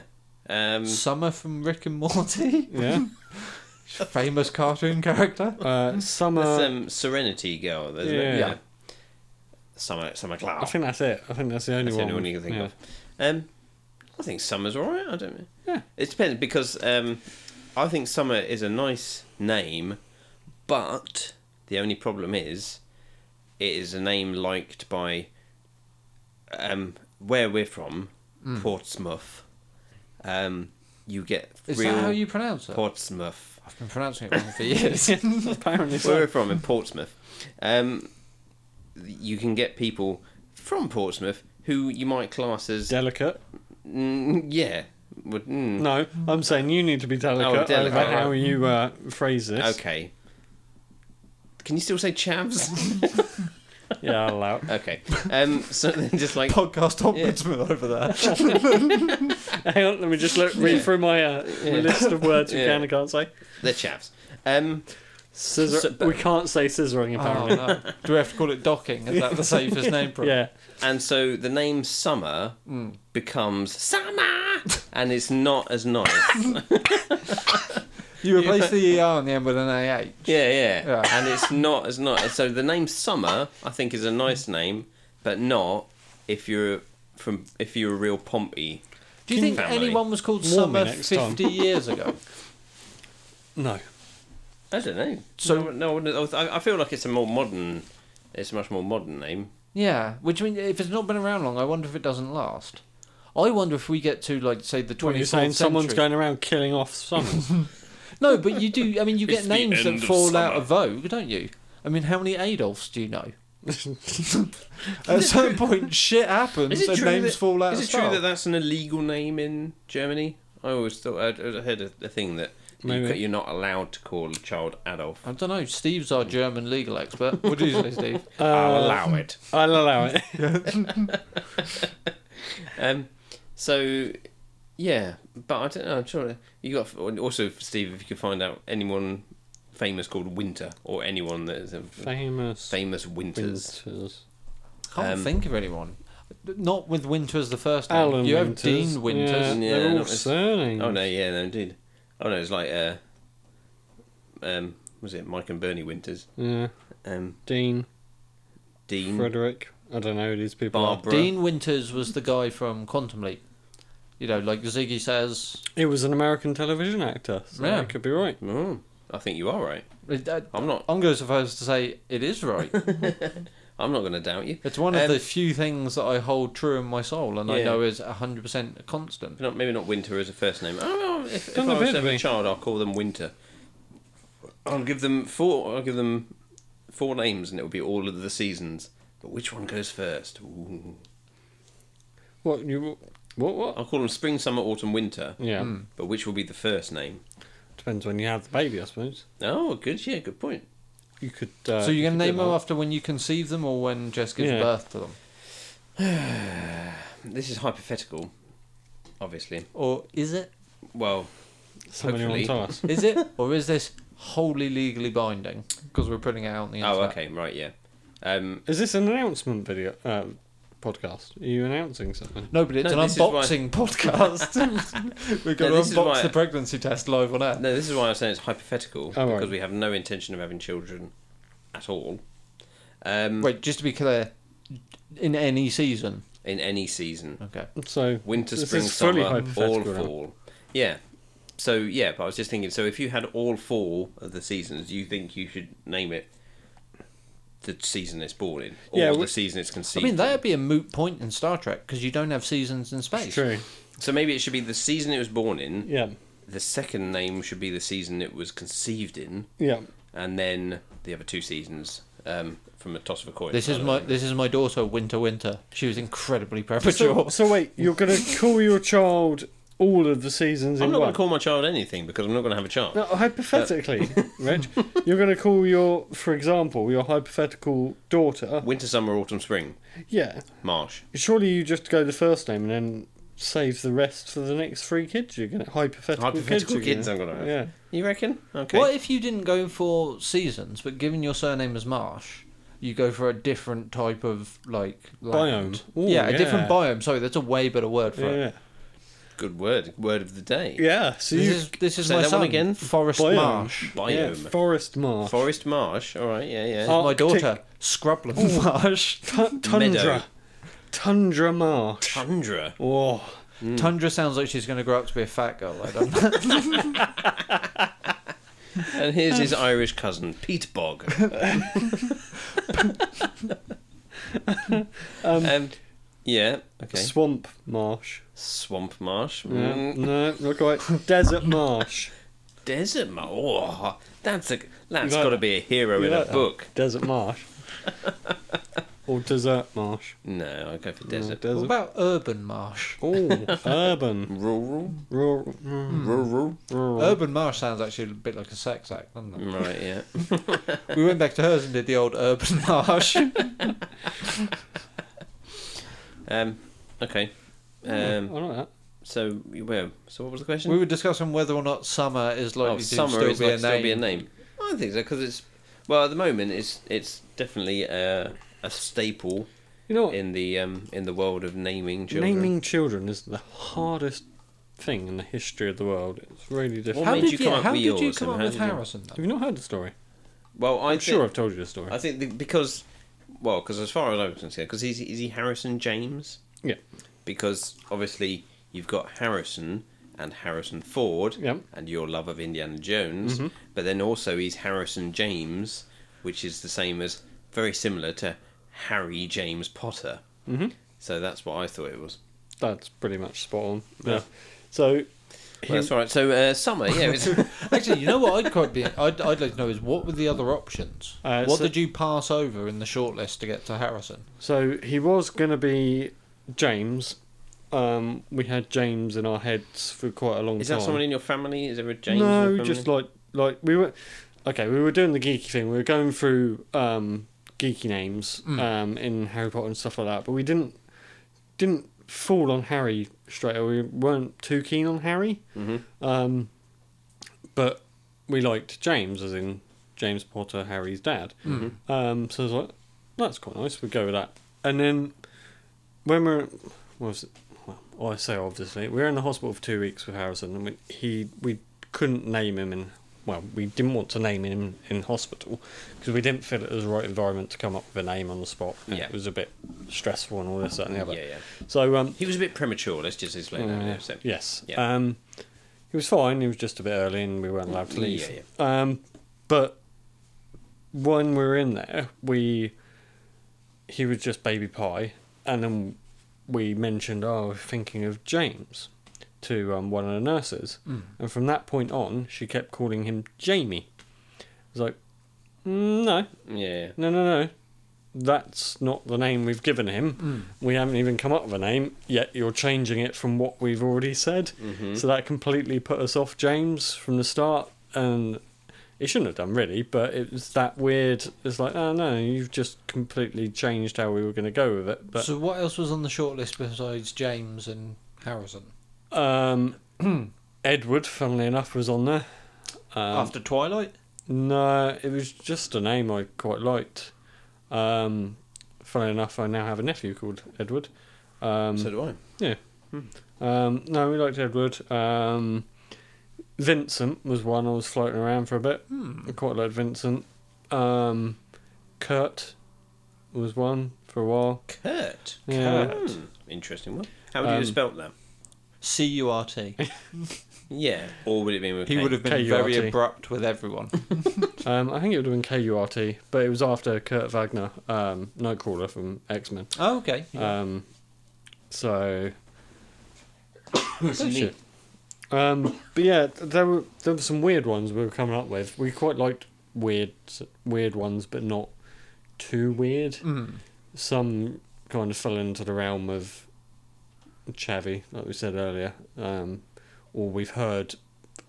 [SPEAKER 3] Um,
[SPEAKER 2] summer from Rick and Morty,
[SPEAKER 1] Yeah.
[SPEAKER 2] famous cartoon character.
[SPEAKER 1] Uh, summer.
[SPEAKER 3] there's um, Serenity Girl. There's
[SPEAKER 1] Yeah.
[SPEAKER 2] Yeah.
[SPEAKER 3] Summer, summer cloud.
[SPEAKER 1] I think that's it. I think that's the only
[SPEAKER 3] That's the
[SPEAKER 1] one.
[SPEAKER 3] only one you can think
[SPEAKER 1] yeah.
[SPEAKER 3] of. Um, I think summer's all right. I don't know.
[SPEAKER 1] Yeah.
[SPEAKER 3] It depends because um, I think summer is a nice name, but the only problem is it is a name liked by um, where we're from,
[SPEAKER 2] Hmm.
[SPEAKER 3] Portsmouth. Um, you get
[SPEAKER 2] Is
[SPEAKER 3] real
[SPEAKER 2] that how you pronounce it?
[SPEAKER 3] Portsmouth.
[SPEAKER 2] I've been pronouncing it wrong for years.
[SPEAKER 1] Apparently
[SPEAKER 3] Where
[SPEAKER 1] so.
[SPEAKER 3] we're from in Portsmouth, um, you can get people from Portsmouth who you might class as
[SPEAKER 1] Delicate.
[SPEAKER 3] Mm, yeah. Would, mm.
[SPEAKER 1] No, I'm saying you need to be delicate,
[SPEAKER 3] Oh, delicate,
[SPEAKER 1] over how
[SPEAKER 3] right.
[SPEAKER 1] you uh, phrase this.
[SPEAKER 3] Okay. Can you still say chavs?
[SPEAKER 1] Yeah, I'll allow it.
[SPEAKER 3] okay. Um. So then, just like
[SPEAKER 2] Podcast ombudsman over there.
[SPEAKER 1] Hang on, let me just look, read
[SPEAKER 3] Yeah.
[SPEAKER 1] through my uh,
[SPEAKER 3] Yeah.
[SPEAKER 1] list of words we
[SPEAKER 3] Yeah.
[SPEAKER 1] can and can't say.
[SPEAKER 3] they're chavs. Um.
[SPEAKER 1] Scissor.
[SPEAKER 3] So-
[SPEAKER 1] we can't say scissoring
[SPEAKER 2] Oh,
[SPEAKER 1] apparently.
[SPEAKER 2] no. Do we have to call it docking? Is that the safest name
[SPEAKER 3] Oh,
[SPEAKER 2] for it?
[SPEAKER 1] Yeah,
[SPEAKER 3] And so the name summer
[SPEAKER 2] Mm.
[SPEAKER 3] becomes summer, and it's not as nice.
[SPEAKER 2] You replace the ER on the end with an AH.
[SPEAKER 3] yeah, yeah,
[SPEAKER 2] Yeah.
[SPEAKER 3] And it's not as nice. So the name summer, I think, is a nice name, but not if you're from if you're a real Pompey.
[SPEAKER 2] Do you think
[SPEAKER 3] family.
[SPEAKER 2] anyone was called
[SPEAKER 1] Warn me
[SPEAKER 2] Summer
[SPEAKER 1] next time.
[SPEAKER 2] 50 years ago?
[SPEAKER 1] no.
[SPEAKER 3] I don't know.
[SPEAKER 2] So-
[SPEAKER 3] So no, no, I I feel like it's a more modern. It's a much more modern name.
[SPEAKER 2] Yeah, which I mean, if it's not been around long, I wonder if it doesn't last. I wonder if we get to, like, say, the 24th
[SPEAKER 1] What are you saying?
[SPEAKER 2] century.
[SPEAKER 1] Someone's going around killing off summers.
[SPEAKER 2] No, but you do. I mean, you
[SPEAKER 3] It's
[SPEAKER 2] get
[SPEAKER 3] the
[SPEAKER 2] names that
[SPEAKER 3] end of
[SPEAKER 2] fall out
[SPEAKER 3] summer.
[SPEAKER 2] of vogue, don't you? I mean, how many Adolfs do you know? At some point, shit happens and names
[SPEAKER 3] that,
[SPEAKER 2] fall out
[SPEAKER 3] Is
[SPEAKER 2] of
[SPEAKER 3] it true
[SPEAKER 2] style.
[SPEAKER 3] that that's an illegal name in Germany? I always thought I'd, I'd heard a, a thing that you,
[SPEAKER 1] Maybe.
[SPEAKER 3] you're not allowed to call a child Adolf.
[SPEAKER 2] I don't know. Steve's our German legal expert. Hmm. What do you say, Steve?
[SPEAKER 3] I'll
[SPEAKER 1] Uh,
[SPEAKER 3] allow it.
[SPEAKER 1] I'll allow it.
[SPEAKER 3] Um, so yeah, but I don't know. I'm sure you got also Steve. If you could find out anyone famous called Winter or anyone that is a
[SPEAKER 1] Famous
[SPEAKER 3] famous Winters.
[SPEAKER 1] winters.
[SPEAKER 2] Can't
[SPEAKER 3] Um,
[SPEAKER 2] think of anyone. Not with Winter as the first name.
[SPEAKER 1] Alan
[SPEAKER 2] you have
[SPEAKER 1] Winters.
[SPEAKER 2] Dean Winters.
[SPEAKER 1] Yeah,
[SPEAKER 3] Yeah,
[SPEAKER 1] they're all
[SPEAKER 3] not as-
[SPEAKER 1] surnames.
[SPEAKER 3] Oh no, yeah, no, indeed. Oh no, it's like uh, um, was it Mike and Bernie Winters?
[SPEAKER 1] Yeah,
[SPEAKER 3] Um,
[SPEAKER 1] Dean,
[SPEAKER 3] Dean,
[SPEAKER 1] Frederick. I don't know who these people
[SPEAKER 3] Barbara.
[SPEAKER 2] Dean Winters was the guy from Quantum Leap. You know, like Ziggy says.
[SPEAKER 1] are. It was an American television actor, so
[SPEAKER 2] Yeah.
[SPEAKER 1] I could be right.
[SPEAKER 3] Mm, I think you are right.
[SPEAKER 2] uh,
[SPEAKER 3] I'm not.
[SPEAKER 2] I'm going to suppose to say it is right.
[SPEAKER 3] I'm not going to doubt you.
[SPEAKER 2] It's one of
[SPEAKER 3] Um,
[SPEAKER 2] the few things that I hold true in my soul, and I
[SPEAKER 3] Yeah.
[SPEAKER 2] know is hundred percent constant.
[SPEAKER 3] Not, maybe not Winter as a first name. Oh, well, if, if I
[SPEAKER 1] Doesn't
[SPEAKER 3] was
[SPEAKER 1] appear
[SPEAKER 3] to
[SPEAKER 1] to
[SPEAKER 3] have a
[SPEAKER 1] be.
[SPEAKER 3] child, I'll call them Winter. I'll give them four. I'll give them four names, and it'll be all of the seasons. But which one goes first? Ooh.
[SPEAKER 1] What you? What? What?
[SPEAKER 3] I'll call them Spring, Summer, Autumn, Winter.
[SPEAKER 1] Yeah,
[SPEAKER 3] But which will be the first name?
[SPEAKER 1] depends when you have the baby, I suppose.
[SPEAKER 3] Oh, good. Yeah, good point.
[SPEAKER 1] You could. Uh,
[SPEAKER 2] so you're
[SPEAKER 1] you
[SPEAKER 2] gonna
[SPEAKER 1] could do
[SPEAKER 2] name them
[SPEAKER 1] that.
[SPEAKER 2] after when you conceive them, or when Jess gives
[SPEAKER 1] Yeah.
[SPEAKER 2] birth to them,
[SPEAKER 3] This is hypothetical, obviously.
[SPEAKER 2] or is it?
[SPEAKER 3] Well,
[SPEAKER 1] Somebody will
[SPEAKER 3] hopefully.
[SPEAKER 1] tell us.
[SPEAKER 2] Is it? or is this wholly legally binding? Because we're putting it out on the internet.
[SPEAKER 3] oh, okay, right, yeah. Um,
[SPEAKER 1] Is this an announcement video uh, podcast? Are you announcing something?
[SPEAKER 2] No, but it's
[SPEAKER 3] No,
[SPEAKER 2] an
[SPEAKER 3] this is why-
[SPEAKER 2] unboxing podcast. We're going
[SPEAKER 3] No,
[SPEAKER 2] to
[SPEAKER 3] this is
[SPEAKER 2] unbox
[SPEAKER 3] why-
[SPEAKER 2] the pregnancy test live on air.
[SPEAKER 3] no, this is why I'm saying it's hypothetical
[SPEAKER 1] Oh, right.
[SPEAKER 3] because we have no intention of having children at all. Um,
[SPEAKER 2] Wait, just to be clear, in any season.
[SPEAKER 3] in any season,
[SPEAKER 2] Okay.
[SPEAKER 1] So
[SPEAKER 3] winter,
[SPEAKER 1] this
[SPEAKER 3] spring,
[SPEAKER 1] is fully
[SPEAKER 3] summer, all
[SPEAKER 1] hypothetical now.
[SPEAKER 3] fall. Yeah. So yeah, but I was just thinking. So if you had all four of the seasons, do you think you should name it the season it's born in, or
[SPEAKER 1] Yeah, we-
[SPEAKER 3] the season it's
[SPEAKER 2] I
[SPEAKER 3] conceived?
[SPEAKER 2] mean,
[SPEAKER 3] in?
[SPEAKER 2] that'd be a moot point in Star Trek because you don't have seasons in space.
[SPEAKER 1] True.
[SPEAKER 3] So maybe it should be the season it was born in.
[SPEAKER 1] Yeah.
[SPEAKER 3] The second name should be the season it was conceived in,
[SPEAKER 1] Yeah.
[SPEAKER 3] and then the other two seasons um, from a toss of a coin.
[SPEAKER 2] This
[SPEAKER 3] I
[SPEAKER 2] is
[SPEAKER 3] don't
[SPEAKER 2] my
[SPEAKER 3] know.
[SPEAKER 2] this is my daughter, Winter Winter. She was incredibly
[SPEAKER 1] So,
[SPEAKER 2] premature.
[SPEAKER 1] so wait, you're gonna call your child all of the seasons
[SPEAKER 3] I'm
[SPEAKER 1] in
[SPEAKER 3] not going
[SPEAKER 1] one?
[SPEAKER 3] to call Uh. my child anything because I'm not going to have a child.
[SPEAKER 1] No, hypothetically, Reg, you're going to call your, for example, your hypothetical daughter.
[SPEAKER 3] Winter, summer, autumn, spring,
[SPEAKER 1] Yeah,
[SPEAKER 3] marsh.
[SPEAKER 1] surely you just go the first name and then save the rest for the next three kids you're going to hypothetical,
[SPEAKER 3] Hypothetical kids
[SPEAKER 1] kids
[SPEAKER 3] I'm
[SPEAKER 1] you're
[SPEAKER 3] going to
[SPEAKER 1] Yeah,
[SPEAKER 3] have. You reckon? Okay.
[SPEAKER 2] What if you didn't go for seasons, but given your surname is Marsh, you go for a different type of like land?
[SPEAKER 1] Biome. Ooh,
[SPEAKER 2] yeah, a different
[SPEAKER 1] yeah.
[SPEAKER 2] biome. Sorry, that's a way better word for it.
[SPEAKER 1] yeah,
[SPEAKER 3] Good word. Word of the day.
[SPEAKER 1] yeah. So
[SPEAKER 2] This
[SPEAKER 1] you
[SPEAKER 2] is this is
[SPEAKER 3] Say
[SPEAKER 2] my
[SPEAKER 3] that one
[SPEAKER 2] son
[SPEAKER 3] again.
[SPEAKER 2] Forest
[SPEAKER 1] Biome.
[SPEAKER 2] Marsh.
[SPEAKER 1] yeah,
[SPEAKER 3] Biome.
[SPEAKER 1] forest marsh,
[SPEAKER 3] Forest marsh. All right. Yeah, yeah.
[SPEAKER 1] Oh.
[SPEAKER 2] My
[SPEAKER 1] Arctic-
[SPEAKER 2] daughter Scrubland Marsh.
[SPEAKER 1] Tu- tundra,
[SPEAKER 3] Meadow.
[SPEAKER 1] tundra marsh.
[SPEAKER 3] Tundra.
[SPEAKER 1] Oh,
[SPEAKER 3] Hmm.
[SPEAKER 2] Tundra sounds like she's going to grow up to be a fat girl. I don't know.
[SPEAKER 3] And here's his Irish cousin, Pete Bog. um, yeah. Okay.
[SPEAKER 1] swamp marsh.
[SPEAKER 3] Swamp marsh.
[SPEAKER 1] Yeah.
[SPEAKER 3] Mm.
[SPEAKER 1] No, not quite. Desert marsh.
[SPEAKER 3] Desert Marsh. Oh, that's a that's
[SPEAKER 1] You like
[SPEAKER 3] got to be a hero
[SPEAKER 1] You
[SPEAKER 3] in
[SPEAKER 1] like
[SPEAKER 3] a
[SPEAKER 1] that?
[SPEAKER 3] book.
[SPEAKER 1] Desert marsh. or desert marsh.
[SPEAKER 3] No, I go for
[SPEAKER 1] No,
[SPEAKER 3] desert.
[SPEAKER 2] what about urban marsh?
[SPEAKER 1] Oh, urban.
[SPEAKER 3] Rural,
[SPEAKER 1] Rural.
[SPEAKER 3] Hmm.
[SPEAKER 1] mm,
[SPEAKER 3] rural.
[SPEAKER 1] rural.
[SPEAKER 2] Urban marsh sounds actually a bit like a sex act, doesn't it?
[SPEAKER 3] Right, yeah.
[SPEAKER 2] we went back to hers and did the old urban marsh.
[SPEAKER 3] Um, okay. Um,
[SPEAKER 1] I like that.
[SPEAKER 3] so well, so what was the question?
[SPEAKER 2] we were discussing whether or not summer is likely
[SPEAKER 3] oh,
[SPEAKER 2] to
[SPEAKER 3] summer
[SPEAKER 2] still,
[SPEAKER 3] is
[SPEAKER 2] be,
[SPEAKER 3] like
[SPEAKER 2] a
[SPEAKER 3] still
[SPEAKER 2] name.
[SPEAKER 3] be a name. I think so because it's well at the moment it's it's definitely a, a staple
[SPEAKER 1] You know what?
[SPEAKER 3] in the um in the world of naming children.
[SPEAKER 1] Naming children is the hardest thing in the history of the world. It's really difficult.
[SPEAKER 2] How
[SPEAKER 3] made
[SPEAKER 2] did
[SPEAKER 3] you
[SPEAKER 2] you,
[SPEAKER 3] come up
[SPEAKER 2] how
[SPEAKER 3] with
[SPEAKER 2] did you
[SPEAKER 3] yours
[SPEAKER 2] come
[SPEAKER 3] and
[SPEAKER 2] up
[SPEAKER 3] how
[SPEAKER 2] with
[SPEAKER 3] did you-
[SPEAKER 2] Harrison?
[SPEAKER 1] Have you not heard the story?
[SPEAKER 3] Well, I
[SPEAKER 1] I'm
[SPEAKER 3] think,
[SPEAKER 1] sure I've told you the story.
[SPEAKER 3] I think the, because well because as far as I was concerned because is is he Harrison James?
[SPEAKER 1] yeah.
[SPEAKER 3] because obviously you've got Harrison and Harrison Ford
[SPEAKER 1] Yep. Mm-hmm.
[SPEAKER 3] and your love of Indiana Jones, but then also he's Harrison James, which is the same as very similar to Harry James Potter.
[SPEAKER 1] Mhm.
[SPEAKER 3] So that's what I thought it was.
[SPEAKER 1] That's pretty much spot on. Yeah.
[SPEAKER 3] Yeah.
[SPEAKER 1] So,
[SPEAKER 3] Well, that's all right. So uh, summer, yeah, it's,
[SPEAKER 2] Actually, you know what I'd quite be. I'd, I'd like to know is what were the other options?
[SPEAKER 1] Uh,
[SPEAKER 2] what
[SPEAKER 1] so-
[SPEAKER 2] did you pass over in the shortlist to get to Harrison?
[SPEAKER 1] so he was going to be James. Um, we had James in our heads for quite a long
[SPEAKER 3] is
[SPEAKER 1] time.
[SPEAKER 3] that someone in your family? Is there a James? in
[SPEAKER 1] no,
[SPEAKER 3] your family?
[SPEAKER 1] just like like we were okay. We were doing the geeky thing. We were going through um, geeky names
[SPEAKER 2] Mm.
[SPEAKER 1] um, in Harry Potter and stuff like that. But we didn't didn't fall on Harry straight. away. We weren't too keen on Harry.
[SPEAKER 3] Mhm.
[SPEAKER 1] Um, but we liked James, as in James Potter, Harry's dad.
[SPEAKER 3] Mm-hmm.
[SPEAKER 1] Um, so I was like, that's quite nice. We'll go with that. And then when we're, what was it? Well, I say obviously, we were in the hospital for two weeks with Harrison, and we, he we couldn't name him in. Well, we didn't want to name him in hospital because we didn't feel it was the right environment to come up with a name on the spot.
[SPEAKER 3] Yeah.
[SPEAKER 1] It was a bit stressful and all this, that, and the
[SPEAKER 3] yeah,
[SPEAKER 1] other.
[SPEAKER 3] yeah.
[SPEAKER 1] So, um,
[SPEAKER 3] He was a bit premature. Let's just explain that.
[SPEAKER 1] uh,
[SPEAKER 3] Yeah. So.
[SPEAKER 1] Yes.
[SPEAKER 3] Yeah.
[SPEAKER 1] Um, he was fine. He was just a bit early, and we weren't allowed to
[SPEAKER 3] Yeah,
[SPEAKER 1] leave. Um, but when we were in there, we he was just Baby Pie, and then we mentioned, oh, we're thinking of James to um, one of the nurses. And from that point on, she kept calling him Jamie. It's like, "Mm, no,
[SPEAKER 3] Yeah.
[SPEAKER 1] no, no, no. That's not the name we've given him. We haven't even come up with a name, yet you're changing it from what we've already said. So that completely put us off James from the start. And it shouldn't have done, really, but it was that weird. It's like, oh, no, you've just completely changed how we were going to go with it. But
[SPEAKER 2] so what else was on the shortlist besides James and Harrison?
[SPEAKER 1] um, Edward, funnily enough, was on there. Um,
[SPEAKER 2] After Twilight?
[SPEAKER 1] No, it was just a name I quite liked. Um, funny enough, I now have a nephew called Edward. Um,
[SPEAKER 3] so do I.
[SPEAKER 1] um, no, we liked Edward. Um, Vincent was one I was floating around for a bit.
[SPEAKER 3] Hmm.
[SPEAKER 1] I quite liked Vincent. Um, Kurt was one for a while.
[SPEAKER 3] Kurt.
[SPEAKER 1] Yeah.
[SPEAKER 3] Kurt. Interesting one. How would you have
[SPEAKER 1] Um,
[SPEAKER 3] spelt that?
[SPEAKER 2] C U R T.
[SPEAKER 3] Yeah. Or would it be with
[SPEAKER 2] He
[SPEAKER 3] K?
[SPEAKER 2] would have been
[SPEAKER 1] K-U-R-T.
[SPEAKER 2] very abrupt with everyone.
[SPEAKER 1] Um, I think it would have been K U R T, but it was after Kurt Wagner, um, Nightcrawler from X Men.
[SPEAKER 2] oh, okay.
[SPEAKER 1] Um, so
[SPEAKER 3] That's
[SPEAKER 1] Shit.
[SPEAKER 3] neat.
[SPEAKER 1] Um, but yeah, there were there were some weird ones we were coming up with. We quite liked weird weird ones, but not too weird.
[SPEAKER 2] Mm.
[SPEAKER 1] Some kind of fell into the realm of chavvy, like we said earlier, um, or we've heard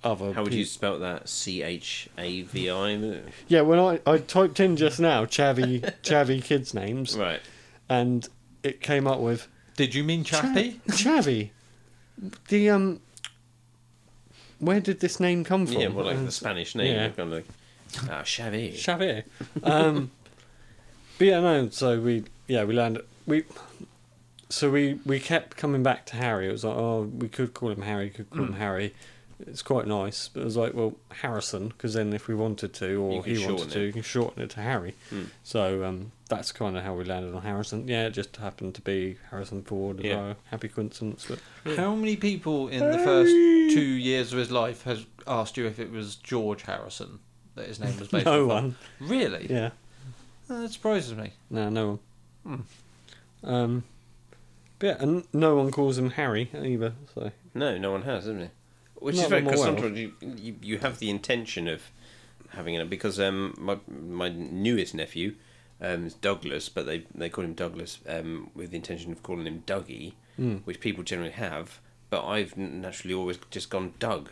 [SPEAKER 1] other.
[SPEAKER 3] How would
[SPEAKER 1] peo-
[SPEAKER 3] you spell that? C H A V I.
[SPEAKER 1] Yeah, when I, I typed in just now chavvy chavvy kids names,
[SPEAKER 3] Right.
[SPEAKER 1] and it came up with
[SPEAKER 2] Did you mean Chappie?
[SPEAKER 1] Chav- Chavvy. The um, where did this name come from?
[SPEAKER 3] Yeah, well, like
[SPEAKER 1] Um,
[SPEAKER 3] the Spanish name.
[SPEAKER 1] yeah.
[SPEAKER 3] Yeah. Kind of like, ah, Xavi.
[SPEAKER 1] Chavez. Um, but yeah, no. So we yeah we landed we. So we we kept coming back to Harry. It was like oh we could call him Harry, could call him
[SPEAKER 3] Hmm.
[SPEAKER 1] Harry. It's quite nice, but it was like well Harrison because then if we wanted to
[SPEAKER 3] You
[SPEAKER 1] or
[SPEAKER 3] can
[SPEAKER 1] he wanted to,
[SPEAKER 3] shorten it. Hmm.
[SPEAKER 1] you can shorten it to Harry. So um, that's kind of how we landed on Harrison. Yeah, it just happened to be Harrison Ford.
[SPEAKER 3] Yeah.
[SPEAKER 1] Yeah. happy coincidence. But
[SPEAKER 2] How many people in the first two years of his life has asked you if it was George Harrison that his name was based
[SPEAKER 1] no
[SPEAKER 2] on?
[SPEAKER 1] one.
[SPEAKER 2] Really?
[SPEAKER 1] Yeah.
[SPEAKER 2] Uh, That surprises me.
[SPEAKER 1] No, no one. Um, but yeah, and no one calls him Harry either. So.
[SPEAKER 3] No, no one has, isn't it? Which
[SPEAKER 1] Not
[SPEAKER 3] is very
[SPEAKER 1] that I'm
[SPEAKER 3] because
[SPEAKER 1] aware of.
[SPEAKER 3] sometimes you, you you have the intention of having it because um my my newest nephew um is Douglas, but they they call him Douglas um with the intention of calling him Dougie,
[SPEAKER 1] Hmm.
[SPEAKER 3] which people generally have. But I've n- naturally always just gone Doug.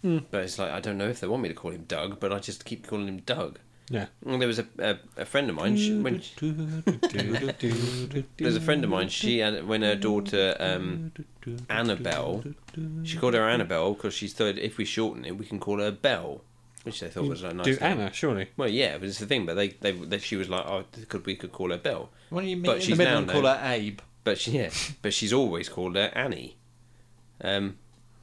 [SPEAKER 1] Hmm.
[SPEAKER 3] But it's like I don't know if they want me to call him Doug, but I just keep calling him Doug.
[SPEAKER 1] Yeah.
[SPEAKER 3] And there was a, a, a friend of mine. She, when
[SPEAKER 2] There's
[SPEAKER 3] there's a friend of mine. She had when her daughter um, Annabelle. She called her Annabelle because she thought if we shorten it, we can call her Belle, which they thought was a nice.
[SPEAKER 1] Do
[SPEAKER 3] name.
[SPEAKER 1] Anna, surely.
[SPEAKER 3] Well, yeah, but it's the thing. But they, they, they she was like, oh, could we could call her Belle?
[SPEAKER 2] When you meet
[SPEAKER 3] But
[SPEAKER 2] in the
[SPEAKER 3] she's
[SPEAKER 2] middle
[SPEAKER 3] now
[SPEAKER 2] and call
[SPEAKER 3] known-
[SPEAKER 2] her Abe.
[SPEAKER 3] But she, yeah, but she's always called her Annie. Um,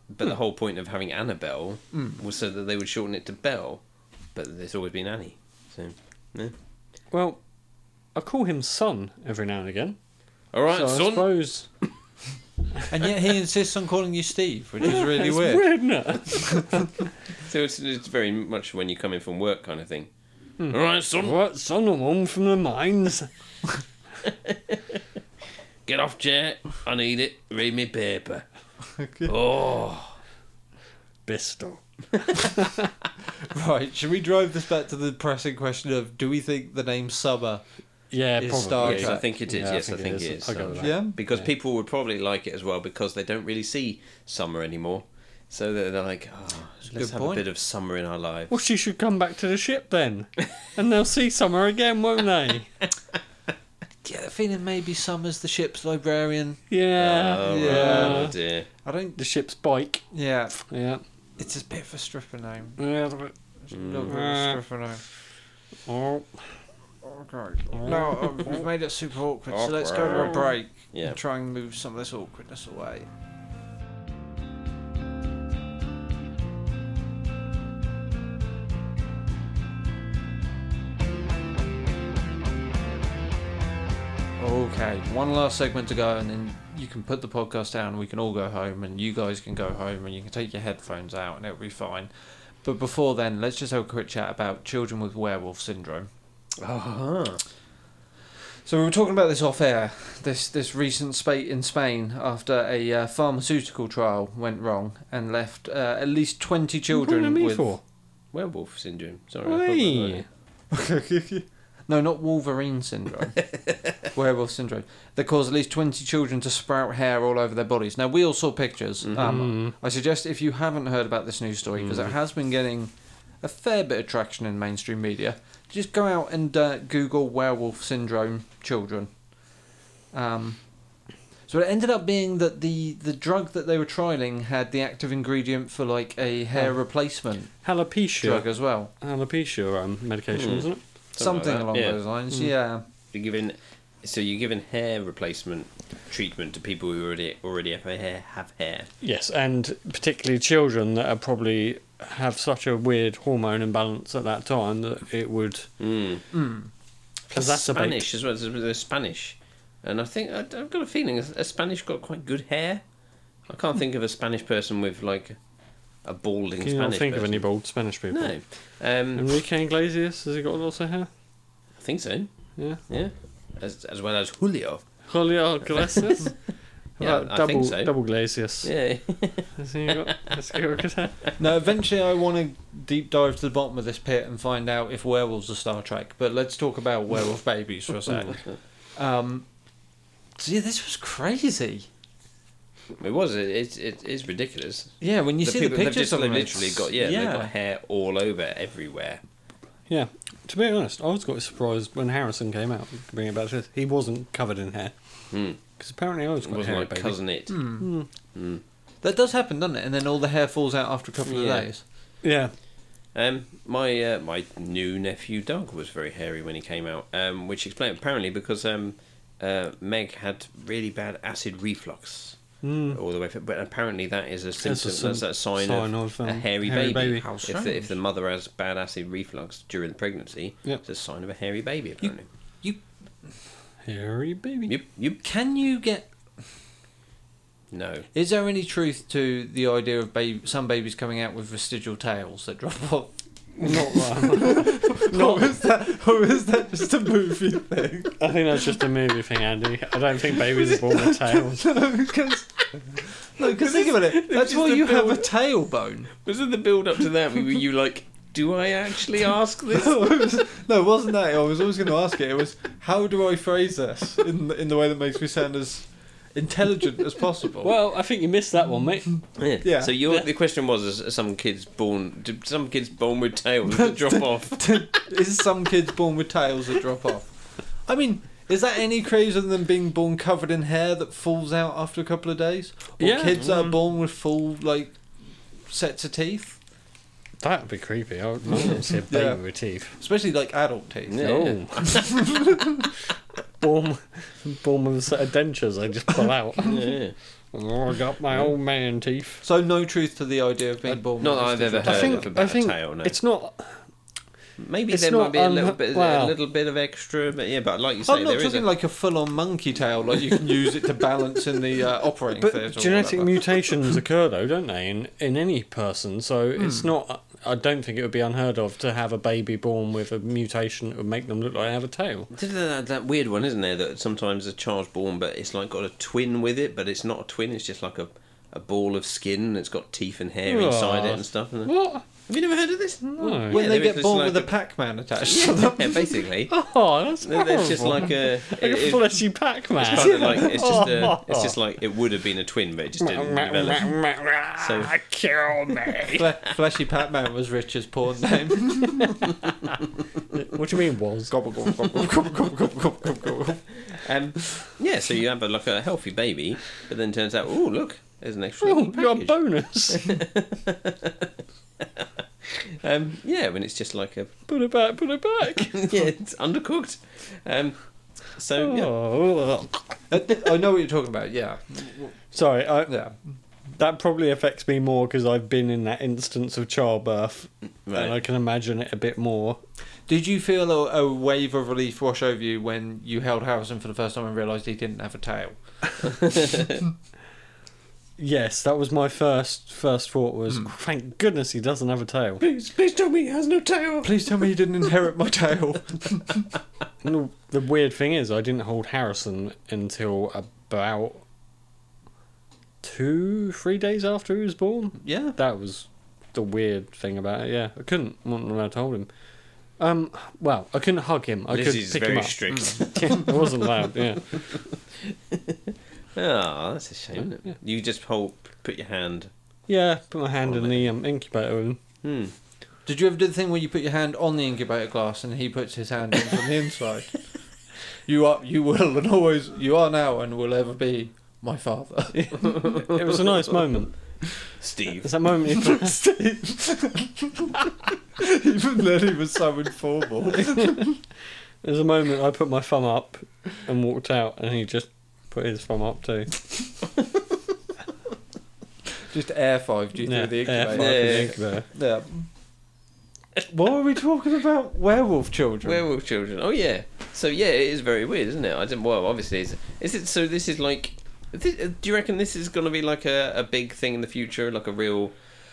[SPEAKER 3] but
[SPEAKER 1] Hmm.
[SPEAKER 3] the whole point of having Annabelle was so that they would shorten it to Belle, but it's always been Annie. So, yeah.
[SPEAKER 1] Well, I call him son every now and again.
[SPEAKER 3] all right,
[SPEAKER 1] so I
[SPEAKER 3] son.
[SPEAKER 1] suppose
[SPEAKER 2] And yet he insists on calling you Steve, which is really
[SPEAKER 1] it's
[SPEAKER 2] weird.
[SPEAKER 1] weird, isn't
[SPEAKER 3] So it's, it's very much when you come in from work kind of thing.
[SPEAKER 1] Hmm.
[SPEAKER 3] All right,
[SPEAKER 1] it?
[SPEAKER 3] son,
[SPEAKER 1] what son or mum from the mines?
[SPEAKER 3] get off chair. I need it. Read me paper. Oh,
[SPEAKER 1] Bristol.
[SPEAKER 2] Right, should we drive this back to the pressing question of do we think the name Summer?
[SPEAKER 1] Yeah,
[SPEAKER 2] Is Star
[SPEAKER 1] probably.
[SPEAKER 3] yes, I
[SPEAKER 2] Trek.
[SPEAKER 3] think it is.
[SPEAKER 1] Yeah, I
[SPEAKER 3] yes,
[SPEAKER 1] think
[SPEAKER 3] I
[SPEAKER 1] it
[SPEAKER 3] think
[SPEAKER 1] is.
[SPEAKER 3] it is.
[SPEAKER 1] I'll go
[SPEAKER 3] Summer.
[SPEAKER 1] with that.
[SPEAKER 2] Yeah?
[SPEAKER 3] Because people would probably like it as well because they don't really see summer anymore. So they're, they're like, oh,
[SPEAKER 2] a
[SPEAKER 3] let's
[SPEAKER 2] good
[SPEAKER 3] have
[SPEAKER 2] point.
[SPEAKER 3] a bit of summer in our lives.
[SPEAKER 1] Well, she should come back to the ship then, and they'll see summer again, won't they?
[SPEAKER 2] Yeah, the feeling maybe Summer's the ship's librarian.
[SPEAKER 1] Yeah,
[SPEAKER 3] Oh,
[SPEAKER 1] yeah.
[SPEAKER 3] right, oh dear.
[SPEAKER 2] I don't.
[SPEAKER 1] The ship's bike.
[SPEAKER 2] Yeah,
[SPEAKER 1] Yeah.
[SPEAKER 2] it's a bit of a stripper name.
[SPEAKER 1] Yeah, the-
[SPEAKER 2] It's a little bit of a stripper name.
[SPEAKER 1] Oh,
[SPEAKER 2] Okay. No, um, we've made it super awkward, so let's go to a
[SPEAKER 3] Awkward.
[SPEAKER 2] break
[SPEAKER 3] Yeah.
[SPEAKER 2] and try and move some of this awkwardness away. Okay, one last segment to go, and then you can put the podcast down. We can all go home, and you guys can go home, and you can take your headphones out, and it'll be fine. But before then,
[SPEAKER 3] Uh-huh.
[SPEAKER 2] let's just have a quick chat about children with werewolf syndrome.
[SPEAKER 3] Ah.
[SPEAKER 2] So we were talking about this off air. This this recent spate in Spain after a uh, pharmaceutical trial went wrong and left uh, at least twenty children
[SPEAKER 1] me
[SPEAKER 2] with
[SPEAKER 1] for?
[SPEAKER 3] Werewolf syndrome. Sorry. I thought that was-
[SPEAKER 1] Why?
[SPEAKER 2] no, not Wolverine syndrome, werewolf syndrome. That caused at least twenty children to sprout hair all over their bodies. Now we all saw pictures. Um,
[SPEAKER 3] Mm-hmm.
[SPEAKER 2] I suggest if you haven't heard about this news story
[SPEAKER 3] Mm.
[SPEAKER 2] because it has been getting a fair bit of traction in mainstream media, just go out and uh, Google werewolf syndrome children. Um, so it ended up being that the, the drug that they were trialing had the active ingredient for like a hair
[SPEAKER 1] Oh.
[SPEAKER 2] replacement drug
[SPEAKER 1] Alopecia.
[SPEAKER 2] as well.
[SPEAKER 1] Alopecia um, medication,
[SPEAKER 3] Hmm.
[SPEAKER 1] wasn't it?
[SPEAKER 2] Something,
[SPEAKER 3] Something
[SPEAKER 2] along
[SPEAKER 3] like that, yeah. Mm.
[SPEAKER 2] those lines, yeah.
[SPEAKER 3] You're giving, so you're giving hair replacement treatment to people who already already have hair. Have hair.
[SPEAKER 1] Yes, and particularly children that are probably have such a weird hormone imbalance at that time that it would
[SPEAKER 3] Mm.
[SPEAKER 2] Mm.
[SPEAKER 1] exacerbate.
[SPEAKER 3] Spanish as well. There's there's Spanish, and I think I, I've got a feeling a, a Spanish got quite good hair. I can't think of a Spanish person with like a balding
[SPEAKER 1] Can you not
[SPEAKER 3] Spanish.
[SPEAKER 1] think of
[SPEAKER 3] person.
[SPEAKER 1] any bold Spanish people?
[SPEAKER 3] No, um,
[SPEAKER 1] Enrique Iglesias, has he got lots of hair?
[SPEAKER 3] I think so.
[SPEAKER 1] Yeah.
[SPEAKER 3] Yeah, as as well as Julio.
[SPEAKER 1] Julio Iglesias?
[SPEAKER 3] Yeah,
[SPEAKER 1] About
[SPEAKER 3] I
[SPEAKER 1] double,
[SPEAKER 3] think so.
[SPEAKER 1] Double Glacius.
[SPEAKER 3] Yeah,
[SPEAKER 1] Has he got, has he got good hair?
[SPEAKER 2] Now, eventually, I want to deep dive to the bottom of this pit and find out if werewolves are Star Trek. But let's talk about werewolf babies for a second. Um, see, this was crazy.
[SPEAKER 3] it was. It it, it is ridiculous.
[SPEAKER 2] Yeah, when you see the
[SPEAKER 3] they've
[SPEAKER 2] pictures
[SPEAKER 3] just
[SPEAKER 2] of them,
[SPEAKER 3] literally
[SPEAKER 2] it's-
[SPEAKER 3] got yeah, they've got hair all over everywhere.
[SPEAKER 1] Yeah. To be honest, I was quite surprised when Harrison came out. Bring it back to this. He wasn't covered in hair
[SPEAKER 3] Hmm.
[SPEAKER 1] because apparently I was
[SPEAKER 3] It
[SPEAKER 1] quite
[SPEAKER 3] wasn't
[SPEAKER 1] hairy,
[SPEAKER 3] like
[SPEAKER 1] baby.
[SPEAKER 3] cousin it.
[SPEAKER 2] Hmm.
[SPEAKER 3] Hmm.
[SPEAKER 2] That does happen, doesn't it? And then all the hair falls out after a couple
[SPEAKER 3] Yeah.
[SPEAKER 2] of days.
[SPEAKER 1] Yeah.
[SPEAKER 3] Um, my uh, my new nephew Doug was very hairy when he came out, um, which explained apparently because um, uh, Meg had really bad acid reflux
[SPEAKER 1] Mm.
[SPEAKER 3] all the way. through. But apparently that is a symptom.
[SPEAKER 1] That's a
[SPEAKER 3] That's,
[SPEAKER 1] sim-
[SPEAKER 3] that sign,
[SPEAKER 1] sign
[SPEAKER 3] of,
[SPEAKER 1] of, um,
[SPEAKER 3] a hairy,
[SPEAKER 1] hairy
[SPEAKER 3] baby.
[SPEAKER 1] baby.
[SPEAKER 2] How
[SPEAKER 3] If the, if the mother has bad acid reflux during pregnancy,
[SPEAKER 1] Yep.
[SPEAKER 3] it's a sign of a hairy baby. Apparently,
[SPEAKER 1] Hairy baby.
[SPEAKER 3] yep, yep.
[SPEAKER 2] Can you get?
[SPEAKER 3] No,
[SPEAKER 2] Is there any truth to the idea of baby, some babies coming out with vestigial tails that drop off?
[SPEAKER 1] Not that.
[SPEAKER 2] Not is that? Or is that just a movie thing?
[SPEAKER 1] I think that's just a movie thing, Andy. I don't think babies are born with tails.
[SPEAKER 2] Because no, because think about it. That's
[SPEAKER 3] is
[SPEAKER 2] why
[SPEAKER 3] the
[SPEAKER 2] you have a
[SPEAKER 3] build-
[SPEAKER 2] tailbone.
[SPEAKER 3] was it the build up to that? Were you like, do I actually ask this?
[SPEAKER 2] no, it was- no, it wasn't that. I was always going to ask it. It was how do I phrase this in the, in the way that makes me sound as intelligent as possible.
[SPEAKER 1] Well, I think you missed that one, mate.
[SPEAKER 3] Yeah.
[SPEAKER 2] Yeah.
[SPEAKER 3] So your, the question was: is- are some kids born? Do some kids born with tails that drop off?
[SPEAKER 2] is some kids born with tails that drop off? I mean, is that any crazier than being born covered in hair that falls out after a couple of days, or
[SPEAKER 1] Yeah.
[SPEAKER 2] kids that are born with full like sets of teeth,
[SPEAKER 1] That'd be creepy. I would not see a baby
[SPEAKER 2] Yeah.
[SPEAKER 1] with teeth.
[SPEAKER 2] especially like adult teeth?
[SPEAKER 3] Yeah.
[SPEAKER 1] Oh. born, born with a set of dentures. I just pull out.
[SPEAKER 3] Yeah.
[SPEAKER 1] Oh, I got my old man teeth.
[SPEAKER 2] So no truth to the idea of being born.
[SPEAKER 3] Uh,
[SPEAKER 2] with
[SPEAKER 3] Not that I've
[SPEAKER 2] vestigial
[SPEAKER 3] ever
[SPEAKER 1] I
[SPEAKER 3] heard
[SPEAKER 1] think.
[SPEAKER 3] of about
[SPEAKER 1] I think
[SPEAKER 3] a tail. No.
[SPEAKER 1] it's not.
[SPEAKER 3] Maybe
[SPEAKER 1] it's
[SPEAKER 3] there
[SPEAKER 1] not
[SPEAKER 3] might be a
[SPEAKER 1] un-
[SPEAKER 3] little bit,
[SPEAKER 1] well-
[SPEAKER 3] a little bit of extra, but yeah. But like you say,
[SPEAKER 2] Oh, I'm
[SPEAKER 3] there
[SPEAKER 2] not
[SPEAKER 3] is. A,
[SPEAKER 2] talking like a full-on monkey tail, like you can use it to balance in the uh, operating theatre.
[SPEAKER 1] But
[SPEAKER 2] or
[SPEAKER 1] genetic
[SPEAKER 2] whatever.
[SPEAKER 1] mutations occur, though, don't they, in, in any person? So it's not. I don't think it would be unheard of to have a baby born with a mutation that would make them look like they have a tail.
[SPEAKER 3] There's that, that weird one, isn't there? That sometimes a child's born, but it's like got a twin with it, but it's not a twin. It's just like a, a ball of skin. and It's got teeth and hair inside
[SPEAKER 1] Aw.
[SPEAKER 3] it and stuff. And
[SPEAKER 1] What?
[SPEAKER 3] Have you never heard of this?
[SPEAKER 1] No.
[SPEAKER 2] Oh. when they
[SPEAKER 3] Yeah, there
[SPEAKER 2] get
[SPEAKER 3] is
[SPEAKER 2] born
[SPEAKER 3] like
[SPEAKER 2] with a
[SPEAKER 3] a-
[SPEAKER 2] Pac-Man attached to them.
[SPEAKER 3] Yeah, basically.
[SPEAKER 1] Oh, that's horrible.
[SPEAKER 3] There's just like a.
[SPEAKER 1] like a
[SPEAKER 3] it- it-
[SPEAKER 1] fleshy Pac-Man.
[SPEAKER 3] It's kind of like it's just a, it's just like it would have been a twin, but it just didn't develop. So-
[SPEAKER 1] Ah, Kill me.
[SPEAKER 2] Fle- Fleshy Pac-Man was Rich's porn name.
[SPEAKER 1] what do you mean was?
[SPEAKER 2] gobble, gobble, gobble, gobble, gobble, gobble, gobble, gobble.
[SPEAKER 3] Um, yeah, so you have a, like a healthy baby, but then turns out, oh look, there's an extra.
[SPEAKER 1] Oh,
[SPEAKER 3] little
[SPEAKER 1] you got a
[SPEAKER 3] package.
[SPEAKER 1] bonus.
[SPEAKER 3] um, yeah, when it's just like a
[SPEAKER 1] put it back. Put it back.
[SPEAKER 3] yeah, it's undercooked. Um, so yeah,
[SPEAKER 1] Oh.
[SPEAKER 2] Uh, I know what you're talking about. Yeah,
[SPEAKER 1] Sorry, I,
[SPEAKER 2] yeah.
[SPEAKER 1] That probably affects me more because I've been in that instance of childbirth,
[SPEAKER 3] Right.
[SPEAKER 1] and I can imagine it a bit more.
[SPEAKER 2] Did you feel a, a wave of relief wash over you when you held Harrison for the first time and realised he didn't have a tail?
[SPEAKER 1] yes, that was my first first thought. Was thank goodness he doesn't have a tail.
[SPEAKER 3] Hmm. Please, please tell me he has no tail.
[SPEAKER 2] Please tell me you didn't inherit my tail.
[SPEAKER 1] And the- the weird thing is, I didn't hold Harrison until about two, three days after he was born.
[SPEAKER 2] yeah.
[SPEAKER 1] That was the weird thing about it. Yeah, I couldn't wasn't allowed to hold him. Um, well, I couldn't hug him. I could
[SPEAKER 3] Lizzie's
[SPEAKER 1] pick
[SPEAKER 3] very
[SPEAKER 1] him up.
[SPEAKER 3] strict.
[SPEAKER 1] I wasn't allowed. Yeah,
[SPEAKER 3] Ah, that's a shame. isn't it? You just hold, put your hand.
[SPEAKER 1] yeah. Put my hand
[SPEAKER 3] Oh,
[SPEAKER 1] in the um, incubator. And
[SPEAKER 3] Hmm.
[SPEAKER 2] Did you ever do the thing where you put your hand on the incubator glass and he puts his hand in from the inside? You are, you will, and always, you are now, and will ever be my father.
[SPEAKER 1] it was a nice moment.
[SPEAKER 3] Steve.
[SPEAKER 1] It's that moment. You thought,
[SPEAKER 2] Even then, he was so informal.
[SPEAKER 1] There was a moment I put my thumb up and walked out, and he just put his thumb up too.
[SPEAKER 2] Just air fived you
[SPEAKER 1] Yeah,
[SPEAKER 2] through the
[SPEAKER 1] yeah,
[SPEAKER 2] incubator.
[SPEAKER 1] five in the
[SPEAKER 3] Yeah.
[SPEAKER 1] incubator.
[SPEAKER 2] Yeah. What are we talking about? Werewolf children.
[SPEAKER 3] Werewolf children. Oh yeah. So yeah, it is very weird, isn't it? I didn't. Well, obviously, it's, is it? So this is like. This, do you reckon this is going to be like a, a big thing in the future, like a real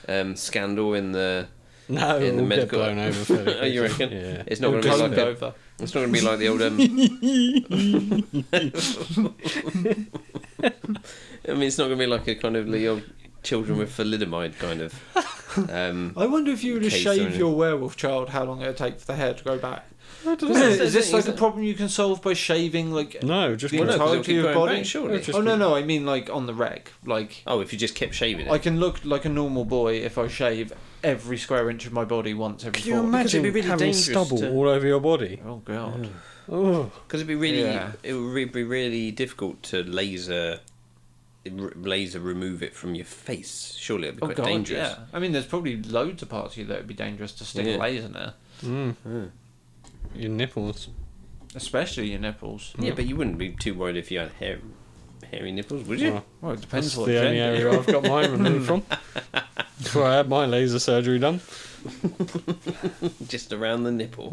[SPEAKER 3] um, scandal in the?
[SPEAKER 1] No,
[SPEAKER 3] In
[SPEAKER 1] we'll
[SPEAKER 3] the
[SPEAKER 1] get
[SPEAKER 3] medical-
[SPEAKER 1] blown over. fairly
[SPEAKER 3] Oh, you
[SPEAKER 1] quickly.
[SPEAKER 3] reckon?
[SPEAKER 1] Yeah.
[SPEAKER 3] It's not going to be
[SPEAKER 2] Combed
[SPEAKER 3] like a,
[SPEAKER 2] over.
[SPEAKER 3] It's not going to be like the old. Um, I mean, it's not going to be like a kind of the old children with thalidomide kind of. Um,
[SPEAKER 2] I wonder if you were to
[SPEAKER 3] Case
[SPEAKER 2] shave
[SPEAKER 3] only.
[SPEAKER 2] your werewolf child, how long it would take for the hair to grow back.
[SPEAKER 3] know.
[SPEAKER 2] Is, it- is this
[SPEAKER 3] Isn't it-
[SPEAKER 2] like a problem you can solve by shaving? Like,
[SPEAKER 1] No, just
[SPEAKER 2] The
[SPEAKER 3] well, no, 'cause
[SPEAKER 1] grow-
[SPEAKER 3] it'll
[SPEAKER 2] entirety
[SPEAKER 3] keep
[SPEAKER 2] of
[SPEAKER 3] growing
[SPEAKER 2] body?
[SPEAKER 3] back, surely.
[SPEAKER 1] Just-
[SPEAKER 2] oh no, no, I mean like on the rec. Like,
[SPEAKER 3] Oh, if you just kept shaving it.
[SPEAKER 2] I can look like a normal boy if I shave every square inch of my body once every
[SPEAKER 1] Can you
[SPEAKER 2] four.
[SPEAKER 3] Because
[SPEAKER 1] imagine
[SPEAKER 3] it'd be really
[SPEAKER 1] having
[SPEAKER 3] dangerous
[SPEAKER 1] stubble
[SPEAKER 3] to-
[SPEAKER 1] all over your body?
[SPEAKER 2] Oh god.
[SPEAKER 1] Oh,
[SPEAKER 3] Because it'd be really,
[SPEAKER 2] Yeah.
[SPEAKER 3] it would re- be really difficult to laser, r- laser remove it from your face. Surely it'd be
[SPEAKER 2] Oh
[SPEAKER 3] quite
[SPEAKER 2] god.
[SPEAKER 3] dangerous.
[SPEAKER 2] Yeah. I mean, there's probably loads of parts of you that would be dangerous to stick
[SPEAKER 3] Yeah.
[SPEAKER 2] a laser in,
[SPEAKER 1] mm.
[SPEAKER 3] Mm.
[SPEAKER 1] your nipples.
[SPEAKER 2] especially your nipples.
[SPEAKER 3] Yeah, but you wouldn't be too worried if you had hair, hairy nipples, would you?
[SPEAKER 1] Well,
[SPEAKER 2] Well, it
[SPEAKER 1] that's
[SPEAKER 2] depends
[SPEAKER 1] the
[SPEAKER 2] what
[SPEAKER 1] only
[SPEAKER 2] gender.
[SPEAKER 1] area I've got mine removed from. Before I had my laser surgery done.
[SPEAKER 2] Mm.
[SPEAKER 3] Just around the nipple.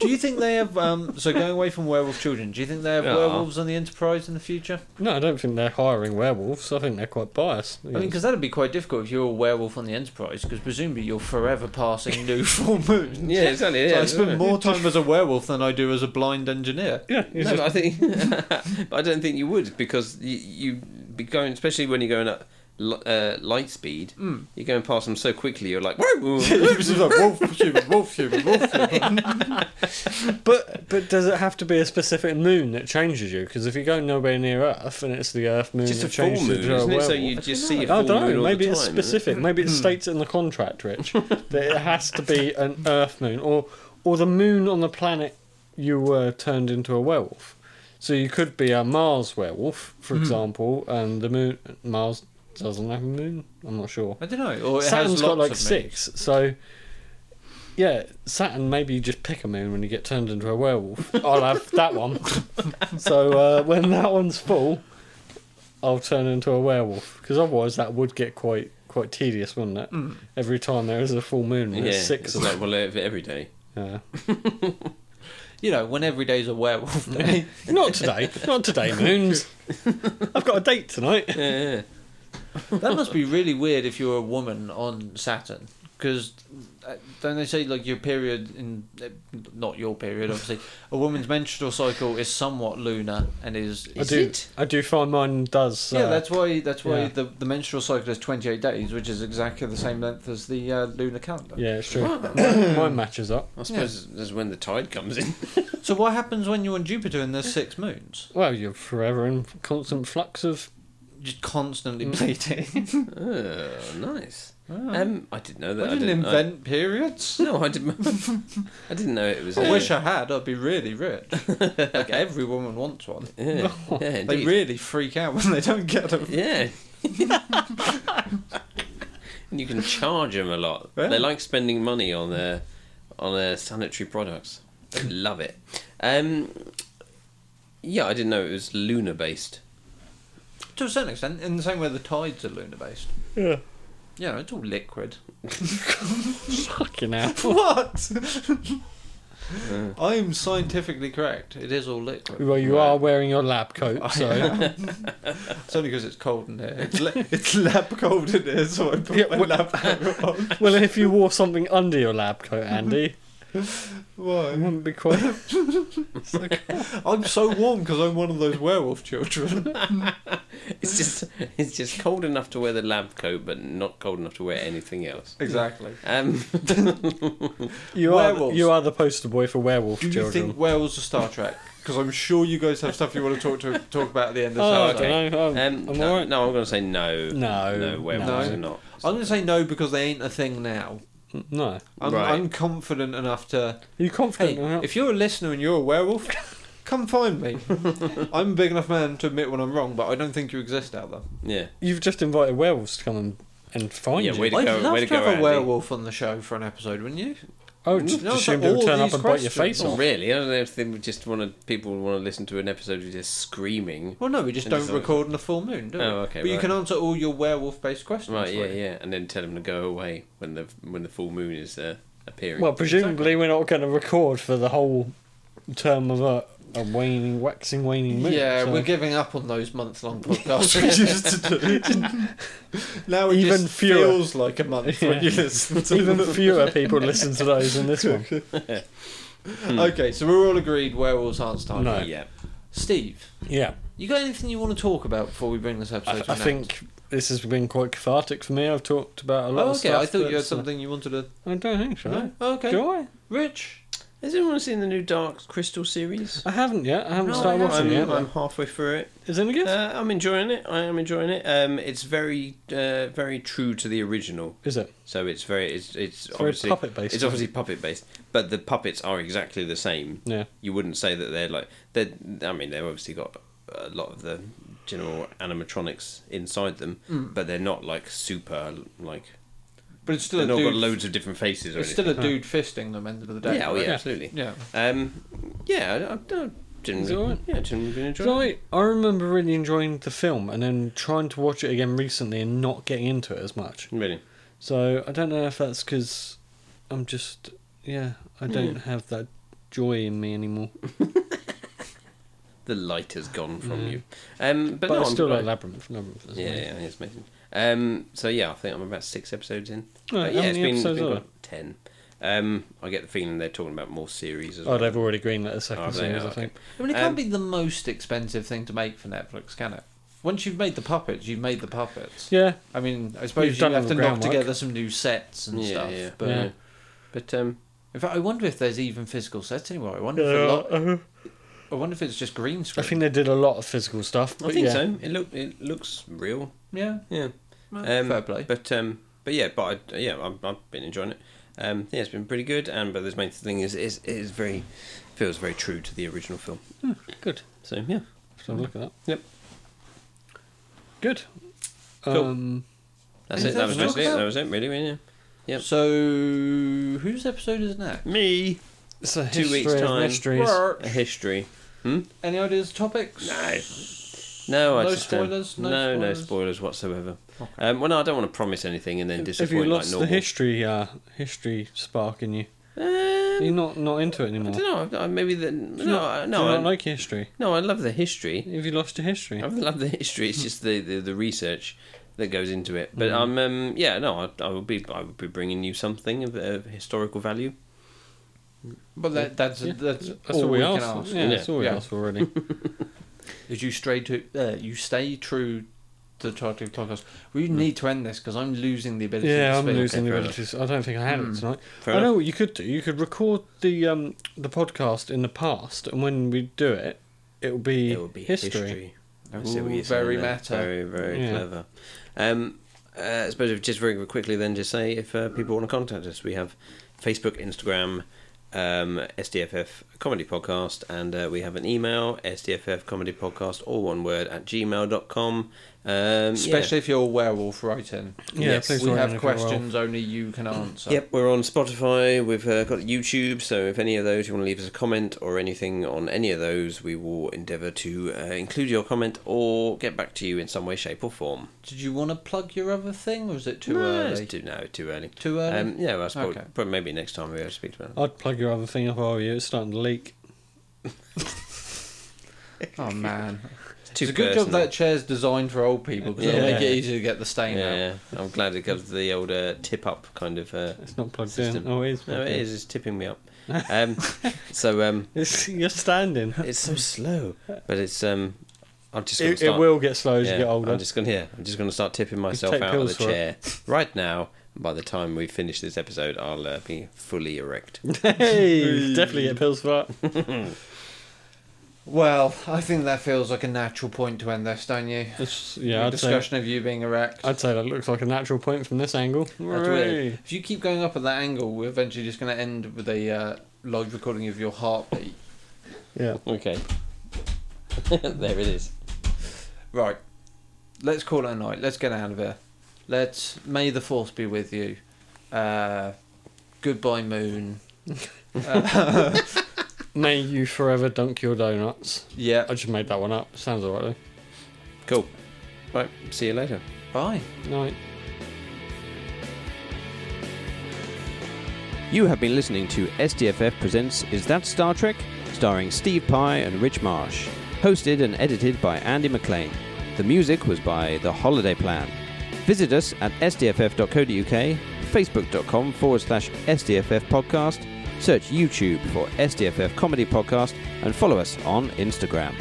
[SPEAKER 2] Do you think they have? Um, so going away from werewolf children, do you think they have
[SPEAKER 3] Yeah.
[SPEAKER 2] werewolves on the Enterprise in the future?
[SPEAKER 1] No, I don't think they're hiring werewolves. I think they're quite biased.
[SPEAKER 2] I mean, because that'd be quite difficult if you're a werewolf on the Enterprise, because presumably you're forever passing new full moons.
[SPEAKER 3] Yeah, exactly. Yeah,
[SPEAKER 2] So I
[SPEAKER 3] isn't it?
[SPEAKER 2] spend more time as a werewolf than I do as a blind engineer.
[SPEAKER 1] yeah, you
[SPEAKER 3] No,
[SPEAKER 1] just-
[SPEAKER 3] but I think, but I don't think you would because you, you'd be going, especially when you're going at li- uh, light speed.
[SPEAKER 1] Hmm.
[SPEAKER 2] Mm.
[SPEAKER 3] You're going past them so quickly. You're like, whoa,
[SPEAKER 2] He
[SPEAKER 3] whoa.
[SPEAKER 2] was just like wolf human, wolf human, wolf human.
[SPEAKER 1] But but does it have to be a specific moon that changes you? Because if you go nowhere near Earth and it's the Earth moon
[SPEAKER 3] just a
[SPEAKER 1] that
[SPEAKER 3] full
[SPEAKER 1] changes
[SPEAKER 3] moon,
[SPEAKER 1] you to a
[SPEAKER 3] isn't it? So
[SPEAKER 1] werewolf.
[SPEAKER 3] you just see a full
[SPEAKER 1] I don't
[SPEAKER 3] moon
[SPEAKER 1] know.
[SPEAKER 3] all
[SPEAKER 1] Maybe
[SPEAKER 3] the
[SPEAKER 1] it's
[SPEAKER 3] time, isn't it? Hmm.
[SPEAKER 1] specific. Maybe it states in the contract, Rich, that it has to be an Earth moon or or the moon on the planet you were turned into a werewolf. So you could be a Mars werewolf, for
[SPEAKER 3] Hmm.
[SPEAKER 1] example, and the moon Mars doesn't have a moon. I'm not sure.
[SPEAKER 2] I don't know. Or it
[SPEAKER 1] Saturn's
[SPEAKER 2] has
[SPEAKER 1] got
[SPEAKER 2] lots
[SPEAKER 1] like
[SPEAKER 2] of
[SPEAKER 1] six, so yeah, Saturn. Maybe you just pick a moon when you get turned into a werewolf. I'll have that one. so uh, when that one's full, I'll turn into a werewolf because otherwise that would get quite quite tedious, wouldn't it?
[SPEAKER 2] Mm.
[SPEAKER 1] Every time there is a full moon,
[SPEAKER 3] Yeah,
[SPEAKER 1] there's six
[SPEAKER 3] It's
[SPEAKER 1] of
[SPEAKER 3] like
[SPEAKER 1] them.
[SPEAKER 3] well, ev- every day.
[SPEAKER 1] Yeah.
[SPEAKER 2] moons. You know, when every day's a werewolf day.
[SPEAKER 1] Not today. Not today, moons. I've got a date tonight.
[SPEAKER 3] Yeah, yeah.
[SPEAKER 2] that must be really weird if you're a woman on Saturn, because don't they say like your period in eh, not your period obviously a woman's menstrual cycle is somewhat lunar and is
[SPEAKER 1] I
[SPEAKER 2] is
[SPEAKER 1] do.
[SPEAKER 2] it?
[SPEAKER 1] I do find mine does. Uh,
[SPEAKER 2] yeah, that's why that's why
[SPEAKER 1] yeah.
[SPEAKER 2] the, the menstrual cycle is 28 days, which is exactly the same length as the uh, lunar calendar.
[SPEAKER 1] yeah, it's true. mine matches up.
[SPEAKER 3] I suppose that's when the tide comes in.
[SPEAKER 2] So what happens when you're on Jupiter and there's six moons?
[SPEAKER 1] Well, you're forever in constant flux of
[SPEAKER 2] Just constantly
[SPEAKER 1] Mm.
[SPEAKER 2] bleeding.
[SPEAKER 3] oh, nice.
[SPEAKER 2] Oh.
[SPEAKER 1] Hmm.
[SPEAKER 3] Um, I didn't know
[SPEAKER 2] I
[SPEAKER 3] that.
[SPEAKER 2] didn't
[SPEAKER 3] I-
[SPEAKER 2] invent periods.
[SPEAKER 3] no, I didn't. I didn't know it was.
[SPEAKER 2] I
[SPEAKER 3] uh,
[SPEAKER 2] wish I had. I'd be really rich. like every woman wants one.
[SPEAKER 3] Yeah, yeah,
[SPEAKER 2] They
[SPEAKER 3] indeed.
[SPEAKER 2] really freak out when they don't get them.
[SPEAKER 3] Yeah. and you can charge them a lot.
[SPEAKER 2] Yeah.
[SPEAKER 3] They like spending money on their on their sanitary products. They love it. Um, yeah, I didn't know it was lunar based.
[SPEAKER 2] To a certain extent, in the same way the tides are lunar based.
[SPEAKER 1] yeah.
[SPEAKER 2] You know, it's all liquid.
[SPEAKER 1] Fucking hell.
[SPEAKER 2] What? I'm scientifically correct. It is all liquid.
[SPEAKER 1] Well, you
[SPEAKER 3] Right.
[SPEAKER 1] are wearing your lab coat, so
[SPEAKER 2] It's only because it's cold in here. It's, la- it's lab cold in here, so I put
[SPEAKER 1] Yeah,
[SPEAKER 2] my
[SPEAKER 1] wh-
[SPEAKER 2] lab coat on.
[SPEAKER 1] well, if you wore something under your lab coat, Andy, it
[SPEAKER 2] Why?
[SPEAKER 1] wouldn't be quite.
[SPEAKER 2] I'm so warm because I'm one of those werewolf children.
[SPEAKER 3] It's just it's just cold enough to wear the lab coat, but not cold enough to wear anything else.
[SPEAKER 2] exactly.
[SPEAKER 3] Um,
[SPEAKER 1] You are the,
[SPEAKER 2] Werewolves.
[SPEAKER 1] you are the poster boy for werewolf
[SPEAKER 2] Do you
[SPEAKER 1] children.
[SPEAKER 2] think werewolves are Star Trek? Because I'm sure you guys have stuff you want to talk to talk about at the end of the
[SPEAKER 1] oh,
[SPEAKER 2] show.
[SPEAKER 1] I
[SPEAKER 3] okay.
[SPEAKER 1] don't know. I'm,
[SPEAKER 3] um,
[SPEAKER 1] I'm
[SPEAKER 3] no,
[SPEAKER 1] alright.
[SPEAKER 3] no, I'm going to say no.
[SPEAKER 1] No,
[SPEAKER 3] no, werewolves
[SPEAKER 2] no.
[SPEAKER 3] are not.
[SPEAKER 2] I'm going to say no because they ain't a thing now.
[SPEAKER 1] No.
[SPEAKER 2] I'm,
[SPEAKER 3] Right.
[SPEAKER 2] I'm confident enough to.
[SPEAKER 1] Are you confident?
[SPEAKER 2] Hey,
[SPEAKER 1] or not?
[SPEAKER 2] if you're a listener and you're a werewolf, come find me. I'm a big enough man to admit when I'm wrong, but I don't think you exist out there.
[SPEAKER 3] Yeah,
[SPEAKER 1] You've just invited werewolves to come and, and find
[SPEAKER 3] Yeah,
[SPEAKER 1] you.
[SPEAKER 3] wait- Way to
[SPEAKER 2] I'd
[SPEAKER 3] go,
[SPEAKER 2] love
[SPEAKER 3] way
[SPEAKER 2] to,
[SPEAKER 3] to go,
[SPEAKER 2] have a
[SPEAKER 3] Andy.
[SPEAKER 2] werewolf on the show for an episode, wouldn't you?
[SPEAKER 1] I would Oh, just
[SPEAKER 2] No, it's
[SPEAKER 1] assume
[SPEAKER 2] like
[SPEAKER 1] they'll
[SPEAKER 2] all
[SPEAKER 1] turn up
[SPEAKER 2] these
[SPEAKER 1] and bite your
[SPEAKER 2] questions.
[SPEAKER 1] face
[SPEAKER 3] not
[SPEAKER 1] off.
[SPEAKER 3] really. I don't know if they would just want to. People would want to listen to an episode of just screaming.
[SPEAKER 2] Well, no, we just
[SPEAKER 3] And
[SPEAKER 2] don't
[SPEAKER 3] so-
[SPEAKER 2] record on the full moon, do we?
[SPEAKER 3] Oh, okay,
[SPEAKER 2] But you
[SPEAKER 3] right.
[SPEAKER 2] can answer all your werewolf-based questions.
[SPEAKER 3] Right, yeah,
[SPEAKER 2] like-
[SPEAKER 3] yeah, and then tell them to go away when the when the full moon is uh, appearing.
[SPEAKER 1] Well, presumably we're not going to record for the whole term of a, a waning, waxing, waning moon.
[SPEAKER 2] Yeah,
[SPEAKER 1] so
[SPEAKER 2] we're giving up on those month-long podcasts we used to do. now it
[SPEAKER 1] Even
[SPEAKER 2] just
[SPEAKER 1] fewer.
[SPEAKER 2] feels like a month when you
[SPEAKER 1] Yeah.
[SPEAKER 2] listen to
[SPEAKER 1] even
[SPEAKER 2] them.
[SPEAKER 1] fewer people listen to those than this one. Hmm.
[SPEAKER 2] Okay, so we're all agreed werewolves aren't Star
[SPEAKER 1] No.
[SPEAKER 2] Trek.
[SPEAKER 3] yeah,
[SPEAKER 2] Steve,
[SPEAKER 1] Yeah,
[SPEAKER 2] you got anything you want to talk about before we bring this episode
[SPEAKER 1] I,
[SPEAKER 2] to
[SPEAKER 1] I
[SPEAKER 2] an end?
[SPEAKER 1] think this has been quite cathartic for me. I've talked about a lot
[SPEAKER 2] Oh,
[SPEAKER 1] of
[SPEAKER 2] okay.
[SPEAKER 1] stuff.
[SPEAKER 2] I thought you had
[SPEAKER 1] that's, uh,
[SPEAKER 2] something you wanted to.
[SPEAKER 1] I don't think so.
[SPEAKER 2] No? Okay.
[SPEAKER 1] Do I?
[SPEAKER 2] Rich.
[SPEAKER 3] has anyone seen the new Dark Crystal series?
[SPEAKER 1] I haven't yet. I haven't
[SPEAKER 2] No,
[SPEAKER 1] started
[SPEAKER 2] I
[SPEAKER 1] watching
[SPEAKER 2] haven't.
[SPEAKER 1] it yet.
[SPEAKER 3] I'm, I'm halfway through it.
[SPEAKER 1] Is it any good?
[SPEAKER 3] Uh, I'm enjoying it. I am enjoying it. Um, it's very, uh, very true to the original.
[SPEAKER 1] Is it?
[SPEAKER 3] So it's very, it's it's,
[SPEAKER 1] very
[SPEAKER 3] obviously
[SPEAKER 1] puppet-based,
[SPEAKER 3] It's
[SPEAKER 1] isn't
[SPEAKER 3] obviously puppet based, but the puppets are exactly the same.
[SPEAKER 1] Yeah.
[SPEAKER 3] You wouldn't say that they're like they're. I mean, they've obviously got a lot of the general animatronics inside them,
[SPEAKER 1] Mm.
[SPEAKER 3] but they're not like super like.
[SPEAKER 2] But it's still
[SPEAKER 3] They've
[SPEAKER 2] a
[SPEAKER 3] not
[SPEAKER 2] dude.
[SPEAKER 3] got loads of different faces or
[SPEAKER 2] it's still
[SPEAKER 3] anything.
[SPEAKER 2] a dude fisting them end of the day.
[SPEAKER 3] yeah, oh
[SPEAKER 2] right?
[SPEAKER 3] yeah,
[SPEAKER 1] Yeah.
[SPEAKER 3] absolutely.
[SPEAKER 2] Yeah.
[SPEAKER 3] Um, yeah, I, I don't
[SPEAKER 1] Is it
[SPEAKER 3] generally,
[SPEAKER 1] alright?
[SPEAKER 3] yeah, generally been enjoying.
[SPEAKER 1] So
[SPEAKER 3] it.
[SPEAKER 1] I, I remember really enjoying the film and then trying to watch it again recently and not getting into it as much.
[SPEAKER 3] Really,
[SPEAKER 1] So I don't know if that's because I'm just, yeah,
[SPEAKER 2] Hmm.
[SPEAKER 1] I don't have that joy in me anymore.
[SPEAKER 3] the light has gone from you. Um, but,
[SPEAKER 1] Mm. But,
[SPEAKER 3] no,
[SPEAKER 1] I
[SPEAKER 3] I'm
[SPEAKER 1] still
[SPEAKER 3] glad-
[SPEAKER 1] like Labyrinth. Labyrinth is
[SPEAKER 3] Yeah,
[SPEAKER 1] amazing.
[SPEAKER 3] yeah, it's amazing. Um, so yeah, I think I'm about six episodes in.
[SPEAKER 1] Right,
[SPEAKER 3] But
[SPEAKER 1] how
[SPEAKER 3] yeah, it's
[SPEAKER 1] many
[SPEAKER 3] been, it's
[SPEAKER 1] episodes
[SPEAKER 3] been
[SPEAKER 1] are
[SPEAKER 3] good. ten. Um, I get the feeling they're talking about more series as
[SPEAKER 1] Oh,
[SPEAKER 3] well.
[SPEAKER 1] they've already greenlit a second
[SPEAKER 3] Oh, they
[SPEAKER 1] series,
[SPEAKER 3] are,
[SPEAKER 1] I think.
[SPEAKER 2] I mean, it can't
[SPEAKER 3] Um,
[SPEAKER 2] be the most expensive thing to make for Netflix, can it? Once you've made the puppets, you've made the puppets.
[SPEAKER 1] Yeah,
[SPEAKER 2] I mean, I suppose
[SPEAKER 1] You've
[SPEAKER 2] you
[SPEAKER 1] done
[SPEAKER 2] have
[SPEAKER 1] all
[SPEAKER 2] to
[SPEAKER 1] the
[SPEAKER 2] knock
[SPEAKER 1] groundwork.
[SPEAKER 2] together some new sets and
[SPEAKER 3] yeah,
[SPEAKER 2] stuff.
[SPEAKER 3] yeah. uh,
[SPEAKER 2] But
[SPEAKER 1] Yeah.
[SPEAKER 3] But um,
[SPEAKER 2] in fact, I wonder if there's even physical sets anymore. I wonder if a lot. I wonder if it's just green
[SPEAKER 1] I
[SPEAKER 2] screen.
[SPEAKER 1] think they did a lot of physical stuff.
[SPEAKER 3] I
[SPEAKER 1] but
[SPEAKER 3] think
[SPEAKER 1] yeah.
[SPEAKER 3] so. It look it looks real.
[SPEAKER 2] yeah.
[SPEAKER 3] Yeah.
[SPEAKER 2] well,
[SPEAKER 3] Um,
[SPEAKER 2] fair play.
[SPEAKER 3] But um, but yeah, but I, yeah, I've, I've been enjoying it. Um, yeah, it's been pretty good. And but this main thing is is it is very feels very true to the original film.
[SPEAKER 1] Hmm, Good.
[SPEAKER 3] So yeah,
[SPEAKER 1] So look at that.
[SPEAKER 3] Yep.
[SPEAKER 1] Good.
[SPEAKER 3] Cool.
[SPEAKER 1] Um,
[SPEAKER 3] that's
[SPEAKER 2] Is
[SPEAKER 3] it.
[SPEAKER 2] that
[SPEAKER 3] That was
[SPEAKER 2] what
[SPEAKER 3] mostly
[SPEAKER 2] it's
[SPEAKER 3] it.
[SPEAKER 2] about?
[SPEAKER 3] That was it. Really, really. Yep.
[SPEAKER 2] So, whose episode is it now?
[SPEAKER 3] Me.
[SPEAKER 1] it's a
[SPEAKER 3] Two
[SPEAKER 1] history
[SPEAKER 3] weeks
[SPEAKER 1] of
[SPEAKER 3] time.
[SPEAKER 1] mysteries.
[SPEAKER 2] Brr.
[SPEAKER 3] A history.
[SPEAKER 2] Any ideas, topics?
[SPEAKER 3] No. No, I
[SPEAKER 2] No
[SPEAKER 3] just um,
[SPEAKER 2] spoilers, no
[SPEAKER 3] no, no
[SPEAKER 2] spoilers?
[SPEAKER 3] spoilers whatsoever. Um, well, no, I don't want to promise anything and then
[SPEAKER 1] Have you
[SPEAKER 3] disappoint like
[SPEAKER 1] lost
[SPEAKER 3] normal.
[SPEAKER 1] the history uh, history spark in you? You're
[SPEAKER 3] Um,
[SPEAKER 1] not not into it anymore.
[SPEAKER 3] I don't know. I- Maybe the
[SPEAKER 1] Do
[SPEAKER 3] no,
[SPEAKER 1] you not,
[SPEAKER 3] I-
[SPEAKER 1] do you
[SPEAKER 3] no,
[SPEAKER 1] not
[SPEAKER 3] I,
[SPEAKER 1] like history.
[SPEAKER 3] no. I love the history.
[SPEAKER 1] Have you lost your history?
[SPEAKER 3] I love the history. It's just the, the, the research that goes into it. But um, um yeah, no, I, I would be I would be bringing you something of, of historical value.
[SPEAKER 2] But that, that's,
[SPEAKER 1] Yeah.
[SPEAKER 2] that's
[SPEAKER 1] That's
[SPEAKER 2] all, we,
[SPEAKER 1] asked.
[SPEAKER 2] can ask.
[SPEAKER 1] Yeah, that's
[SPEAKER 3] Yeah.
[SPEAKER 1] all we
[SPEAKER 2] Yeah.
[SPEAKER 1] asked for already.
[SPEAKER 2] Is you stray to uh, you stay true to the title of the podcast? We need to end this because I'm losing the ability. to
[SPEAKER 1] Mm. yeah, I'm
[SPEAKER 2] speak.
[SPEAKER 1] losing the
[SPEAKER 3] fair Hmm,
[SPEAKER 1] ability. to- I don't think I had it tonight.
[SPEAKER 3] Fair
[SPEAKER 1] I know
[SPEAKER 3] enough.
[SPEAKER 1] what you could do. You could record the um the podcast in the past, and when we do it, it will be,
[SPEAKER 3] It would be
[SPEAKER 1] history.
[SPEAKER 3] history. I see what
[SPEAKER 2] Ooh,
[SPEAKER 3] you're saying
[SPEAKER 2] very
[SPEAKER 3] there.
[SPEAKER 2] meta.
[SPEAKER 3] Very very
[SPEAKER 1] Yeah.
[SPEAKER 3] clever. Um, uh, I suppose if just very quickly then just say if uh, people want to contact us, we have Facebook, Instagram, um, SDFF comedy podcast, and uh, we have an email, sdffcomedypodcast, all one word, at gmail.com. Um,
[SPEAKER 2] Especially if you're a werewolf writing.
[SPEAKER 1] Yeah,
[SPEAKER 3] Yes,
[SPEAKER 1] please
[SPEAKER 2] we
[SPEAKER 1] write in
[SPEAKER 2] have
[SPEAKER 1] if you're well.
[SPEAKER 2] questions only you can answer.
[SPEAKER 3] yeah. Yep, we're on Spotify. We've uh, got YouTube, so if any of those you want to leave us a comment or anything on any of those, we will endeavour to uh, include your comment or get back to you in some way, shape, or form.
[SPEAKER 2] Did you want to plug your other thing, or is it too
[SPEAKER 3] No,
[SPEAKER 2] early?
[SPEAKER 3] It's too, no, too early.
[SPEAKER 2] Too early?
[SPEAKER 3] Um, yeah, well, I suppose,
[SPEAKER 2] Okay.
[SPEAKER 3] probably maybe next time we have to speak about it.
[SPEAKER 1] I'd plug your other thing up over you. It's starting to leak.
[SPEAKER 2] oh man,
[SPEAKER 3] It's,
[SPEAKER 2] it's a good job that chair's designed for old people because it'll
[SPEAKER 3] Yeah.
[SPEAKER 2] make it easier to get the stain out.
[SPEAKER 3] Yeah, yeah. I'm glad it comes to the old uh, tip up kind of. Uh,
[SPEAKER 1] It's not plugged
[SPEAKER 3] System.
[SPEAKER 1] in. Oh, it is.
[SPEAKER 3] no,
[SPEAKER 1] plugged
[SPEAKER 3] it
[SPEAKER 1] in.
[SPEAKER 3] is. It's tipping me up. Um, so um,
[SPEAKER 1] It's, you're standing.
[SPEAKER 3] it's so slow, but it's um, I'm just gonna
[SPEAKER 1] It,
[SPEAKER 3] start.
[SPEAKER 1] it will get slow as
[SPEAKER 3] yeah,
[SPEAKER 1] you get older.
[SPEAKER 3] I'm just gonna yeah, I'm just gonna start tipping myself
[SPEAKER 1] take
[SPEAKER 3] out of the
[SPEAKER 1] pills for it.
[SPEAKER 3] chair right now. And by the time we finish this episode, I'll uh, be fully erect.
[SPEAKER 1] hey, definitely get pills for that.
[SPEAKER 2] Well, I think that feels like a natural point to end this, don't you?
[SPEAKER 1] It's-
[SPEAKER 2] Your
[SPEAKER 1] yeah, I'd say,
[SPEAKER 2] discussion of you being erect.
[SPEAKER 1] I'd say that looks like a natural point from this angle.
[SPEAKER 2] That's weird.
[SPEAKER 1] Hooray.
[SPEAKER 2] If you keep going up at that angle, we're eventually just going to end with a uh, live recording of your heartbeat.
[SPEAKER 1] Yeah.
[SPEAKER 3] Okay, there it is.
[SPEAKER 2] Right. Let's call it a night. Let's get out of here. Let's. May the force be with you. Uh, goodbye, moon. Uh,
[SPEAKER 1] May you forever dunk your donuts.
[SPEAKER 2] yeah.
[SPEAKER 1] I just made that one up. Sounds alright
[SPEAKER 3] Cool. Right. See you later.
[SPEAKER 2] Bye.
[SPEAKER 1] though. Night.
[SPEAKER 3] You have been listening to SDFF Presents Is That Star Trek? starring Steve Pye and Rich Marsh. Hosted and edited by Andy McLean. The music was by The Holiday Plan. Visit us at sdff.co.uk, facebook.com forward slash SDFF podcast, search YouTube for SDFF Comedy Podcast, and follow us on Instagram.